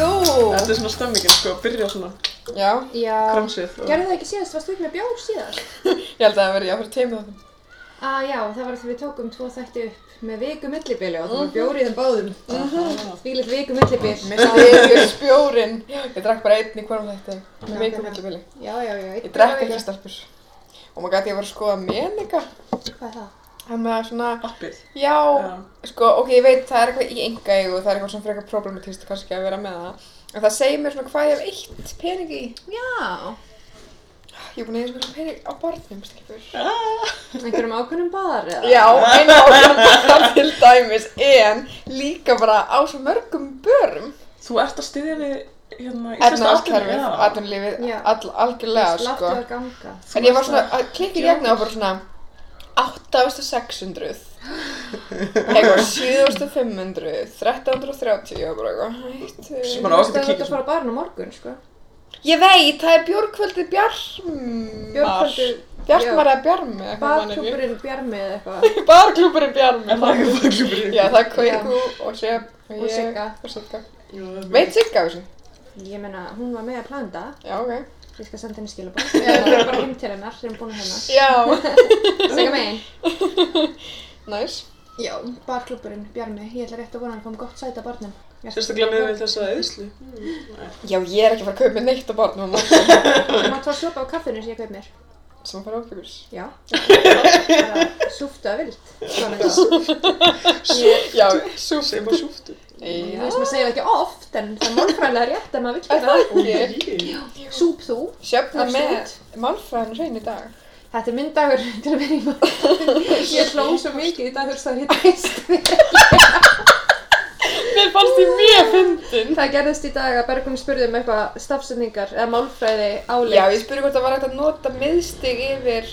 Þetta er svona stemmingin, sko, að byrja svona Já, Já. kramsið og... Gerðu það ekki síðast, varstu ekki með bjór síðast? ég held að það verið, já, fyrir teimið þáttum. Ah, já, það var þegar við tókum tvo þætti upp með viku millibili og það var bjór í þeim báðum. Mhm. Þvílitt viku millibil. Misti ykkur spjórin. Ég drakk bara einn í hverjum þetta. Með veikum heldur bili. Já, já, já. einn Ég drakk bjór í ekki þeim. stelpur. Og maður gæti ég var að skoða meninga. Hvað er það? Það með svona, Appið. já, Já. sko, ok, ég veit það er eitthvað í enga og það er eitthvað svona frekar problematist kannski að vera með það. En það segir mér svona hvað ég hef eitt pening í. Já. Ég er búin að eiga svona pening á barnum, stelpur. Einhverjum ákveðnum bar eða? Já, eina ákveðan til dæmis, en líka bara á svo mörgum börum. Þú ert að styðja við, hérna, Efnaðaskerfið, atvinnu. atvinnulífið, Já. all, algjörlega, Láttu sko. að ganga. Þú En ég var varst svona, að- að klikka í gegna og bara svona 8600 eitthvað 7500 1330 og bara eitthvað hættu Sem bara ágætt að Þú veist kíkja að fara á barn á morgun, sko. Ég veit, það er björgkvöldið bjarmar Björgkvöldu, Bjarmar eða bjarmi eitthvað man ekki. barklúburinn bjarmi eða eitthvað. Barklúburinn bjarmi En það er ekki fagljúfur. Já, það er Kveiku og Sjöp Og Sigga. og Sigga það Veit Sigga af þessu? Ég meina, hún var með að plana þetta. Já, ok Ég skal senda henni skilabóð. Ég er bara heim til hennar, þegar hún er búin að hérna. hennar. Já, Segja megin. næs Já, barklúburinn Bjarmi. Ég ætla rétt að vona að hann kom gott sæti að barnum. Sérstaklega með við þessa eðslu. Já, ég er ekki að fara að kaupa mér neitt á barnum á morgun Þú mátt fá að sopa á kaffinu sem ég kaup mér. sem að fara ábyggur Já. Bara súftu að vild. Svona þá. Ég, Já, súf Sem að súftu. ég Já, veist maður segja það ekki oft, en það er málfræðilega rétt að maður vil er gera það það. ekki? Súp þú. Sjöfn er með Absolutt. málfræðan hrein í dag. Þetta er minn dagur til að vera í maður. Ég hló svo mikið í dag þurfti að hitta eist. Mér fannst því mjög fyndin. Það gerðist í dag að Bergrún spurði um eitthvað stafsendingar eða málfræði Já, áleik. ég spurði hvort það var hægt að nota miðstig yfir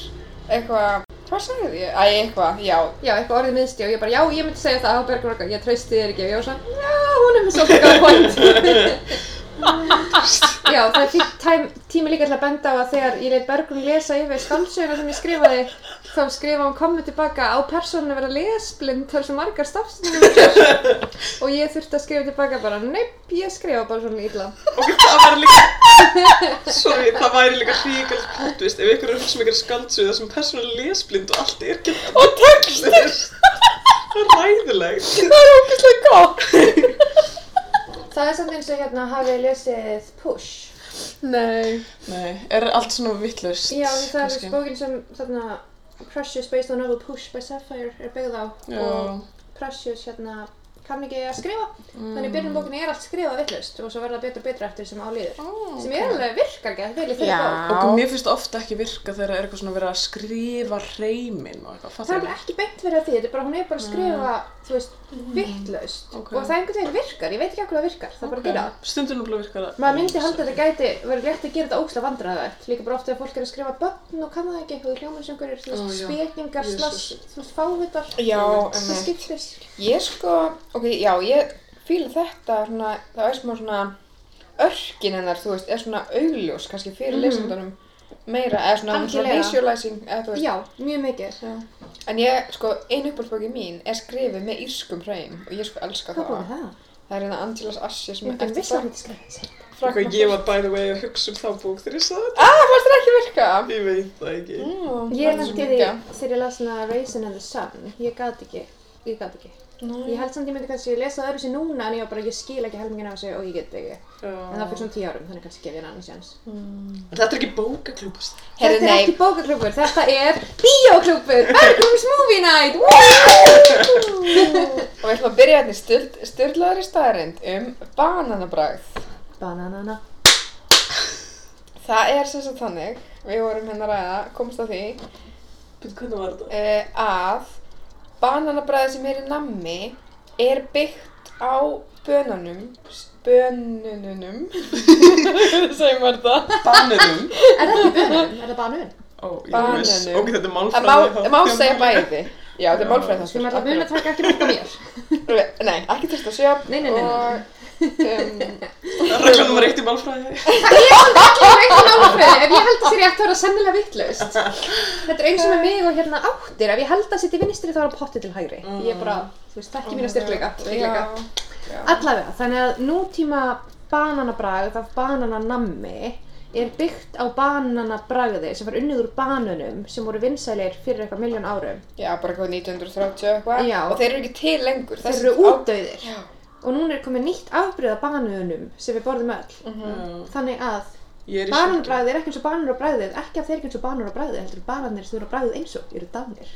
eitthvað, hvað sagði ég? Æ, eitthvað, já. Já, eitthvað orðið miðstí og ég bara, já, ég myndi segja það á Bergrún okkar, ég treysti þér ekki og ég var svona, já, hún er með svolítið góð point. já, það er fínt tæm, tími líka til að benda á að þegar ég leit Bergrún lesa yfir skamsöguna sem ég skrifaði, þá skrifa hún komið tilbaka á persónu að vera lesblind, það er svo margar stafsnum og ég þurfti að skrifa tilbaka bara, neip, ég skrifa bara svona illa. Ok, það var líka... Sorry, það væri líka hríkald plotvist ef ykkur er að hugsa um ykkur skaldsuð þar sem persónulega lesblind og allt er gett Og textin, allir. Það er ræðilegt. það er ógeðslega gott. Það er samt eins og hérna hafið lesið Push. Nei. Nei, er allt svona vittlust? Já, því það er sko bókin sem þarna Precious based on novel Push by Sapphire er byggð á og Precious hérna kann ekki að skrifa þannig byrjun bókinni er allt skrifað vittlust og svo verða það betra og betra eftir sem á líður sem ég alveg virkar ekki að vel í þeirri bók Já. Og mér finnst ofta ekki virka þegar það er eitthvað svona verið að skrifa reymin og eitthvað, það er fattar alveg ekki beint verið að því, þetta er bara hún er bara að skrifa þú veist, vittlust Ok. og það einhvern veginn virkar, ég veit ekki akkur það virkar það er bara að gera það Stundum náttúrulega virkar það. maður myndi halda að þetta gæti verið rétt að gera þetta ógslag vandræðavert líka bara oft þegar fólk er að skrifa börn og kann það ekki og þú hljómar sem einhverjir, Ó, þú veist, já. spekingar, Jesús. slash, þú veist, fávitar Já, það emmi. skiptir Ég sko, ok, já, ég fýla þetta, svona, það er smá svona örkin hennar, þú veist, er svona augljós kannski fyrir lesendunum meira, eða svona, hún er svona Mhm. Algjörlega. visualizing, eða þú veist, já, mjög mikið En ég, sko, einu uppáhaldsbóki mín er skrifið með írskum hreim og ég sko elska hvað það. búið það? Það er hérna Angelas Assi sem Ég myndi að eftir vissi að hún skrifaði sér. Ok, Frank- ég var by the way að hugsa um þá bók þegar ég sagði þetta. Ah, fannst það ekki virka? Ég veit það ekki. Mm, Ég lendi því þegar ég las hana Raisin and the Sun, ég gat ekki, ég gat ekki. Ég held samt ég myndi kannski lesa öðru sér núna en ég var bara, ég skil ekki helmingin af þessu og ég get ekki. En það fyrir svona tíu árum, þannig kannski gef ég henni annars jans. Þetta er ekki bókaklúpast. Herri, þetta er nei. ekki bókaklúpur, þetta er bíóklúpur, Bergrums Movie Night! Woo! Og við ætlum að byrja hérna í styrl, styrlaðari staðarind um bananabræð. Bananana. Það er sem sagt þannig, við vorum hérna að ræða, komst á því, Býtt, hvernig var þetta? uh, að bananabræði sem er í nammi er byggt á bönunum, bönununum, segjum maður það. Bananum. Er það ekki bönun? Er það banun? Ó, ég veist. Bananum. Ok, þetta er Það málfræði. má, það má segja bæði. Já, þetta er Já. málfræði Skulum alltaf muna að taka ekki mörg á mér. Nei, ekki trist að sjá. um, Nei, nei, nei, Og, nei. Rækla nummer eitt í málfræði. Það er ekki málfræði, ef ég held að sér rétt þá er það sennilega vittlaust. Þetta er eins og með mig og hérna áttir, ef ég held að setja vinstri þá er það potti til hægri. Ég er bara, þú veist, þekki mína styrkleika, um, veikleika. já, já. Allavega, þannig að nútíma bananabragð af banananammi er byggt á bananabragði sem var unnið úr bananum sem voru vinsælir fyrir eitthvað miljón árum. Já, bara eitthvað 1930 og eitthvað. Já. Og þeir eru ekki til lengur. Þeir Þessi eru á- útdauðir Já. og núna er komið nýtt afbrigð af bananum sem við borðum öll. Þannig að Ég er í sjokki. bananabræðið er ekki eins og bananur á bræðið, ekki að þeir eru ekki eins og bananur á bræðið, heldur bananir sem eru á bræðið eins og eru dánir.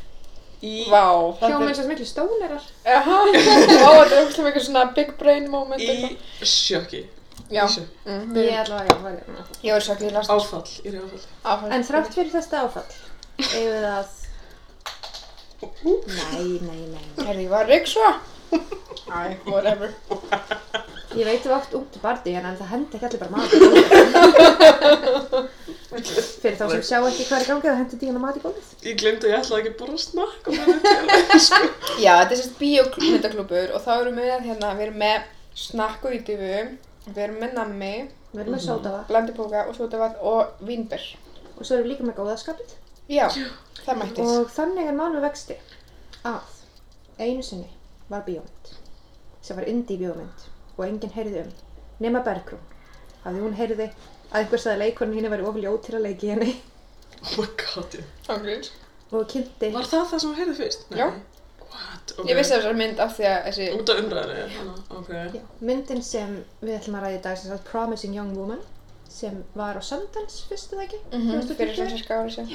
Í... Vá. Hljóma eins og miklu stónerar. Jaha. Vá, þetta er ógstlega mikið svona big brain moment. eitthvað. Í sjokki. Já. í sjokki. Mm, við- Ég allavega, já, var ég með. Ég var sjokkið í last. Áfall, ég er í áfall. Áfram. En þrátt fyrir þetta áfall, eigum við að... Nei, nei, nei. Herði, ég var rigg svo. Æ, whatever. Ég veit þú átt ungt bardi hérna en það hendi ekki allir bara mat í gólfið. Fyrir þá sem sjá ekki hvað er í gangi þá hendi díana mat í gólfið. Ég glemdi að ég ætlaði ekki að borða snakk og minni til. Já, þetta er sérst bíómyndaklubur og þá erum við hérna, við erum með snakk og ídifu, við erum með nammi, Við erum með sódavatn blandipóka og sotavatn og vínber. og svo erum við líka með góðaskapið. Já, það mættis. Og þannig er málum við vexti að einu sinni var bíómynd sem var indie bíómynd og enginn heyrði um nema Bergrún. Af því hún heyrði að einhver saði leikurinn henni væri ofljóð til að leiki henni Oh my god, ég. Ángríns. og kynnti Var það það sem hún heyrði fyrst? Nei. Já. What? Ég vissi þessar mynd af því að þessi, Út af umræðinu, já. Ok. Já, myndin sem við ætlum að ræða í dag sem sagt Promising Young Woman sem var á Sundance, fyrstu það ekki? mm -hmm, fyrir 2020, svona sérska ári sem.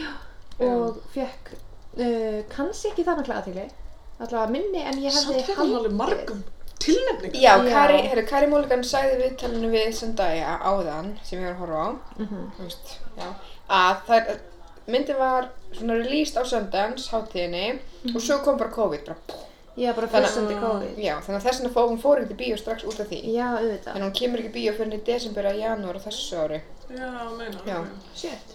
og fekk uh, kannski ekki það mikla aðtegli allavega minni en ég hefði Samt fekk hann alveg margum tilnefningar. Já, Já. Kari, herru, Kari Múligan sagði við talinu við Sundaya áðan, sem ég var að horfa á, mm -hmm. þú veist, já, að það, myndin var svona released á Sundance, hátíðinni, og svo kom bara COVID, bara pú. ég var bara Þannig- fyrstundi COVID Já, þannig að þess vegna fór hún fór ekki í bíó strax út af því. já, auðvitað, Þannig að hún kemur ekki í bíó fyrir í desember að janúar á þessu ári. Já, meina. Já. shit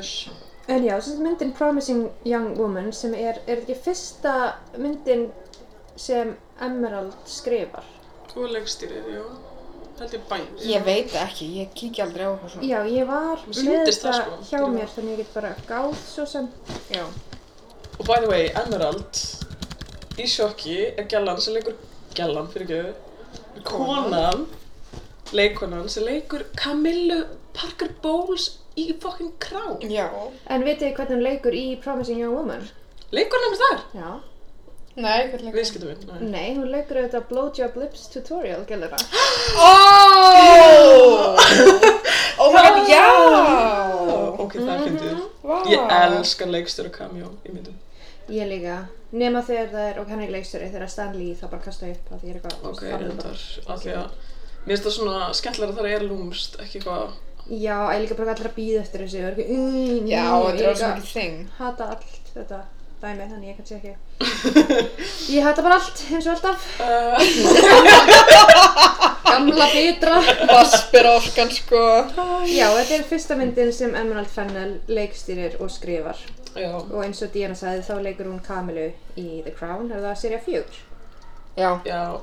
Uss. en já, sem sagt myndin Promising Young Woman sem er, er þetta ekki fyrsta myndin sem Emerald skrifar Og leikstýrið, já. Held ég bæn. Ég veit það ekki, ég kíkja aldrei á hvað svona. já, ég var Mér með sýndist það, sko, þetta hjá fyrir mér það. þannig ég get bara gáð svo sem Já. Og by the way, Emerald í sjokki er gælan sem leikur gælan fyrir ekki konan leikonan sem leikur Camillu Parker Bowles í fucking krán Já. En vitið þið hvernig hún leikur í Promising Young Woman? leikur nefnist þar Já. Nei, hvernig viðskiptum við Nei, hún leikur auðvitað Blowjob Lips Tutorial, gælir það. Oh! oh my god, já! ok, það finnst þið Vá. Mhm. ég elska leikstjóra kamjó í myndum Ég líka. Nema þegar það er, og hann er leikstjóri, þegar Stanley þá bara kasta ég upp að því ég er eitthvað. ok, farðu bara. reyndar af því að mér finnst það svona skemmtilega að það er lúmst ekki eitthvað Já, ég líka bara allir að býða eftir þessu. og er eitthvað, "Mm, Já, þetta er mm", ég alveg líka mikið þing. hata allt þetta dæmi, þannig ég kannski ekki. ég hata bara allt, eins og alltaf. uh, Gamla bitra. Vaspir orkan, sko. Já, þetta er fyrsta myndin sem Emerald Fennell leikstýrir og skrifar. já, Og eins og Diana sagði, þá leikur hún Kamilu í The Crown, er það serið fjögur? Já. já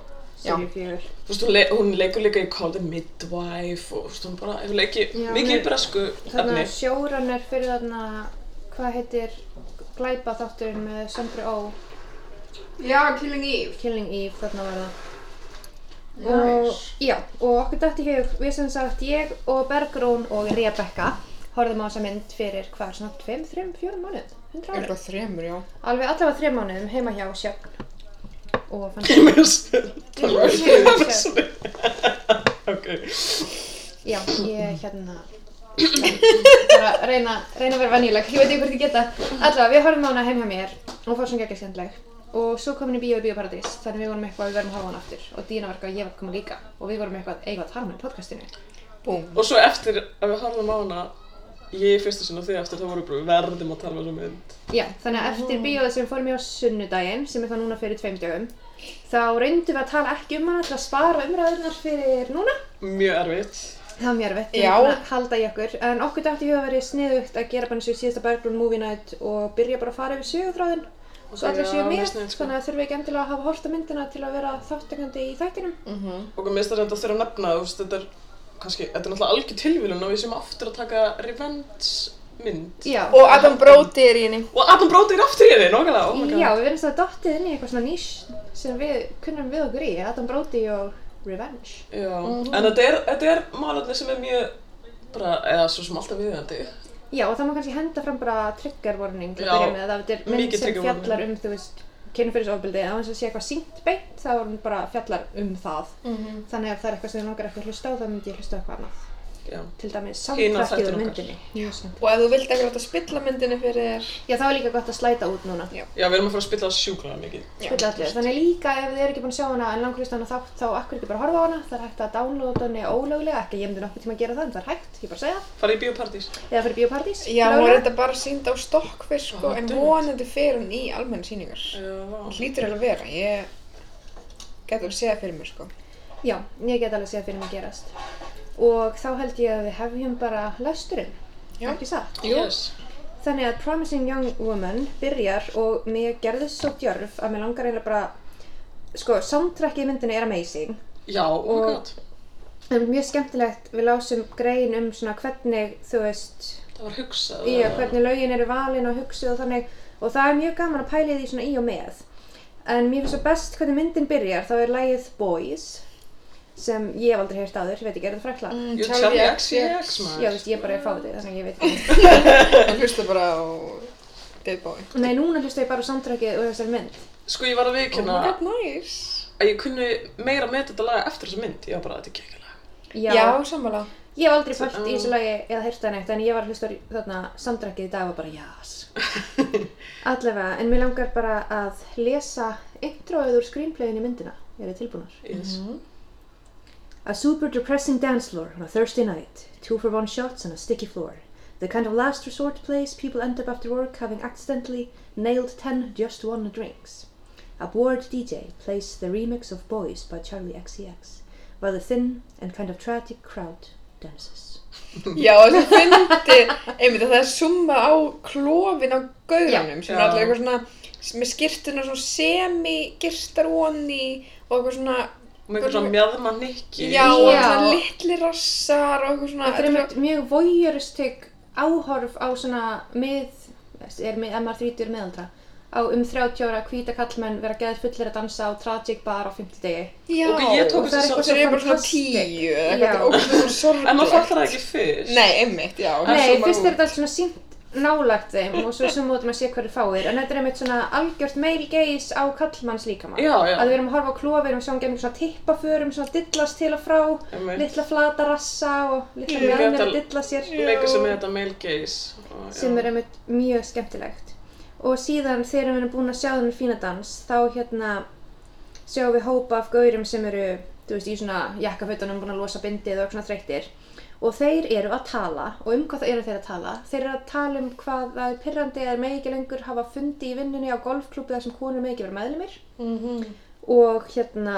Serið fjögur. Þú veist, hún, le hún leikur líka í Call the Midwife og þú veist, hún bara hefur leikið Já, mikið í hún er- bresku Þannig efni. að sjóran er fyrir þarna, hvað heitir glæpa þátturinn með Sandra Ó, Já, Killing Eve. Killing Eve, þarna var það. Og, já, og okkur dætt í hug, við sem sagt, ég og Bergrún og Rebecca horfðum á þessa mynd fyrir hvað, svona 2, 3, 4 mánuð, 100 árum. Eitthvað þremur, já. Alveg allavega 3 mánuðum heima hjá Sjöfn. Og fann Ég með þessu. Sjöfn. Ok. Já, ég hérna, bara reyna, reyna að vera venjuleg, ég veit ekki hvort ég geta. Allavega, við horfum á hana heim hjá mér og hún fór svona geggja skemmtileg. Og svo kom henni bíó í Bíóparadís, þannig við vorum eitthvað, við verðum að horfa á hana aftur. Og Dína var eitthvað, ég var að koma líka. Og við vorum eitthvað, eigum við að tala um hana í podcastinu. Búm. Og svo eftir að við horfum á hana, ég í fyrstu sinna og þið eftir, þá vorum við bara, við verðum að tala um þessu mynd. Já, þannig að eftir bíóið sem fórum ég á sunnudaginn, sem er það núna fyrir tveim dögum, þá reyndum við að tala ekki um hana til að spara umræðunar fyrir núna. Mjög erfitt. Það var mér vett, Já. að halda í okkur. En okkur dætti ég að vera sniðugt að gera bara eins og í síðasta Berglund Movie Night og byrja bara að fara yfir sögutráðin. Svo allir Já, séu með, mjög sniðugt, sko. þannig að þurfum við ekki endilega að hafa horta myndina til að vera þáttekandi í þættinum. Mhm. Og mér finnst það reynda þeirra að nefna, þú veist, þetta er, kannski, þetta er náttúrulega algjör tilvílun og við séum aftur að taka revenge mynd. Já, Og Adam Brody er í henni. Og Adam Brody er aftur í henni, nokkulega, oh my god. já, við verðum að dottið inn í eitthvað svona nýs sem við kunnum við okkur í, Adam Brody og revenge. Já, en þetta er, þetta er málefni sem er mjög bara, eða svo sem alltaf viðjandi Já, og það má kannski henda fram bara trigger warning til Já, að byrja með að þetta er mynd mikið sem trigger warning. fjallar um, þú veist, kynfyrirsofbildi, þá eins og sé eitthvað sínt beint, þá er hún bara fjallar um það. Mhm. Þannig að ef það er eitthvað sem ég langar ekki að hlusta á, þá myndi ég hlusta á eitthvað annað. Já, Til dæmis Hina soundtrackið úr þættina okkar. myndinni. Jú, sant. Og ef þú vilt ekki láta spilla myndinu fyrir þér, Já, það var líka gott að slæta út núna. Já. já við erum að fara að spilla sjúklega mikið Já. Spilla allir. Þannig líka ef þið eru ekki búin að sjá hana en langur hlusta á hana þátt, þá akkur ekki bara horfa á hana. Það er hægt að downloada hana ólöglega, ekki að ég myndi nokkuð tíma að gera það, en það er hægt, ég bara segja það. Fara í bíópartís Eða fyrir biopartís. já, hún er þetta bara sínd á stokkfyrst sko, Ah, en dumt. vonandi fer hún í almenna síningar. Hún Já, hlýtur alveg að vera, ég getur að segja fyrir mér sko. Já, ég get alveg séð fyrir mig gerast. Og þá held ég að við hefjum bara lesturinn, Já. ekki satt? yes Þannig að Promising Young Woman byrjar og mér gerðist svo djörf að mér langar eiginlega bara, sko, soundtrackið í myndinni er amazing. Já, oh my Og- god Það er mjög skemmtilegt, við lásum grein um svona hvernig, þú veist, Það var hugsað í að hvernig lögin eru valin og hugsuð og þannig og það er mjög gaman að pæli því svona í og með en mér finnst svo best hvernig myndin byrjar þá er lagið Boys sem ég hef aldrei heyrt áður, ég veit ekki, er það frækla? Mm. Jú, Charlie X, X, Já, þú maður veist, ég bara er fáið þannig að ég veit ekki Hún Sko, hlusta bara á Deadboy. Nei, núna hlusta ég bara á soundtrackið og þessari mynd Sko, ég var að Oh viðkynna my god, nice. að ég kunni meira með þetta lag eftir þessa mynd Ég var bara, þetta er kekkilega Já, Já, sammála. ég hef aldrei fælt Svo- í þessu lagi eða heyrt það neitt en ég var að hlusta á þarna soundtrackið í dag og bara jás Allavega, en mér langar bara að lesa introið úr screenplayin í myndina Eru tilbúnar? yes. A super depressing dance floor on a Thursday night. Two for one shots on a sticky floor. The kind of last resort place people end up after work having accidentally nailed 10 just one drinks. A bored DJ plays the remix of Boys by Charlie XCX, while the thin and kind of tragic crowd dances. Já, þess að fyndi, einmitt að það er summa á klófin á gauranum sem er Já. allir eitthvað svona með skirtuna svona semi-girtar onni og eitthvað svona Og með einhvern svona mjadma nikki já, og Já. svona litli rassar og eitthvað svona Þetta er einmitt mjög voyeuristik áhorf á svona mið, er mið, ef maður þrítur meðaldra, á um 30 ára hvíta kallmenn vera geðið fullir að dansa á tragic bar á 50 degi. já, Ok, ég tók Og það þess er eitthvað að það er bara svona fantastic. tíu eða Já. eitthvað og svona sorglega En maður fattar það ekki fyrst Nei, einmitt, já það Nei, zoomar fyrst út. er þetta allt svona sínt nálægt þeim og svo sem mótum að sé hverju fáir en þetta er einmitt svona algjört male gaze á kallmanns líkama Já, já. að við erum að horfa á klófir og sjáum gennum svona tippaförum svona dillast til og frá Einmitt. litla flata rassa og litla Líka mjölnir þetta- að dilla sér Leika sem með þetta male gaze og, já. um sem er einmitt mjög skemmtilegt og síðan þegar við erum búin að sjá þennan fína dans þá hérna sjáum við hópa af gaurum sem eru þú veist, í svona jakkafötunum búin að losa bindið og svona þreyttir og þeir eru að tala og um hvað það eru þeir að tala þeir eru að tala um hvað það er pirrandi eða megi ekki lengur hafa fundi í vinnunni á golfklúpi þar sem konur megi ekki vera meðlumir Mhm. og hérna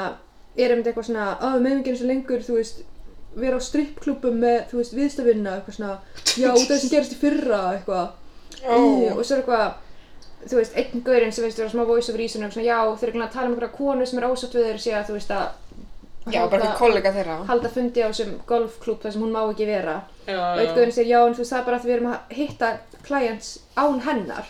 er einmitt eitthvað svona að við meðum ekki eins og lengur þú veist vera á strippklúpum með þú veist viðstafinna eitthvað svona já út af þessum gerist í fyrra eitthvað Ó. Í, og svo er eitthvað þú veist einn gaurinn sem veist vera smá voice over í svona eitthvað svona já þeir eru ekki að tala um einhverja konu sem er ósátt við þeir sé að þú veist að Já, bara halda- eitthvað kollega þeirra halda fundi á þessum golfklúb þar sem hún má ekki vera já, og já. einn guðinn segir já en þú veist það er bara að við erum að hitta clients án hennar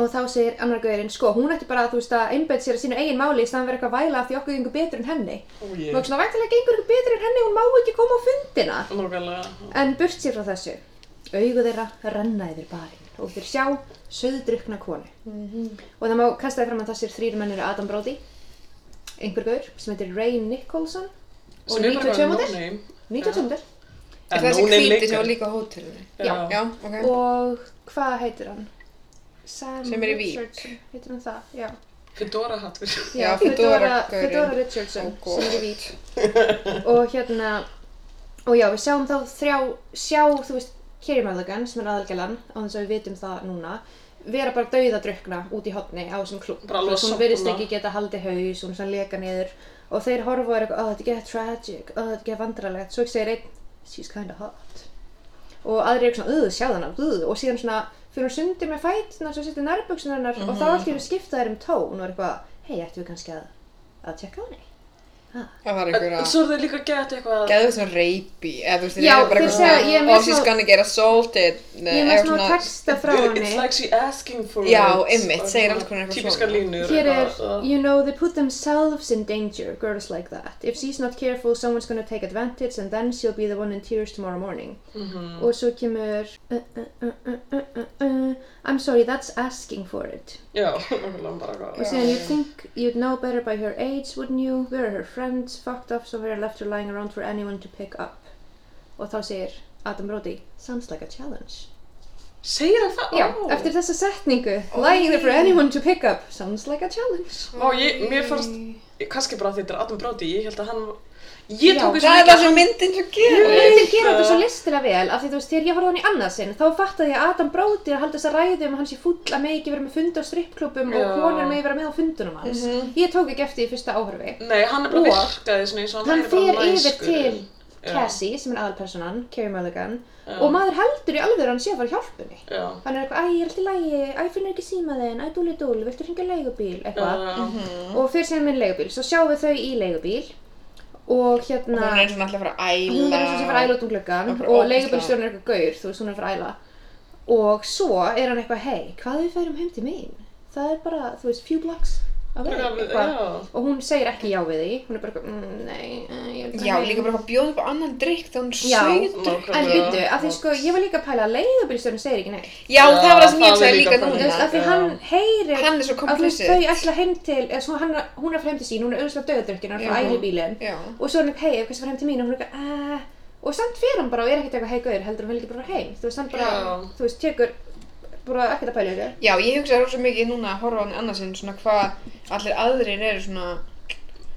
og þá segir annar guðurinn sko hún ætti bara að þú veist að einbætt sér að sínu eigin máli í staðan vera eitthvað að væla af því okkur gengur betur en henni Ó, og ég. yeah. svona væntalega gengur ykkur betur en henni hún má ekki koma á fundina Nákvæmlega. en burt sér frá þessu augu þeirra renna yfir barinn og þeir sjá söðdrykna konu Mhm. og það má kastaði fram að þessir þrýr menn eru Adam Brody einhver gaur sem heitir Ray Nicholson og Sem er bara 92 no mótil name. 92 mótil Er En þessi no name hvíti leikari. sem var líka á hótelinu? Já. Já, ok og hvað heitir hann? Sam Sem er í Vík. Richardson, heitir hann það, já Fedora hattur. Já, Oh, Fedora gaurinn. Fedora Richardson Ó, sem er í Vík og hérna og já, við sjáum þá þrjá sjá, þú veist, Kerry Mulligan sem er aðalgælan, á þess að við vitum það núna vera bara dauðadrukna út í hotni á þessum klúb, Bara Þú veist, hún losa virðist búna. ekki geta haldið haus, hún er svona leka niður og þeir horfa og er eitthvað, oh, þetta er ekki tragic, oh, þetta er ekki vandralegt, svo segir einn she's kinda hot og aðrir eru svona, uðu, sjáðu hana, uðu og síðan svona, fyrir hún sundir með fætna svo sittir nærbuksunar Mhm. hennar og þá allir skipta þær um tón og er eitthvað, hei, ættu við kannski að að tjekka á henni Það var einhver að... Svo eru þau líka að geta eitthvað Gæðu svona reypi, eða þú veist, þeir Já, eru bara þeir eitthvað segja- ég er með Oh, she's svona- gonna get assaulted. Nei, Ég er eitthvað með svona texta frá Eh, It's henni. like she asking for Já, it. einmitt, segir alls konar eitthvað Típiska svona. línur. Hér er, eitthvað, you know, they put themselves in danger, girls like that. If she's not careful, someone's gonna take advantage and then she'll be the one in tears tomorrow morning. Mhm. Og svo kemur, uh, uh, uh, uh, uh, uh, uh, I'm sorry, that's asking for it. Já, nákvæmlega bara Og eitthvað. síðan, you'd think you'd know better by her age, wouldn't you? We're her friends, fucked up, so we're left her lying around for anyone to pick up. Og þá segir Adam Brody, sounds like a challenge. Segir hann það? Já, Ó. eftir þessa setningu, lying there for anyone to pick up, sounds like a challenge. Ó, ég, mér fannst, kannski bara því þetta er Adam Brody, ég held að hann, ég Já, tók þessu Það er mikið það sem myndin svo Þú gerir. myndir gera þetta svo listilega vel af því þú veist, þegar ég horfði á hann í annað sinn þá fattaði ég að Adam Brody er að halda þess að ræðu um að hann sé fúll að megi ekki vera með fund á strippklubum og Já. Mhm. konur megi vera með á fundunum hans Ég tók ekki eftir í fyrsta áhörfi Nei, hann er bara Og- virkaði svona eins og Hann væri fer bara yfir næskur. til Já. Cassie sem er aðalpersonan, Carey Mulligan Já. og maður heldur í alveg að hann sé að fara hjálpunni Já, Hann er eitthvað, æ, ég er alltaf í lægi, æ, finnur ekki síma þinn, æ, dúli dúli, viltu hringja á leigubíl, eitthvað já, og fyrir síðan minn leigubíl, svo sjáum við þau í leigubíl og Hún hérna er eins og hún ætla að fara að æla. hún er eins og sé að fara að æla út um gluggan Og bara og ógeðslega. leigubílstjórn er eitthvað gaur, þú veist, hún er að fara að æla og svo er hann eitthvað, hei, hvað við færum heim til mín? Það er bara, þú veist, few blocks away, Já, við- eitthvað já. og hún segir ekki já við því, hún er bara eitthvað, mm, nei, eh, ég vil Já, líka bara að bjóða upp á annan drikk þá hún Já. sögur drikk. Nákvæmlega. En hlutu, af því sko, ég var líka að pæla að leigubílstjórn segir ekki nei Já, Já, það var það sem ég það er sagði líka líka bara- Þú veist, af núna. því Já. hann heyrir Hann er svo að þú veist, complicit. þau ætla heim til, eða svo hann, hún er að fara heim til sín, hún er auðvitað döðadrökkinn, hann er Já. frá æli bílinn Já. og svo er hann upp hei, ef kannski fara heim til mín og hún er eitthvað "Eh." og samt fyrir hann bara og er ekkert eitthvað hei gauður heldur hann vil ekki bara fara heim þú veist, hann bara, Já. þú veist, tekur bara ekkert að pæla í þessu Já, ég hugsaði rosa mikið núna að horfa á hann annarsinn svona hvað allir aðrir eru svona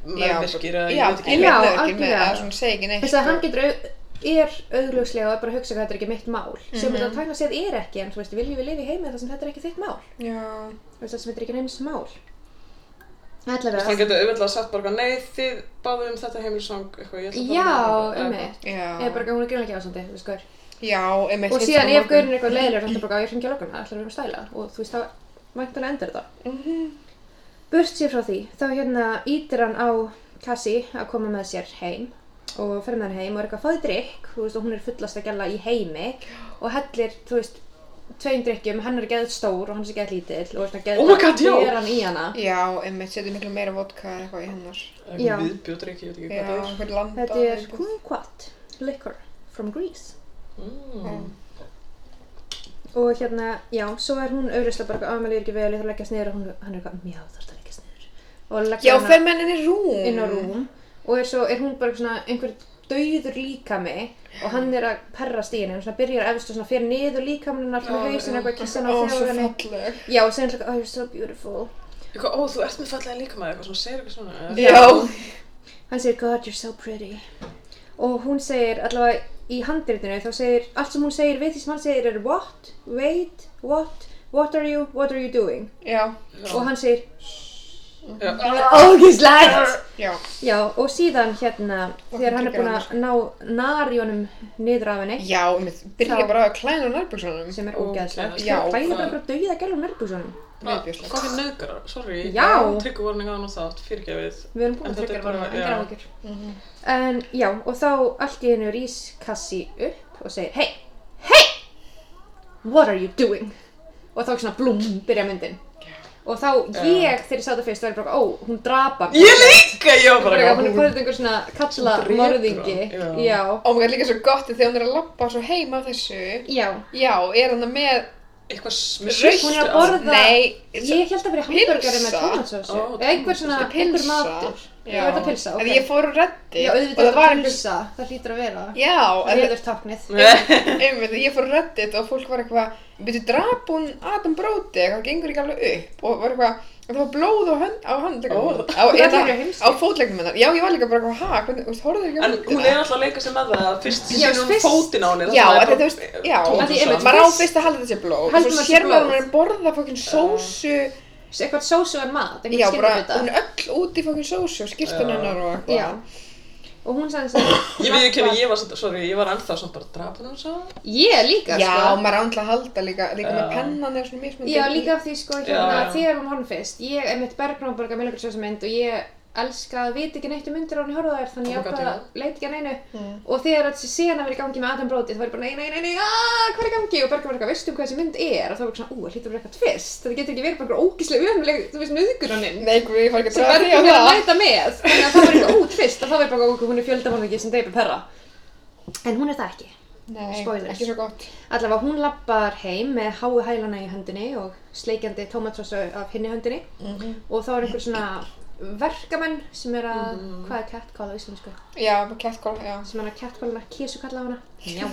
meðvirkir eða Já, ég veit einmitt ekki. Já, meðvirkir með algjörlega. að svona segja ekki neitt sko. þess að hann getur, au- er augljóslega og er bara að hugsa hvað þetta er ekki mitt mál Mhm. sem þetta tækna séð er ekki, en þú veist, viljum við lifa í heimi þar sem þetta er ekki þitt mál Já, þú veist, það sem þetta er ekki neins mál Hann allavega, getur auðvitað sagt bara, eitthvað, nei, þið báðu um þetta heimilisang, eitthvað, ég ætla bara já, að- um mig eða bara já, ekki hún er greinlega ekki ásandi, þú veist, gaur já, einmitt og síðan ef gaurinn er eitthvað leiðilegur þá er bara á ég hringi á lögguna, ætlar við erum að stæla og þú veist þá væntanlega endur þetta Mhm. burt sér frá því þá hérna ítir hann á Cassie að koma með sér heim og fer með hann heim og er eitthvað fáði drikk þú veist og hún er fullast að gæla í heimi og hellir þú veist tveim drikkjum, hann er geðið stór og hann er geðið lítill og er svona Oh my God, já. geðið hann í hana Já, einmitt, setur miklu meira vodka eða eitthvað í hennar Eitthvað viðbjótur ekki, ég veit ekki Já, hvað það er. einhver landa þetta er eitthvað. kumquat liquor from Greece Mm. og hérna, já, svo er hún auðvitað bara að maður er ekki vel, ég þarf að leggjast niður og hún, hann er eitthvað, já, þarf að leggjast niður og Já, leggja hana fer með henni inn í rúm Hérna. inn á rúm og er, svo, er hún bara svona einhver dauður líkami og hann er að perrast í henni, hann svona byrjar efst og svona fyrir niður líkamann alltaf Já, með hausin já. eitthvað kissa hann á Ó, svo þjóðinni falleg já, og segir hann svona, oh you're so beautiful Eitthvað, ó, þú ert með fallega líka með eitthvað, svona segir eitthvað svona. eða- Já, hann segir, god you're so pretty og hún segir allavega í handritinu þá segir, allt sem hún segir við því sem hann segir er what, wait, what what are you, what are you doing já, Oh. og hann segir, Já, ógislægt já, já, og síðan hérna Og þegar hann hann er búinn að ná narjónum niður af henni já, einmitt, byrja Þá- bara að klæna á nærbuksunum sem er Og ógæðslega. klæðast. Já. Já. Bæði bara að dauða gæla nærbúsunum. Hvað Viðbjóðslegt. fyrir nöðgarar? Sorry, Já. tryggur vorning á hann og þátt, fyrirgefið. Við erum búin En að þetta er tryggja bara bara- engar já. áhyggjur. En já, og þá allt í hennu rís Kassi upp og segir Hei, hei, what are you doing? Og þá svona blúm, byrja myndin. Og þá ég, þegar ég sá þetta fyrst, var ég bara, ó, hún drapa mig. Ég líka, já, bara Bara, eitthvað, hún er hún- bara einhver svona kalla Sem drepur morðingi. hann, já. Já. Ó, mér líka svo gott þegar hún er að labba svo heima af þessu Já. Já, er hann með eitthvað með Rautt sultu Hún er að á- borða, Nei, ég held að vera hambúrgari með Pylsa? tómatsósu. Ó, Eða einhver svona, Þetta er einhver pylsa. matur. Já. Já. Var þetta pilsa? En ég fór úr reddi Já, og auðvitað það var þetta einhver pulsa, það hlýtur að vera Já, það en- Reyður táknið einmitt, ég fór á reddit og fólk var eitthvað byrju drap hún Adam Brody eitthvað gengur ekki alveg upp og var eitthvað og það var blóð á hönd á hand Ó. á, Það er eða, heimskt. á fótlegnum hennar já ég var líka bara eitthvað ha hvernig þú veist, horfðu ekki á En hún myndina?" er alltaf að leika sér með það að fyrst Já, sýnir hún fyrst- fótinn á henni já þarna er af því bara- þú veist já Tómatsósa. af því einmitt, Tómatsósa. maður á fyrst að halda þessi blóð og Heldur svo maður sé sér maður blóð. hún er að borða fokkin sósu Eitthvað sósuan mat, já einhvern bara skilur hún er öll út í fokkin sósu og skýrtun Já. hennar og eitthvað Já, og hún sagði þess Ég veit ekki að ég var samt, sorry, ég var ennþá samt bara drap hún hans að Ég líka, já sko maður á alltaf að halda líka líka með Já. pennan er svona mismunandi Já, líka af því, sko, Já, hérna, já. þegar hún horfum fyrst Ég er mitt bergnámborga með einhver sjósa mynd og ég elska að vita ekki neitt um undir á hún í horfa þær þannig Oh ég my God, ákvað já. að leita ekki að neinu Mm. og þegar þessi sena verið í gangi með Adam Brody þá var ég bara nei, nei, nei, nei, aaa, hvað er í gangi og Bergur var eitthvað, veistu um hvað þessi mynd er og þá var ég svona, ú, það hlýtur að vera eitthvað tvist þetta getur ekki verið bara einhver ógíslega umleg, þú veist, nöðgunaninn Nei, guð, ég fór ekki sem að Bergur draga er að því á það. læta með þannig að það var eitthvað ótvist og þá var ég bara, ok, hún er fjöldamorðingi sem deypir perra en hún er það ekki Nei, Spoilers. ekki svo gott. allavega hún lappar heim með háu hælana í höndinni og sleikjandi tómatsósu af hinni höndinni og þá er einhver svona verkamenn sem er að, hvað er catcall á íslensku? Já, bara catcall, já. sem er að catcallina, kísu kalla á hana já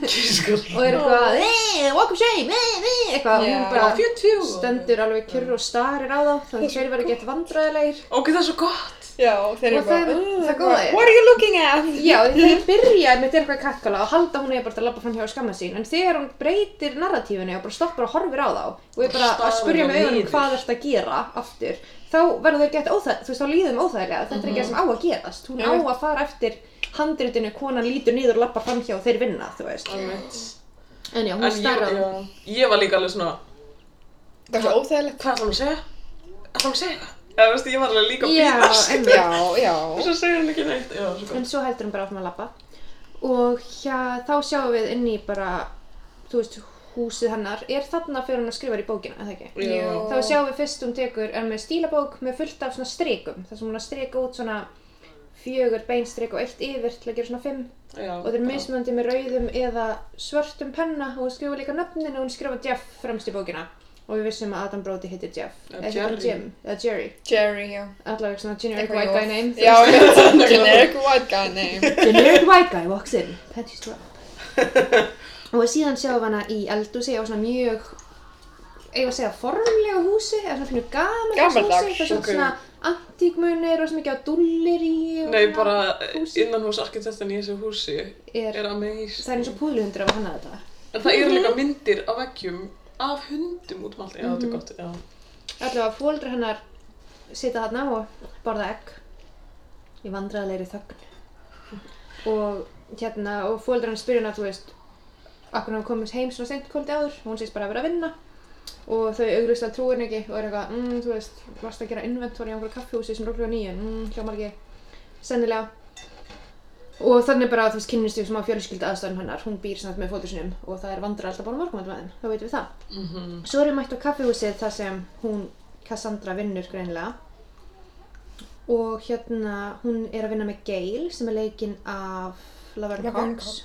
Kyrskall. og er eitthvað, "Eh, walk of shame, eh, eh," eitthvað og Já. hún bara 40. stendur alveg kjurr og starir á þá þannig að þeir verða gett vandræðilegir Ok, það er svo gott. Já, og þeir eru Og bara, það er- "Ugh," það góða er- What are you looking at? já, þeir byrja með eitthvað að catcalla og halda að hún er bara að labba fram hjá skamma sín en þegar hún breytir narratífunni og bara stoppar og horfir á þá og er bara Starir að spurja með á augunum niður. hvað þetta að gera aftur þá verður þeir gett óþæg, þú veist, þá líðum óþægilega þetta er ekki það sem á að gerast, hún á Einmitt. að fara eftir handritinu, konan lítur niður og labbar fram hjá og þeir vinna, þú veist Alveg. en já, En hún ég, starra já, ég var líka alveg svona, Það er svo óþægilegt. hvað ætlar hún að segja? Ætlar hún að segja eitthvað? Eða veist, ég var alveg líka að já, býða. en Já, já. Og svo segir hún ekki neitt. Já, svo gott. en svo heldur hún bara áfram að labba og hjá, þá sjáum við inn í bara þú veist, húsið hennar er þarna fyrir hún að skrifa í bókina, eða ekki? Já. Jú. Þá sjáum við fyrst hún tekur, er með stílabók með fullt af svona strikum, þar sem hún er að strika út svona fjögur beinstrik og eitt yfir til að gera svona fimm Já. og það er mismunandi með rauðum eða svörtum penna og hún skrifa líka nöfnin og hún skrifa Jeff fremst í bókina og við vissum að Adam Brody heitir Jeff Eða ekki bara Jerry. Jim, eða Jerry Jerry, já. allavega svona generic Eitthvað white jó. guy name Já, generic white guy name. generic white guy walks in panties drop og síðan sjáum við hana í eldhúsi á svona mjög eigum við að segja formlega húsi eða svona fínu gamaldags Gamaldags, húsi það er svona, ok. svona antíkmunir og svona mikið á dullir í og Nei, svona bara húsi innan hús arkitektin í þessu húsi er, er amazing. það er eins og púðluhundur af hana þetta En það eru líka myndir á veggjum af hundum út um allt. Já, þetta er gott, já. allavega fóldra hennar sita þarna og borða egg í vandræðalegri þögn og hérna og fóldra hennar spyrir hennar þú veist akkur hann komist heim svona sent kvöldi áður og hún sést bara að vera að vinna og þau auglust að trúin ekki og er eitthvað, mm, þú veist, varst að gera inventóri á einhverju kaffihúsi sem rúklega nýju, mm, hljómar ekki, sennilega. Og þannig bara, þú veist, kynnist við smá fjölskylda aðstæðan hennar, hún býr samt með fótur sinum og það er vandrar alltaf bara morgumat með þeim, þá veitum við það. Mhm. Svo erum við mætt á kaffihúsið þar sem hún, Cassandra, vinnur greinlega. Og hérna, hún er að vinna með Gail sem er leikinn af Laverne Laverne Cox,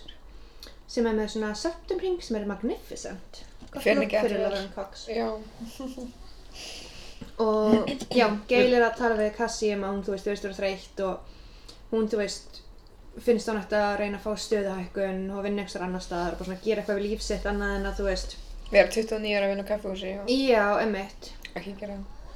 sem er með svona septumring sem er magnificent. Gott Fer henni nafn ekki fyrir eftir þér? Laverne Cox. Já. og já, Gail er að tala við Cassie um að hún, þú veist, þú veist, þú er þreytt og hún, þú veist, finnst hún eftir að reyna að fá stöðahækkun og vinna einhver annar staðar og bara svona gera eitthvað við lífsitt annað en að, þú veist, Við erum 29 ára að vinna á kaffehúsi, já. já, emmitt Ekki gera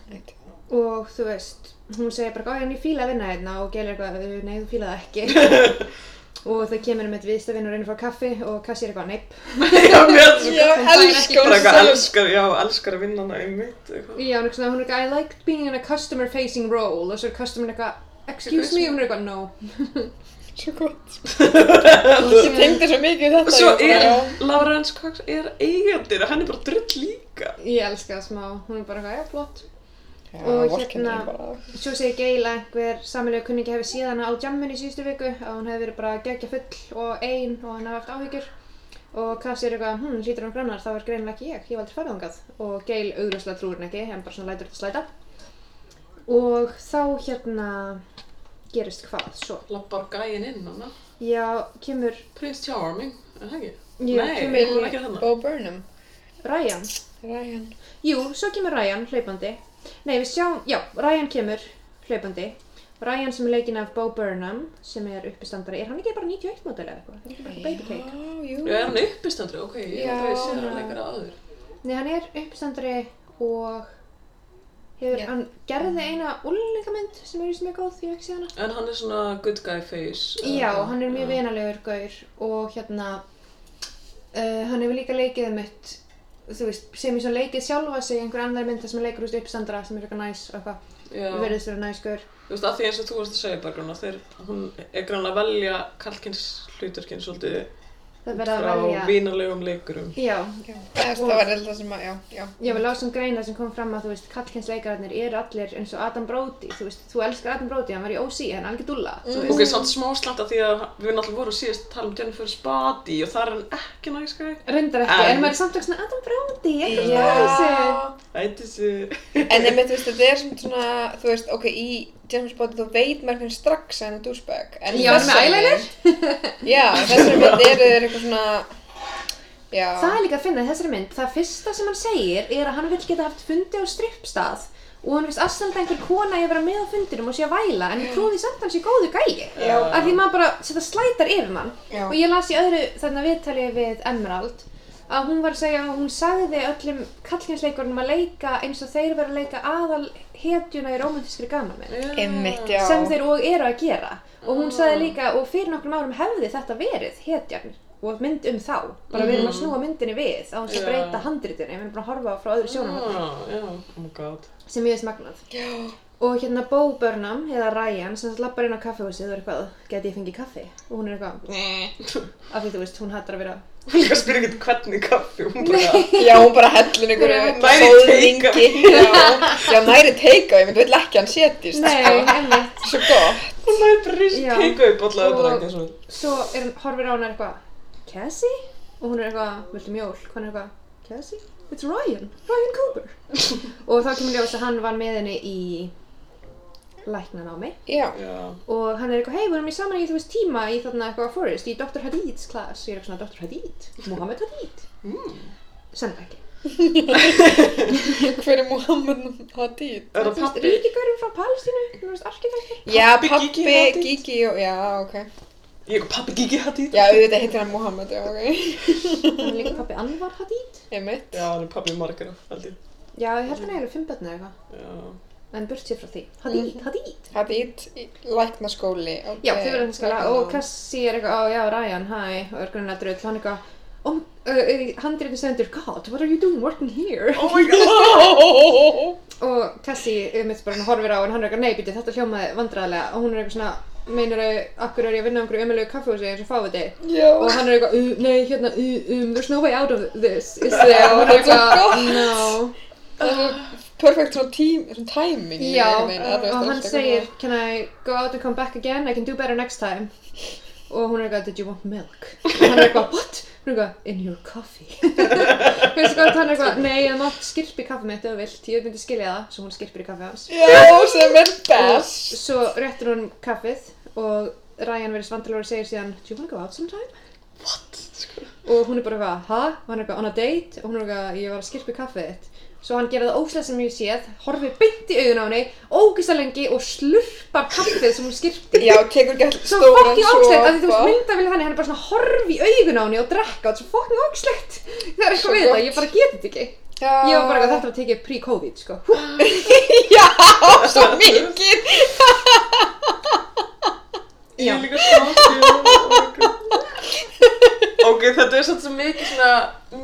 neitt. og þú veist, hún segir bara, "Ó, já, en ég fíla að vinna hérna og Gail er eitthvað, "Uh, nei, þú fíla það ekki og það kemur um eitt viðstafinn og reynir að fá kaffi og Cassie er eitthvað, neip Já, mér er svo Já, gott. elskar hún Bara eitthvað sjálf. elskar, já, elskar að vinna hana einmitt. eitthvað. Já, hún er svona, hún er eitthvað, I liked being in a customer facing role og svo er customer eitthvað, excuse me, og hún er eitthvað, no Svo gott. Og Ég tengdi svo mikið við þetta. Svo ég bara, er, já. Laura Hans Cox er eigendir og hann er bara drull líka. Ég elska það smá, hún er bara eitthvað, já, flott. Já, og vorkenndi hérna- ég bara. Svo segir Gail að einhver samilegu kunningi hefði síðan á jamminu í síðustu viku að hún hefði verið bara gegja full og ein og hann hefði haft áhyggjur og Cassie er eitthvað, hm, hlýtur hann grannar, þá er greinilega ekki ég, ég var aldrei farið þangað og Gail augljóslega trúir hann ekki, hann bara svona lætur þetta slæta og þá hérna gerist hvað svo? Lappar gæin inn hana. Já, kemur Prince Charming, er það ekki? Já, Nei, kemur- hún er ekki hana. Bo Burnham. Ryan Ryan. Jú, svo kemur Ryan hlaupandi. Nei, við sjáum, já, Ryan kemur hlaupandi. Ryan sem er leikinn af Bo Burnham, sem er uppistandari, er hann ekki bara 91 mótel eða eitthvað? Er ekki bara baby cake? Já, jú. Já, er hann uppistandri, ok, ég Já. held að ég sé hann leikara áður. Nei, hann er uppistandari og hefur, Já. hann gerði eina úlingamynd sem er víst mjög góð, ég hef ekki séð hana. En hann er svona good guy face. eða Já, eitthvað. hann er Já. mjög vinalegur gaur og hérna, uh, hann hefur líka leikið mitt, þú veist, sem ég svo leikið sjálfa sig í einhver annar mynd þar sem hann leikur úr uppistandara sem er eitthvað næs og eitthvað, Já, verðist vera næs gaur. þú veist, að því eins og þú varst að segja bara grunna, þeir, hún er grannlega að velja kalkins hlutverkinn svolítið Það er verið frá að velja. vínalegum leikurum. Já, Það var eitthvað sem að, já, já. ég var lásum greina sem kom fram að þú veist, kallkynsleikararnir eru allir eins og Adam Brody, þú veist, þú elskar Adam Brody, hann var í OC, hann er algjör dúlla, þú Ok, veist. samt smá slatta því að við náttúrulega vorum síðast að tala um Jennifer Spati og það er hann ekki næskari. Reyndar ekki, en, En- maður er samt ekki svona Adam Brody, Já. eitthvað yeah. þessu. Ætti þessu. En einmitt, þú veist, þetta er samt svona, þú veist, ok, í James Bond þú veit maður hvernig strax að hann er douchebag. En í Já, hann er með þessari eyeliner? mynd- Já, þessari mynd eru þeir eitthvað svona, já. Það er líka að finna í þessari mynd, það fyrsta sem hann segir er að hann vil geta haft fundi á strippstað og hann finnst aðstæðan einhver kona í að vera með á fundinum og sé að væla en ég trúði samt að hann sé góðu gæi Já. af því maður bara setja slætar yfir mann Já. og ég las í öðru þarna viðtali við Emerald að hún var að segja að hún sagði öllum kallkjensleikurunum að leika eins og þeir verið að leika aðal hetjuna í romantískri gamanmynd Einmitt, já. sem þeir og eru að gera og hún sagði líka og fyrir nokkrum árum hefði þetta verið hetjan og mynd um þá bara við erum að snúa myndinni við á þess að Já. breyta handritinu við erum bara að horfa á frá öðru sjónum Já, já, oh my god. sem ég veist magnað Já. og hérna Bo Burnham eða Ryan sem lappar inn á kaffehúsið og er eitthvað geti ég fengið kaffi og hún er eitthvað af því þú veist hún hattar að vera Hún líka spyrir ekkert hvernig kaffi, hún bara, Já, hún bara hellur einhverju Næri sóðningi. take-away. Já, já, næri teika, ég myndi vil ekki að hann setjist. Sko, nei, einmitt Svo gott. hún læði bara rist Já. teika upp alla Og- þetta ekki svona. svo er, horfir á hana eitthvað Cassie? og hún er eitthvað, viltu mjólk? hann er eitthvað, Cassie? It's Ryan, Ryan Cooper og þá kemur ljós að hann var með henni í læknanámi Já. Já, og hann er eitthvað, hei, við erum í saman í þú veist tíma í þarna eitthvað Forrest, í Dr. Hadid's class og ég er eitthvað svona, Dr. Hadid, Mohamed Hadid sennilega ekki Hver er Muhammed Hadid? er þú það veist, pappi? ríkigörðum frá Palestínu, þú veist, arkitekti Já, Pabbi pabbi, Gigi Hadid. Gigi og, já, ok. Ég, pappi Gigi Hadid? Já, auðvitað heitir hann Muhammed, já, ok. hann er líka pappi Anwar Hadid Einmitt. Já, hann er pappi margara, held ég. já, ég held hann eiginlega fimm börn eða eitthvað Já. en burt sér frá því, Hadid, Hadid Hadid, í læknaskóli. ok. Já, þau verða þess að og Cassie er eitthvað, ó já, Ryan, hæ, og er grunna drull, hann eitthvað, um, uh, handriðin stendur, God, what are you doing working here? Oh my god! Og Cassie, um mitt bara, hann horfir á, en hann er eitthvað, nei, býti, þetta hljómaði vandræðilega, og hún er eitthvað svona, meinar þau, akkur er ég að vinna á einhverju ömulegu kaffehúsi eins og fáviti? Já. Og hann er eitthvað, uh, nei, hérna, uh, um, there's no way out of this, is there? Og hún Það er er svo eitthvað, gott. no. Það er svo perfekt svona tím, svona timing. Já, einhvern veginn, að þú veist, og hann allt eitthvað segir, can I go out and come back again? I can do better next time. Og hún er eitthvað, did you want milk? Og hann er eitthvað, what? Hún er eitthvað, in your coffee. Veistu hvað, hann er eitthvað, nei, það mátt skirpa í kaffi mitt ef þú vilt, ég myndi skilja það, svo hún skirpir í kaffi hans. Já, sem er Og best. svo réttir hún kaffið og Ryan verið svandalóri og segir síðan, do you wanna go out sometime? What? Sko. og hún er bara eitthvað, ha? og hann er eitthvað on a date og hún er eitthvað, ég var að skirpa í kaffið þitt svo hann gera það óslega sem ég séð horfir beint í augun á henni, ógislega lengi og slurpar kaffið sem hún skirpti Já, tekur ekki all svo stóran fokkin ógislegt, af því þú sopa. veist myndavilið þannig hann er bara svona að horfa í augun á henni og drekka og svo fokkin ógislegt það er Svo eitthvað við þetta, gott. ég bara geti þetta ekki Já. ég var bara eitthvað, þetta var tekið pre-covid sko. Hú, Já, svo mikið. Ég er líka smátt, já. Ok, þetta er svolítið svo mikið svona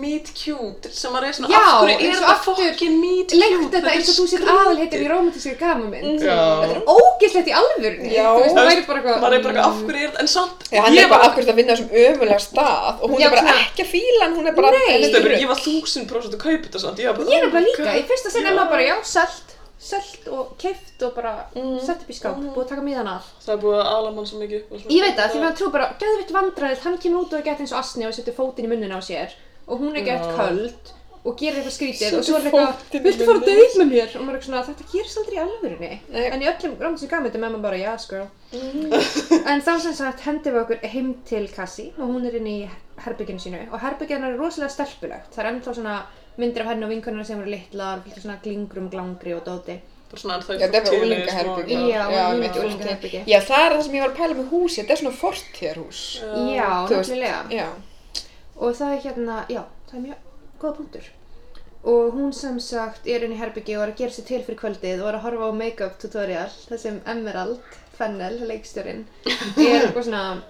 meet cute sem maður er svona, Já, af hverju eins er og þetta aftur fokkin meet cute? lengt þetta eins og þú sér aðalheitir í romantískri gamanmynd Já. þetta er ógislegt í alvörunni Já. þú veist, Þú veist, það væri bara eitthvað Maður er bara eitthvað, af hverju er þetta, en samt, Já, hann er ég eitthvað akkur að vinna á þessum ömulega stað og hún Já, er bara svona- ekki að fíla hann, hún er bara... Nei. henni Stöfur, þurru. ég var þúsund prósent að kaupa þetta samt, ég var bara oh Ég er nefnilega líka, í fyrsta sinn Já. er maður bara, já, selt, selt og keift og bara Mm, sett upp í skáp, búið að taka miðan af. Það er búið að ala mann svo mikið upp og svona. Ég veit það, því maður trú bara, geðvitt vandræðið, hann kemur út og er gett eins og asni og setur fótinn í munnin á sér og hún er gett Já. köld og gerir eitthvað skrítið og Setur svo er eitthvað, fótinn í viltu fara að munninn á deyð með mér? Og maður er eitthvað svona, þetta gerist aldrei í alvörunni. Nei. Mm. En í öllum rámum sem gaf mér þetta með maður bara, yes girl. en þá sem sagt hendur við okkur heim til Cassie og hún er inn í herbygginu sínu og herbygginu er rosalega stelpulegt. Það er ennþá svona myndir af henni og vinkunnar sem eru litlar og fylgta svona glingrum, glangri og dóti. Bara svona, en það Já, þetta er fólk til í úlingaherbergi. smá- Já, já, hún mitt er í úlingaherbergi. unglingaherbergi. Já, það er það sem ég var að pæla með húsi, þetta er svona fortíðarhús. Já, þú veist, nefnilega. Já. Og það er hérna, já, það er mjög góða punktur. Og hún sem sagt er inn í herbyggi og er að gera sér til fyrir kvöldið og er að horfa á make-up tutorial, það sem Emerald Fennel, leikstjórinn, er eitthvað svona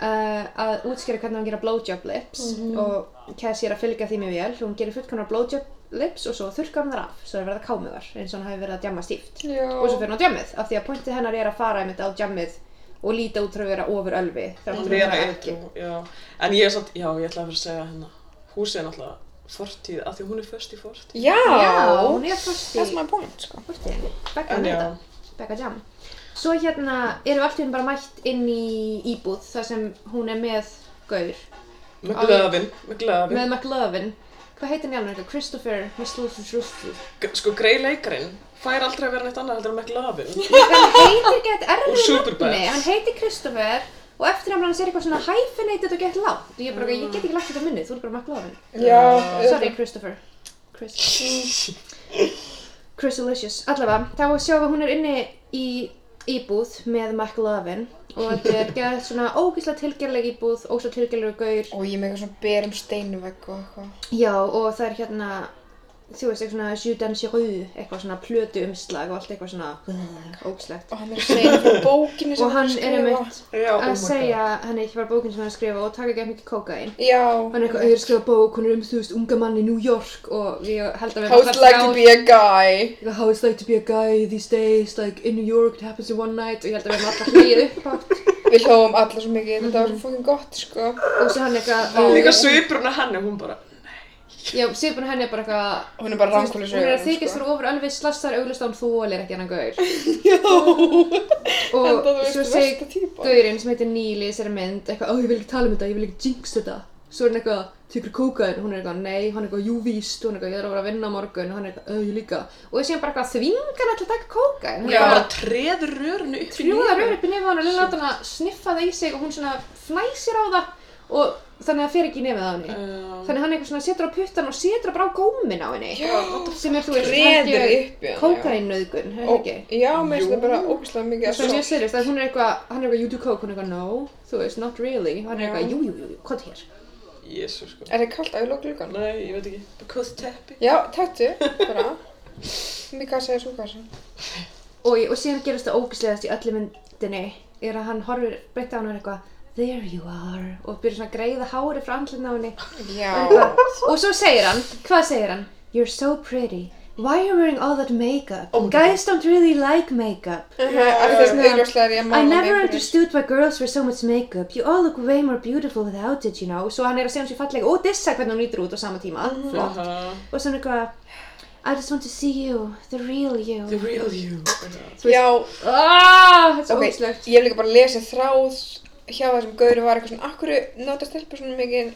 uh, að útskýra hvernig hann gera blowjob lips og Cassie er að fylgja því mjög vel og hún gerir fullkomna blowjob lips og svo þurrkar hann þar af, svo er verið að kámugar eins og hann hafi verið að djamma stíft. Já. Og svo fyrir hann á djammið, af því að pointið hennar er að fara einmitt á djammið og líta út frá að vera ofur ölvi þrátt Að fyrir að vera vera ekki. eitthvað, já. En ég er samt, já, ég ætlaði að vera að segja hérna, húsið er náttúrulega fortíð, af því að hún er först í fortíð. Já, Já, hún er fyrst that's my í point, sko. fortíðinni. Becca En með já, þetta. Becca Jam. Svo hérna erum við allt í hún bara mætt inn í íbúð þar sem hún er með gaur, með Á ég- glöfin, með glöfin. með McLovin. Hvað heitir hann í alveg eitthvað? Christopher Misluthusrustu. G- Sko, grei leikarinn fær aldrei að vera neitt annað heldur en með glöfin. Hann heitir gett Og erfið Superbad. nafni, hann heitir Christopher og eftir hann hans er eitthvað svona hyphenated og gett látt. Og Ég, er bara, ég get ekki lagt þetta á minnið, þú er bara McLovin. Já, Sorry Christopher. Chris. Chrisalicious. Allavega, þá sjáum við að hún er inni í íbúð með McLovin og þetta er gerð svona ógeðslega tilgerleg íbúð, ógeðslega tilgerlegur gaur. Og ég er með eitthvað svona berum steinvegg og eitthvað. Já, og það er hérna, þú veist, eitthvað svona Judan Siru, eitthvað svona plötu umslag og allt eitthvað svona ógeðslegt. Og hann er að segja eitthvað bókinni sem Og hann er að er skrifa. einmitt Já, oh að my god. segja, hann er ekki bara bókin sem hann er að skrifa og taka ekki mikið kókain. Já. Hann er eitthvað auður að skrifa bók, hún er um, þú veist, unga mann í New York og ég held að við How it's like to be a guy. Like, how it's like to be a guy these days, like in New York it happens in one night og ég held að við erum alltaf hlýð upp átt Við hlóðum alla svo mikið, þetta Mhm. var svo fucking gott, sko. og svo hann eitthvað, Vá. Líka svipurinn að henni, hún bara, já, Sipun henni er bara eitthvað Hún er bara sko. þú veist, ránkólis Hún er að þykist fyrir ofur alveg slassar auglust án þólir ekki hennan gaur Já. og Enda þú svo veist segir versta típa. gaurinn sem heitir Neil í þessari mynd eitthvað, ó ég vil ekki tala um þetta, ég vil ekki jinx þetta svo er hann eitthvað, tekur kókaðin, hún er eitthvað nei, hann er eitthvað, jú víst, hún er eitthvað, ég þarf að vera að vinna á morgun og hann er eitthvað, "Ö, ég líka og þessi hann bara eitthvað þvingan alltaf að taka kókaðin hún hún er bara bara treður rörinu upp í trjóða nefið. rör upp í nefið á hann og Lilla láta hann að sniffa það í sig og hún svona fnæsir á það og þannig að það fer ekki í nefið á henni. Já. Þannig að hann eitthvað svona setur á puttan og setur bara á gómin á henni. Já, sem er þú veist, reður upp í kókainauðgun, hefur Ó, ekki? Já, mér finnst Jú. það bara ógæslega mikið að Það er mjög seriðist að hún er eitthvað, hann er eitthvað you do coke, hún er eitthvað no, þú veist, not really, hann er Já. eitthvað jú, jú, jú, jú, hvað hér? Jésu, sko. Er það kallt að ég lók gluggan? Nei, ég veit ekki. Because teppi. Já, tættu, bara. Mér kassa er svo kassa. Og, og síðan gerist það ógislegast í öllu myndinni, er að hann horfir breytt á hann og er eitthvað there you are og byrjar svona að greiða hári frá andlinna á henni Já. og svo segir hann, hvað segir hann? You're so pretty, why are you wearing all that makeup? Oh my God. Guys don't really like makeup. Það er svona augljóslega er ég að I mála never mig fyrir. understood why girls wear so much makeup. You all look way more beautiful without it, you know. Svo hann er að segja hann sér fallega og dissa hvernig hann lítur út á sama tíma. Mhm. Flott. Aha. Og svo hann eitthvað, I just want to see you, the real you. The real you. Já, Ah, þetta er svo ok, ógislegt. ég hef líka bara lesið þráð hjá það sem Gauri var eitthvað svona Akkur nota stelpur svona mikið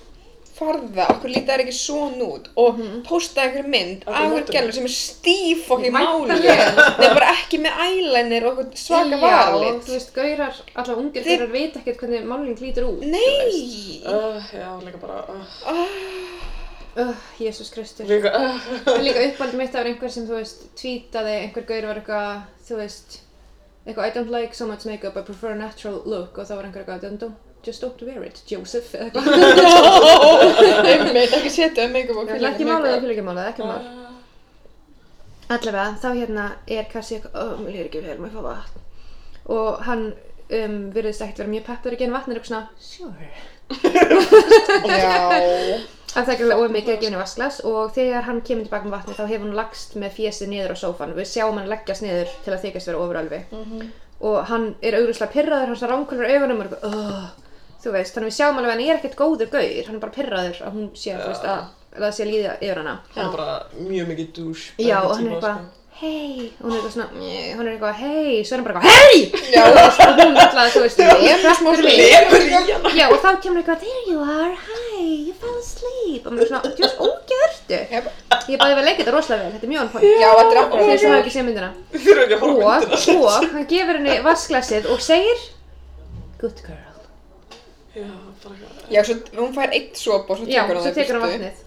farða, akkur líta þær ekki svona út og Mhm. posta einhver mynd Af af einhver notum. gælur sem er stíf okkur í máli Væntanlega. Nei, bara ekki með eyeliner og okkur svaka Já, varlit þú veist, gaurar, alltaf ungir Þið- gaurar veit ekkert hvernig málning lítur út. Nei, Uh, já, líka bara, uh, Öh, Jésús Kristur. líka, uh, En líka uppaldið mitt það var einhver sem, þú veist, tweetaði, einhver gaur var eitthvað, þú veist, eitthvað, I don't like so much makeup, I prefer a natural look, og þá var einhver eitthvað, don't, don't, just don't wear it, Joseph, eða eitthvað. einmitt, ekki setja um make-up og Ég vil kvíla ekki mála það, ég make-up. vil ekki mála það, ekki mál. Allavega, þá hérna er Kassi eitthvað, oh, mér líður ekki vel, maður fá vatn. Og hann um, virðist ekkert vera mjög peppur að gena vatn, er eitthvað svona, sure. Já, Af það er ekki of mikið að gefa henni vasklas og þegar hann kemur tilbaka með vatni þá hefur hann lagst með fjesið niður á sófan. Við sjáum hann leggjast niður til að þykjast vera ofuralvi. Og hann er auglustlega pirraður, hans ránkulur augunum og er eitthvað, oh, þú veist, þannig við sjáum alveg að hann er ekkert góður gaur, hann er bara pirraður að hún sé, þú veist, að, að það sé að líða yfir hana. hann er bara mjög mikið douche. Já, Bara og hann típa, er eitthvað, sko. hei, og hún er eitthvað svona, "Mjö," hún er eitthvað, hei, svo er hann bara eitthvað, hei! já, Og hún alltaf, þú veist, lemur smá sko. hrekkur svona við. lemur í hana Já, og þá kemur eitthvað, there you are, hi, you fell asleep, og maður er svona, þú veist, ógjördu. Yep. Ég bæði vel leikið þetta rosalega vel, þetta er mjög on point. Já, þetta er akkur Þeir sem hafa ekki séð myndina. Við þurfum ekki að Og, horfa á myndina. og, hann gefur henni vasklasið og segir, good girl. Já, bara eitthvað. Já, svo hún fær eitt sopa og svo Já, tekur hann svo það tekur hann burtu. vatnið.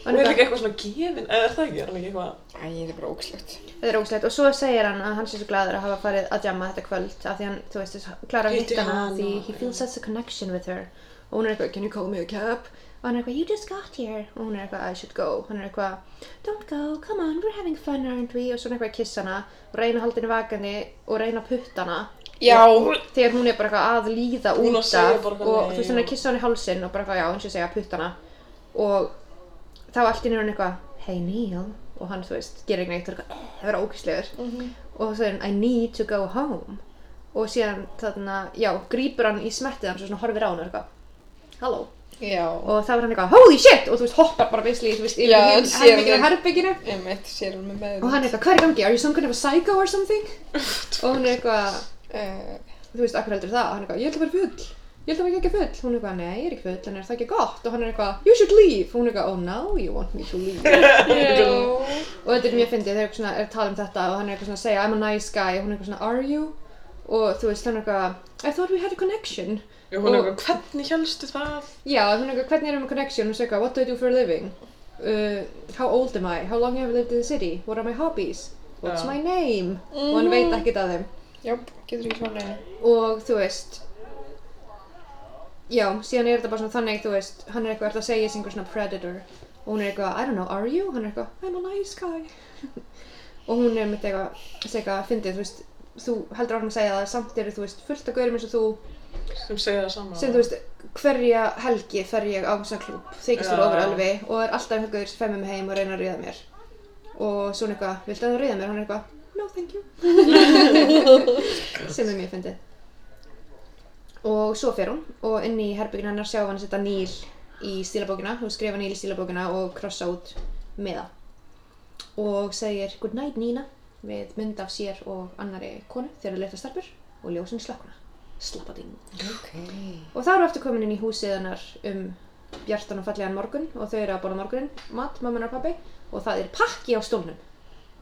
Og hann Hún er er bara- líka eitthvað svona gefin, eða er það ekki? Er hann ekki eitthvað? Æ, þetta er bara ógslögt. Þetta er ógæslegt og svo segir hann að hann sé svo gladur að hafa farið að jamma þetta kvöld af því hann, þú veist, klara Hitti hitt hana hana, því he feels such a connection with her og hún er eitthvað, can you call me a cab? og hann er eitthvað, you just got here og hún er eitthvað, I should go hann er eitthvað, don't go, come on, we're having fun, aren't we? og svo er hann eitthvað að kissa hana og reyna að halda henni vakandi og reyna að putta hana Já, þegar hún er bara eitthvað að líða Hún að út segja af bara eitthvað, nei, og þú veist já. hann er að kissa hann í hálsinn og bara eitthvað já, eins og segja puttana og þá allt í einu er hann eitthvað hey Neil og Mhm. hann þú veist gerir ekki neitt og er eitthvað "Eh", það verður ógíslegur og þú segir hann I need to go home og síðan þarna, já, grýpur hann í smertið hans og svona horfir á hann og er eitthvað halló, Já, og þá er hann eitthvað holy shit, og þú veist, hoppar bara visli, þú veist, yfir Já, í hann hinn sér þig. herbygginu herbygginu einmitt, sér hún með meðum. og hann er eitthvað, hvað er í gangi, are you some kind of a psycho or something og hún er eitthvað Uh, þú veist, akkur heldur það, og hann er eitthvað, ég held að vera full ég held að vera ekki full, hún er eitthvað, nei, ég er ekki full en er það ekki gott, og hann er eitthvað, you should leave og hún er eitthvað, oh no, you want me to leave Eh, já. og þetta er mjög fyndið, þeir eru eitthvað svona, er að tala um þetta og hann er eitthvað svona að segja, I'm a nice guy og hún er eitthvað svona, are you? og þú veist, hann er eitthvað, I thought we had a connection Og hún er eitthvað, hvernig helstu það? já, hún er eitthvað, hvernig erum við connection og segja eitthvað, what do I do for a living? Uh, how old am I? How long have I lived in the city? What are my hobbies? What's Já. my name? og hann Mm-hmm. veit ekkert að þeim Jáp, getur ekki svona einu. og þú veist já, síðan er þetta bara svona þannig þú veist, hann er eitthvað er að segja þessi einhver svona predator og hún er eitthvað, I don't know, are you? hann er eitthvað, I'm a nice guy og hún er mitt eitthvað, þessi eitthvað að fyndið, þú veist þú heldur áfram að segja það, samt eru þú veist fullt af gaurum eins og þú, Sem segja það sama. sem þú veist hverja helgi fer ég á þessa klúb þykist úr Já. ofur alveg og er alltaf einhver gaur sem fer með mig heim og reyna að ríða mér og svo hún eitthvað, viltu að þú ríða mér? hann er eitthvað, no thank you sem er mjög fyndið og svo fer hún og inn í herbyggina hennar sjá hann setja Níl í stílabókina hún skrifa Níl í stílabókina og krossa út meða og segir good night Nína við mynd af sér og annari konu þegar þeir leta starpur og ljósin slökkuna slappading Ok. og það eru eftir komin inn í húsið hennar um bjartan og fallegan morgun og þau eru að borða morgunin, mat, mamma hennar og pabbi og það er pakki á stólnum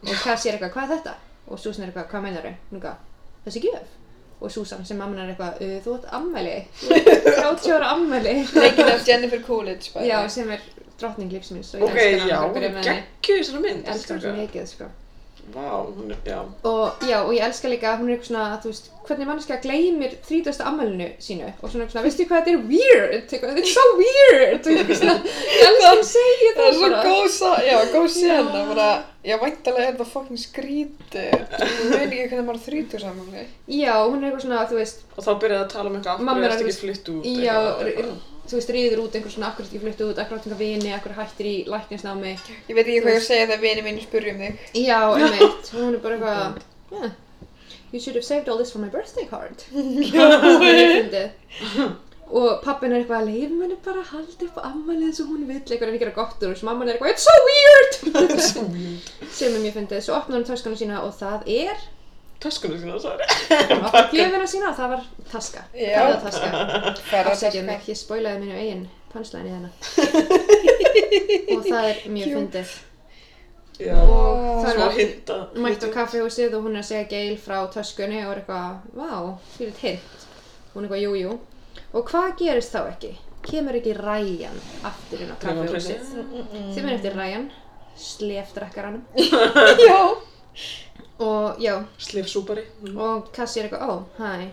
og Cassie er eitthvað, hvað er þetta? og Susan er eitthvað, hvað meinar þau? Núka, þessi gjöf og Susan sem mamma hennar er eitthvað, "Uh, þú átt ammæli Þú átt 30 ára ammæli Leikin af Jennifer Coolidge, bæði. já, sem er drottning lífs mín Ok, já, hún er geggjuð í þessari mynd. elskar strákar. svo mikið sko. Vá, hún er, já. og já, og ég elska líka að hún er eitthvað svona, þú veist, hvernig mannska gleymir 30. ammælinu sínu og svona, eitthvað svona veistu hvað þetta er weird, eitthvað, þetta er so weird og ég er eitthvað svona, ég elska að segja Það er það svo bara góð, sa- já, góð sena, bara, já, væntalega er það fucking skrítið. Þú veit ekki hvernig maður þrítur saman með. já, hún er eitthvað svona, þú veist, Og þá byrjaði að tala um eitthvað, af Mamma hverju er ertu alveg- ekki flytt út? já, eitthvað, r- eitthvað. r- þú veist, rýður út einhver svona, akkur ekki fluttu út, akkur átt einhver vini, akkur hættir í læknisnámi Ég veit ekki hvað ég á að segja þegar vini mínu spurði um þig. já, einmitt, hún er bara eitthvað yeah, you should have saved all this for my birthday card Það er fyndið. og pappin er eitthvað að leifum henni bara að halda upp á ammælið eins og hún vill eitthvað en ekki gera gott úr þessu mamman er eitthvað it's so weird Svo mjög. sem er mjög fyndið svo opnar hún töskuna sína og það er Töskunum sína, það hún opnar gjöfina sína og það var taska Já. ferðataska afsækja Ferðartaska. mig ég spoilaði mínu eigin punchline í þennan og það er mjög fyndið Já, og smá það er allt hint að... mætt á kaffehúsið og hún er að segja geil frá töskunni og er eitthvað, vá, fyrir hint hún er eitthvað, jú, jú og hvað gerist þá ekki? kemur ekki Ryan aftur inn á Nema pressi. kaffehúsið sem er eftir Ryan slefdrekkar hann Já. og já, Slif súpari. og Cassie er eitthvað, ó, hæ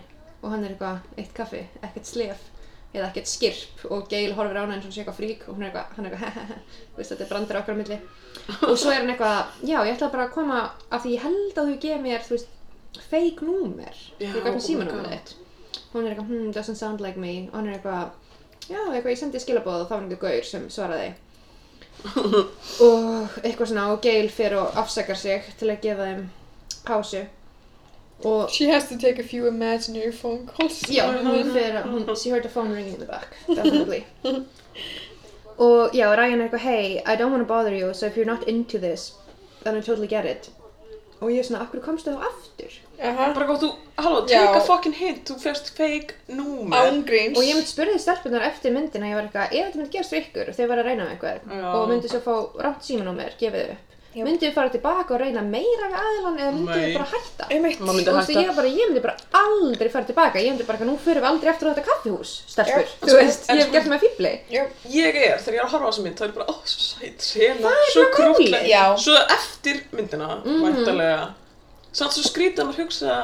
og hann er eitthvað, eitt kaffi, ekkert slef eða ekkert skirp og Gail horfir á hana eins og hún sé eitthvað frík og hún er eitthvað, hann er eitthvað, hehehe veist þetta er brandur okkar á milli og svo er hann eitthvað, já, ég ætla bara að koma af því ég held að þú gefi mér, þú veist fake númer, Já, þú oh gaf my mér símanúmer God. þitt og hún er eitthvað, hmm, doesn't sound like me og hann er eitthvað, já, eitthvað, ég sendi skilaboð og þá var einhver gaur sem svaraði og eitthvað svona og Gail fer og afsakar sig til að gefa þeim pásu og She has to take a few imaginary phone calls. Já, hún fyrir að, hún, she heard a phone ringing in the back, definitely. og já, Ryan er eitthvað, hey, I don't want to bother you, so if you're not into this, then I totally get it. Og ég er svona, akkur komstu þá aftur? Aha. Bara gott, þú, halló, Já. take a fucking hint, þú fyrst fake númer. Ángríns. Og ég myndi spurði stelpunar eftir myndina, ég var eitthvað, ef þetta myndi gerast við ykkur, þegar var að reyna með eitthvað, Já. og myndi svo fá rátt símanúmer, gefið þau upp. Já. Myndu þið fara tilbaka og reyna meira við aðilan eða myndu Nei. þið bara hætta? Einmitt. Maður myndi Og þú veist, hætta. ég, var bara, ég myndi bara aldrei fara tilbaka, ég myndi bara, nú fyrir við aldrei aftur á þetta kaffihús, stelpur, Já. þú veist, En ég hef sko- gert með fíbli. Já. Ég er, þegar ég er að horfa á þessa mynd, þá er ég bara, ó, svo sæt, sena, er svo bara krútleg. málið. Já. Svo eftir myndina, Mhm. mm væntalega. Samt svo skrítið að maður hugsa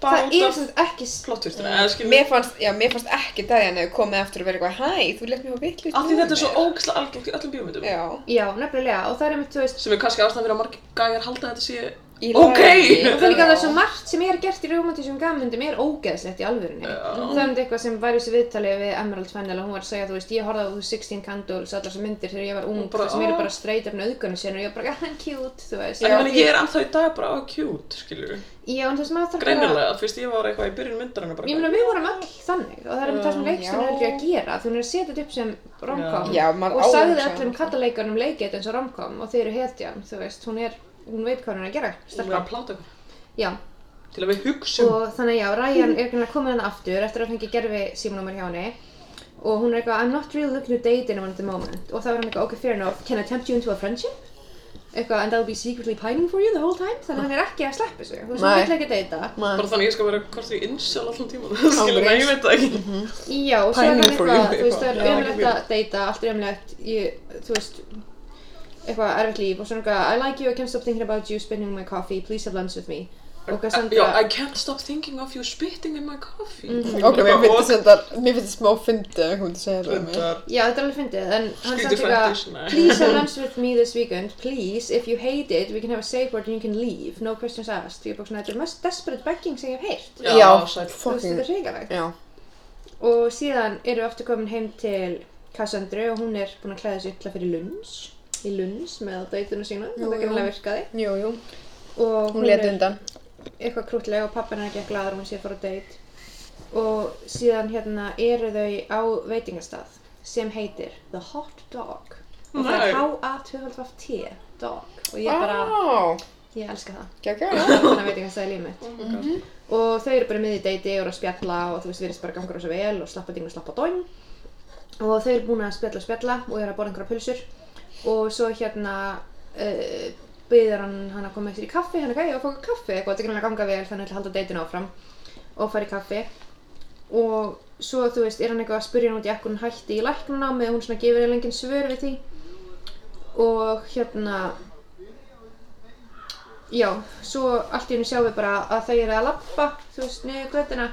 bara það er Mm. út af sem sagt ekki s- plottvistina, eða skilur. Mér fannst, já, mér fannst ekki daginn að þau komið aftur og verið eitthvað Hæ, þú lett mér á vitlu Af því þetta er svo ógæslega algengt í öllum bíómyndum. Já, já, nefnilega, og það er einmitt, þú veist Sem er kannski ástæðan fyrir að margir gæjar halda að þetta sé í Ok. lagi. Og það er líka það er svo margt sem er gert í romantísum gammyndum er ógeðslegt í alvörunni. Það er um eitthvað sem var í þessu viðtali við Emerald Fennel og hún var að segja, þú veist, ég horfði á 16 Candles, allar þessar myndir þegar ég var ung, Og bara, bara, sem eru "Ah." bara streytar nöðgunni sinni og ég var bara, hann cute, þú veist. En Já, ég meina, því- ég er ennþá í dag bara á cute, skilur við. Já, en þess að maður þarf bara- Greinilega, þú veist, ég var eitthvað í byrjun myndarinn bara Ég meina, við vorum öll þannig og það er um það sem Já. leikstunum heldur ég að gera, þú er að setja þetta upp sem romkom Já, maður og á sagði að hugsa öllum það. kallaleikunum leikið eins og romkom og þeir eru hetjan, þú veist, hún er, hún veit hvað hún er að gera, Hún var stelpan. að pláta okkur. Já, Til að við hugsum. og þannig já, Ryan er greinlega komin hann hérna aftur eftir að fengi gerfi símanúmer hjá henni og hún er eitthvað, I'm not really looking to date anyone at the moment og þá er hann eitthvað, ok, fair enough, can I tempt you into a friendship? eitthvað, and I'll be secretly pining for you the whole time þannig að hann er ekki að sleppa sig, þú veist, Nei. hann vil ekki að deyta Bara þannig að ég skal vera hvort ég insel allan tíman. Skilur Ángríns. við, ég veit það ekki. Já, og svo er hann Pining for eitthvað, you, þú veist, það eitthvað. er Já, ömlegt ekki að deyta, allt er ömlegt, ég, þú veist, eitthvað erfitt líf og svona eitthvað, I like you, I can't stop thinking about you, spinning my coffee, please have lunch with me. Og hvað Eh, Uh, Já, Sandra, I can't stop thinking of you spitting in my coffee. Mhm. Ok, mér Bara, og- finnst þetta, mér finnst þetta smá fyndið ef einhvern veginn segja það um mig. Reyndar. já, þetta er alveg fyndið, en hann Skrítið samt eitthvað, frændi, svona. please have lunch with me this weekend, please, if you hate it, we can have a safe word and you can leave, no questions asked. Ég er bara svona, þetta er mest desperate begging sem ég hef heyrt. Já, sæll. Þú veist, þetta fucking, er hrigalegt. já. Og síðan erum við aftur komin heim til Cassandru og hún er búin að klæða sig illa fyrir lunns í lunns með dætuna sína, Jú, jú. þetta kannilega virkaði Jú, jú. og Hún leti er undan. eitthvað krútlega og pappin er ekki að glaður og hún sé að fara á dæt og síðan hérna eru þau á veitingastað sem heitir The Hot Dog og það Nei. er H-A-2-T Dog og ég bara, Á, ég elska það Gjá, gjá, já. þannig að veitingastað er líf mitt Oh my god. og þau eru bara með í deiti og eru að spjalla og þú veist, við erum bara gangur á svo vel og slappa ding og slappa dóin og þau eru búin að spjalla og spjalla og eru að borða einhverja pulsur og svo hérna uh, byður hann hann að koma með sér í kaffi hann að gæja og fá okkur kaffi eitthvað, þetta er greinlega að ganga vel þannig að halda deitinu áfram og fara í kaffi og svo þú veist, er hann eitthvað að spyrja hann út í ekkur hún hætti í læknunámi og hún svona gefur eiginlega engin svör við því og hérna Já, svo allt í hennu sjáum við bara að þau eru að labba, þú veist, niður göttina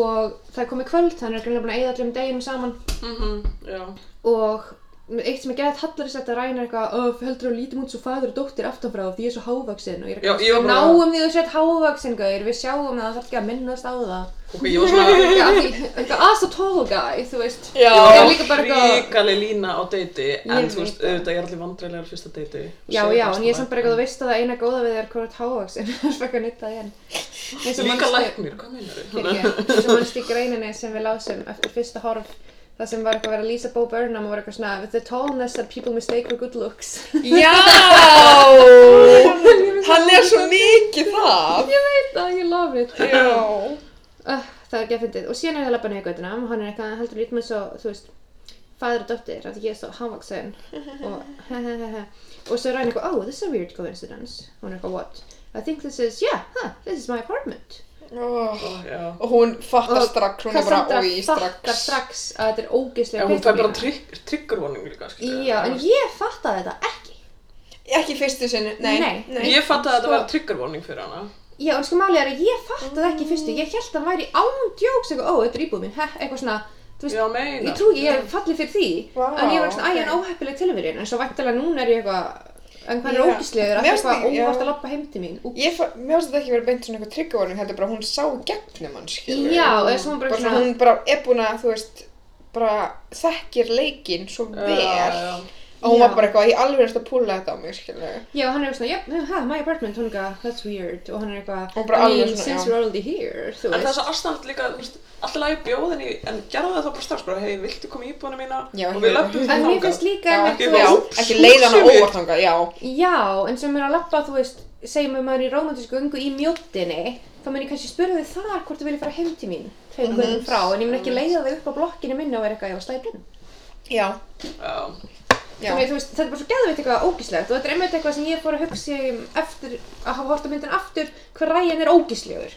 og það er komið kvöld, þannig er greinlega búin að eyða allir um deginum saman Mhm, já. og eitt sem er gæðið hallarist þetta ræna eitthvað öf, heldur að lítum út svo fadur og dóttir aftanfrá af því ég er svo hávaksin og ég er Já, ég var "Við bara- náum því að þú sett hávaksin, gaur, við sjáum það, það þarf ekki að minnast á það Ok, ég var svona... Já, af því, eitthvað aðs og tall guy, þú veist Já. Ég Ég er var líka bara eitthvað- hrikaleg lína á deiti, en Ég þú veist, veit það. auðvitað ég er allir vandræðilegar á fyrsta deiti. Já, já, en ég er samt bara eitthvað, þú veist að það eina góða við þig er hvort hávaksin, það er fækka nýtt að henn Líka læknir, hvað meinar þau? eins og mannst í greininni sem við lásum eftir fyrsta horf það sem var eitthvað verið að lýsa Bo Burnham og var eitthvað svona with the tallness that people mistake for good looks Já! Hann er svo mikið það. ég veit að ég love it Já. uh, það er ekki að fyndið og síðan er það labban í göttina og hann er eitthvað heldur lítið með svo þú veist fadur og dóttir að ég er svo hávaksin og hehehehe og svo er hann eitthvað oh this is a weird coincidence og hann er eitthvað what I think this is yeah huh, this is my apartment Ó, Já. Og hún fattar Og strax, hún er bara, Cassandra oi, fattar strax. strax að þetta er ógeðslega Já, hún fær bara trygg, trigger warning líka, skilja. Já, en ég fattaði þetta ekki. Ekki í fyrstu sinni, nei. Nei. Ég fatt að þetta Sko- var trigger warning fyrir hana. Já, en sko málið er að ég fattaði það ekki í fyrstu. Ég held að hann væri ándjóks eitthvað, ó, þetta er íbúið mín, heh, eitthvað svona, þú veist, Já, meina. ég trú ekki, ég hef fallið fyrir því. Vá, en ég var svona, æ, ok. en óheppileg tilverjun, en svo væntalega núna er ég eitthvað, en hvað er Já. ógislegur að Mér það er finnst eitthvað ég- já. óvart að labba heim til mín. Ú, Ég, fa- mér finnst þetta ekki verið beint svona eitthvað tryggjavörnum, heldur bara hún sá gegnum hann, skilur. Já, eða svo hún bara Bara svona, svona, hún bara er búin að, þú veist, bara þekkir leikinn svo vel. Já, já. Og hún Já. var bara eitthvað, ég alveg erst að púla þetta á mig, skilur. já, hann er svona, jöp, ha, my apartment, hún er eitthvað, that's weird, og hann er eitthvað, Og bara I mean, alveg svona, since já. we're already here, þú En það er svo veist. aðstæðan líka, þú veist, alltaf lagi bjóðinni, en gerðu það þá bara strax, bara, hei, viltu koma í íbúðina mína? Já, og við hérna. löpum En mér finnst líka, einmitt, ekki þú við- Já, veist, Úps, ekki leiða hana úps, ég- óvart þangað, já. Já, en sem er að labba, þú veist, segjum við maður er í romantísku ungu í mjóttinni, þá mun ég kannski spyrja þig þar hvort þú vilja fara heim til mín, tveim mm frá, en ég mun ekki leiða þig upp á blokkinu minni og vera eitthvað, ég var slæpinn. Já, Já, já. Þannig, þú veist, þetta er bara svo geðveitt eitthvað ógíslegt og þetta er einmitt eitthvað sem ég fór að hugsa um eftir að hafa hort á myndin aftur, hver ræjan er ógíslegur.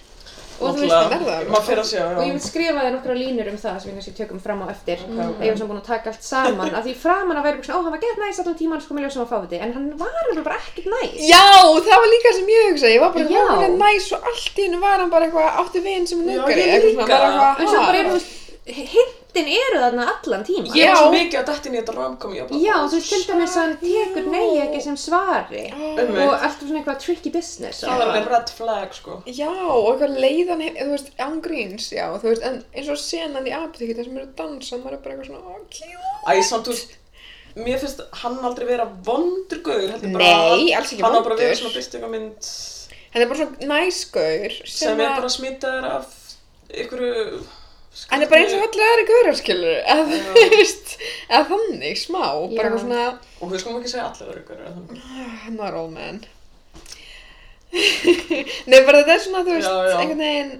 Og þú veist, það verður það alveg. maður fyrir að sjá, og ég vil já. skrifa þér nokkra línur um það sem ég kannski tökum fram á eftir að ég var svona búin að taka allt saman af því framan að vera eitthvað svona, ó, hann var gett næs allan tíman sko með ljósum að fá þetta en hann var alveg bara ekkert næs Já, það var líka sem ég hugsaði, ég var bara Já. eitthvað hún er næs og allt í hennu var hann bara eitthvað áttu vinn sem Já, nöggari ég eitthvað svona, líka. bara eitthvað, En svo ha? bara eru þú veist, hindi Böndin eru þarna allan tíma. Ég Já. er svo mikið að dætti inn í þetta romkom ég Já, þú veist, til dæmis að hann tekur nei ekki sem svari Einmitt. og allt svona eitthvað tricky business. Það var alveg red flag sko Já, og eitthvað leiðan, he- þú veist, án gríns, já, þú veist, en eins og senan í apotekki, þessum eru að dansa, maður er bara eitthvað svona, "Oh, ok, jú. Æ, samt þú veist Mér finnst hann aldrei vera vondur gauður heldur bara Nei, að- alls ekki Hann var bara að vera vondur. svona byrst eitthvað mynd Hann er bara svona næsgaur, sem sem er að, bara smitaður af einhverju hann er bara eins og öllu aðri gaurar, skilur, eða, þú veist, eða þannig, smá, Já. bara eitthvað svona, Og við skulum ekki segja allir eru gauður "Ah, not all men. Nei, bara þetta er svona, þú veist, Já, já. einhvern veginn,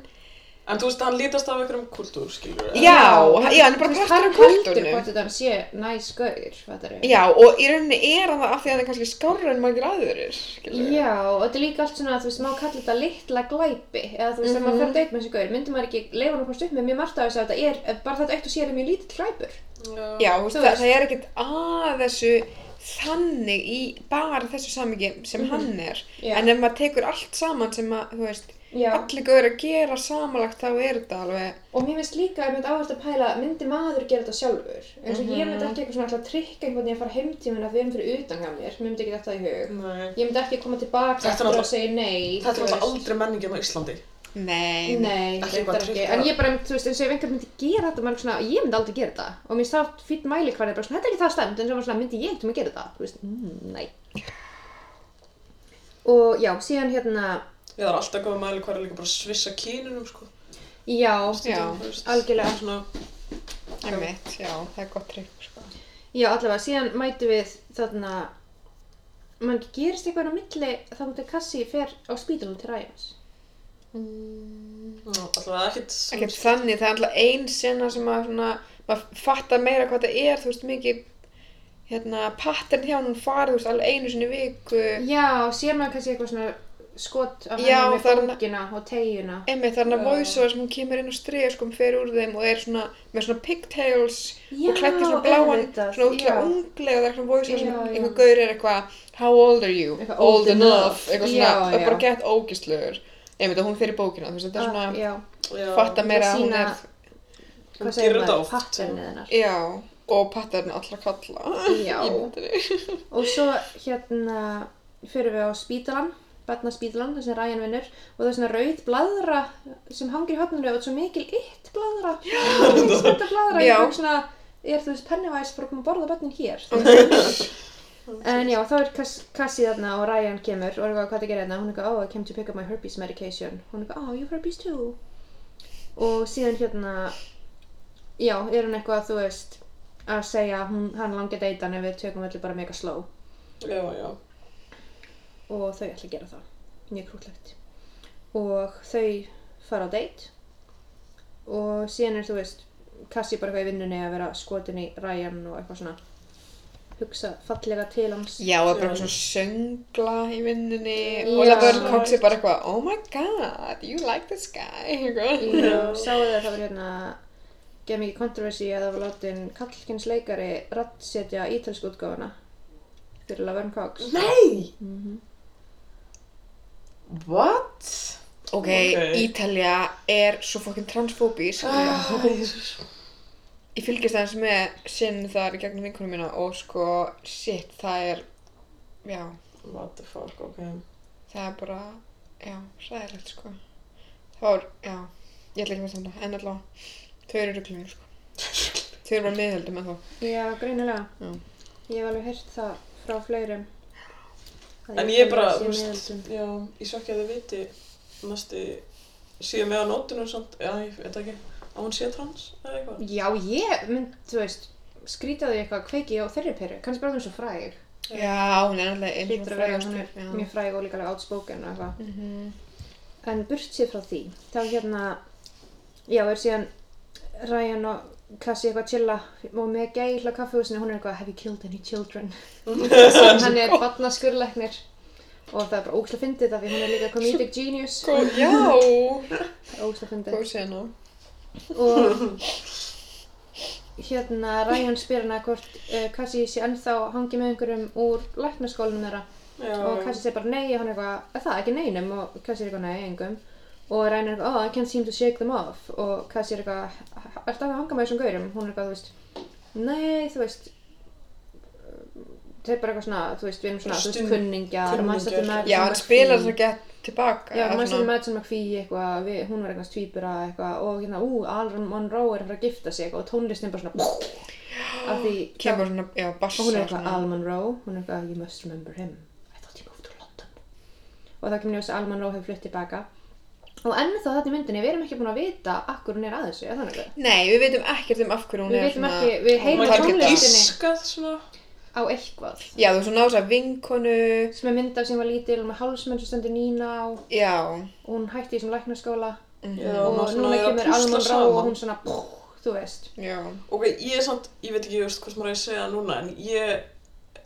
En þú veist, hann lítast af einhverjum kultúr, skilur Já, hann- já, hann er bara partur af kultúrnum. Hvort þetta hann sé næs gaur, fattar við? já, og í rauninni er hann það af því að hann er kannski skárra en margir aðurir, skilur. Já, og þetta er líka allt svona, þú veist, má kalla þetta litla glæpi, eða þú veist, þegar Mhm. maður fyrir að deit með þessi gaur, myndi maður ekki leifa hann að komast upp með mjög margt af þess að þetta er, bara þetta eitt og sér er mjög lítill glæpur. Já, Já, þú veist, Þú það, veist. það er ekkert að þessu þannig í bara þessu samingi sem hann er Já. en ef maður tekur allt saman sem að, þú veist, Já. allir góður að gera samanlagt þá er þetta alveg Og mér finnst líka að ég myndi áherslu að pæla, myndi maður gera þetta sjálfur? Eins og Mhm. ég myndi ekki eitthvað svona alltaf trikka einhvern veginn að fara heimtíminn að við erum fyrir utan hjá mér, mér myndi ekki þetta í hug. Nei. Ég myndi ekki koma tilbaka Mhm. Þetta er eftir náttúrulega- og segja nei. Þetta er þú alltaf veist. aldrei menningin á Íslandi Nei, Nei, Ekki reyndar eitthvað ekki, trikka. en ég bara, þú veist, eins og ef einhver myndi gera þetta, maður er svona, ég myndi aldrei gera þetta og mér finnst það fýtt mæli hvað er bara svona, þetta er ekki það stæmt, en svo maður svona, myndi ég eitthvað að gera þetta, þú veist, mm, nei. Og já, síðan hérna, Já, það er alltaf góð mæli hvað er líka bara að svissa kínunum, sko já, Já. Þú veist, Algjörlega. svona- einmitt, já, það er gott trikk sko. já, allavega, síðan mætu við þarna, mann gerist eitthvað á milli þá mútið Kassi fer á spítalum til Ræjans. Já, Alltaf ekkert sem- Ekkert þannig, það er alltaf ein sena sem að svona, maður fattar meira hvað það er, þú veist, mikið hérna, pattern hjá hann farið, þú veist, alveg einu sinni í viku Mhm. Já, sér maður kannski eitthvað svona skot af Já, henni með það er- fókina og tegina. Einmitt, það er hann að Já. voiceover sem hún kemur inn á stregaskum fer úr þeim og er svona með svona pigtails Já, og klætti svona bláan, auðvitað, svona útla já. ungleg og það er svona voiceover sem Já, já. einhver gaur er eitthvað How old are you? old Eitthvað old enough, enough. eitthvað Já, svona, það er bara já. gett ógistlegur Einmitt, og hún fer í bókina, þú veist, þetta er Ah, svona já. Já. fatta meira að hún Sýna- er, Hún hvað segir gerir þetta maður, oft. patternið hennar. já, og pattern allra kalla Já. í myndinni Og svo hérna fyrir við á spítalan, barnaspítalan, þessi ræjan vinnur og það er svona rauð blaðra sem hangir í hopnunni og þetta er svo mikil ytt blaðra, þetta blaðra, Já. ég fór svona, er þú veist pennivæs fyrir að koma að borða börnin hér. en já, þá er Cass- Cassie þarna og Ryan kemur og er eitthvað hvað það gerir hérna, hún er eitthvað, oh I came to pick up my herpes medication, hún er eitthvað, oh you have herpes too. Og síðan hérna, já, er hún eitthvað, þú veist, að segja að hún, hann langi að deyta hann ef við tökum allir bara mega slow Já, já og þau ætla að gera það mjög krútlegt og þau fara á date og síðan er þú veist Kassi bara eitthvað í vinnunni að vera skotin í Ryan og eitthvað svona hugsa fallega til hans Já, og er bara Já. eitthvað svona söngla í vinninni Já. og Laverne Cox er bara eitthvað Oh my god, you like this guy eitthvað. Já, sáu þau að það var hérna geð mikið controversy að það var látin kallkins leikari rattsetja ítalsku útgáfuna fyrir Laverne Cox Nei! Mhm. What? Ok, Ok. Ítalja er svo fokkin transfóbísk. Ah, Ég fylgist aðeins með sinn þar í gegnum vinkunum mína og sko, shit, það er, já, What the fuck, ok það er bara, já, sæðilegt sko. Það var, já, ég ætla ekki með þetta, en allavega, þau eru rugglingir sko. Þau eru bara miðhöldum en þá. Já, greinilega Já. Ég hef alveg heyrt það frá fleirum að En ég er bara, sé þú veist miðöldum. Já, ég svo ekki að þið viti Næsti Síðan með á nótunum samt Já, ég veit ekki Að hún sé trans eða eitthvað Já, ég mynd, þú veist, skrýta því eitthvað kveiki á þeirri peru, kannski bara því svo fræg. Já, hún er alltaf eins og Hlýtur að vera, hún frægastur. er Já. mjög fræg og líka alveg outspoken og eitthvað. Mhm. En burt sér frá því, þá hérna, já, er síðan Ryan og Cassie eitthvað að chilla og með gæl á kaffehúsinu, hún er eitthvað, have you killed any children? hann er barnaskurleiknir og það er bara ógæslega fyndið af því hún er líka comedic genius, Sko, já, ógæslega fyndið. góð sena. og hérna Ryan spyr hana hvort uh, Cassie sé ennþá hangið með einhverjum úr læknaskólanum þeirra Já, og Cassie segir bara nei og hann er eitthvað, "Er það ekki neinum og Cassie er eitthvað nei engum og Ryan er eitthvað, oh, I can't seem to shake them off og Cassie er eitthvað, ertu að hanga með þessum gaurum? Hún er eitthvað, þú veist, nei, þú veist, eh, þeir bara eitthvað svona, þú veist, við erum svona, þú Stund- veist, kunningjar, mannstætti kunningjar. Madison Já, hann McPhee. spilar svo gett tilbaka. Já, eða mannstætti svona- Madison McPhee eitthvað, við, hún var eitthvað stvípura eitthvað og hérna, ú, Alan Monroe er að fara að gifta sig eitthvað og tónlistin bara svona, af því, Kemur svona, já, bassa. og hún er eitthvað Al Monroe hún er eitthvað you must remember him I thought he moved to London og það kemur ljós að Al Monroe hefur flutt tilbaka og ennþá þetta í myndinni við erum ekki búin að vita akkur hún er að þessu er það nokkuð? Nei, við veitum ekkert um af hverju hún við er veitum ekki, við heyrum Margrétar. tónlistinni Ískað svona á eitthvað Já, þú veist, hún á þess að vinkonu, sem er mynd af sem var lítil með hálsmenn sem stendur Nína á og já. hún hætti í þessum læknaskóla Já, og maður svona núna er að kemur Al púsla Monroe og saman hún svona þú veist Já, Ok, ég er samt, ég veit ekki just, hvort maður er að segja núna en ég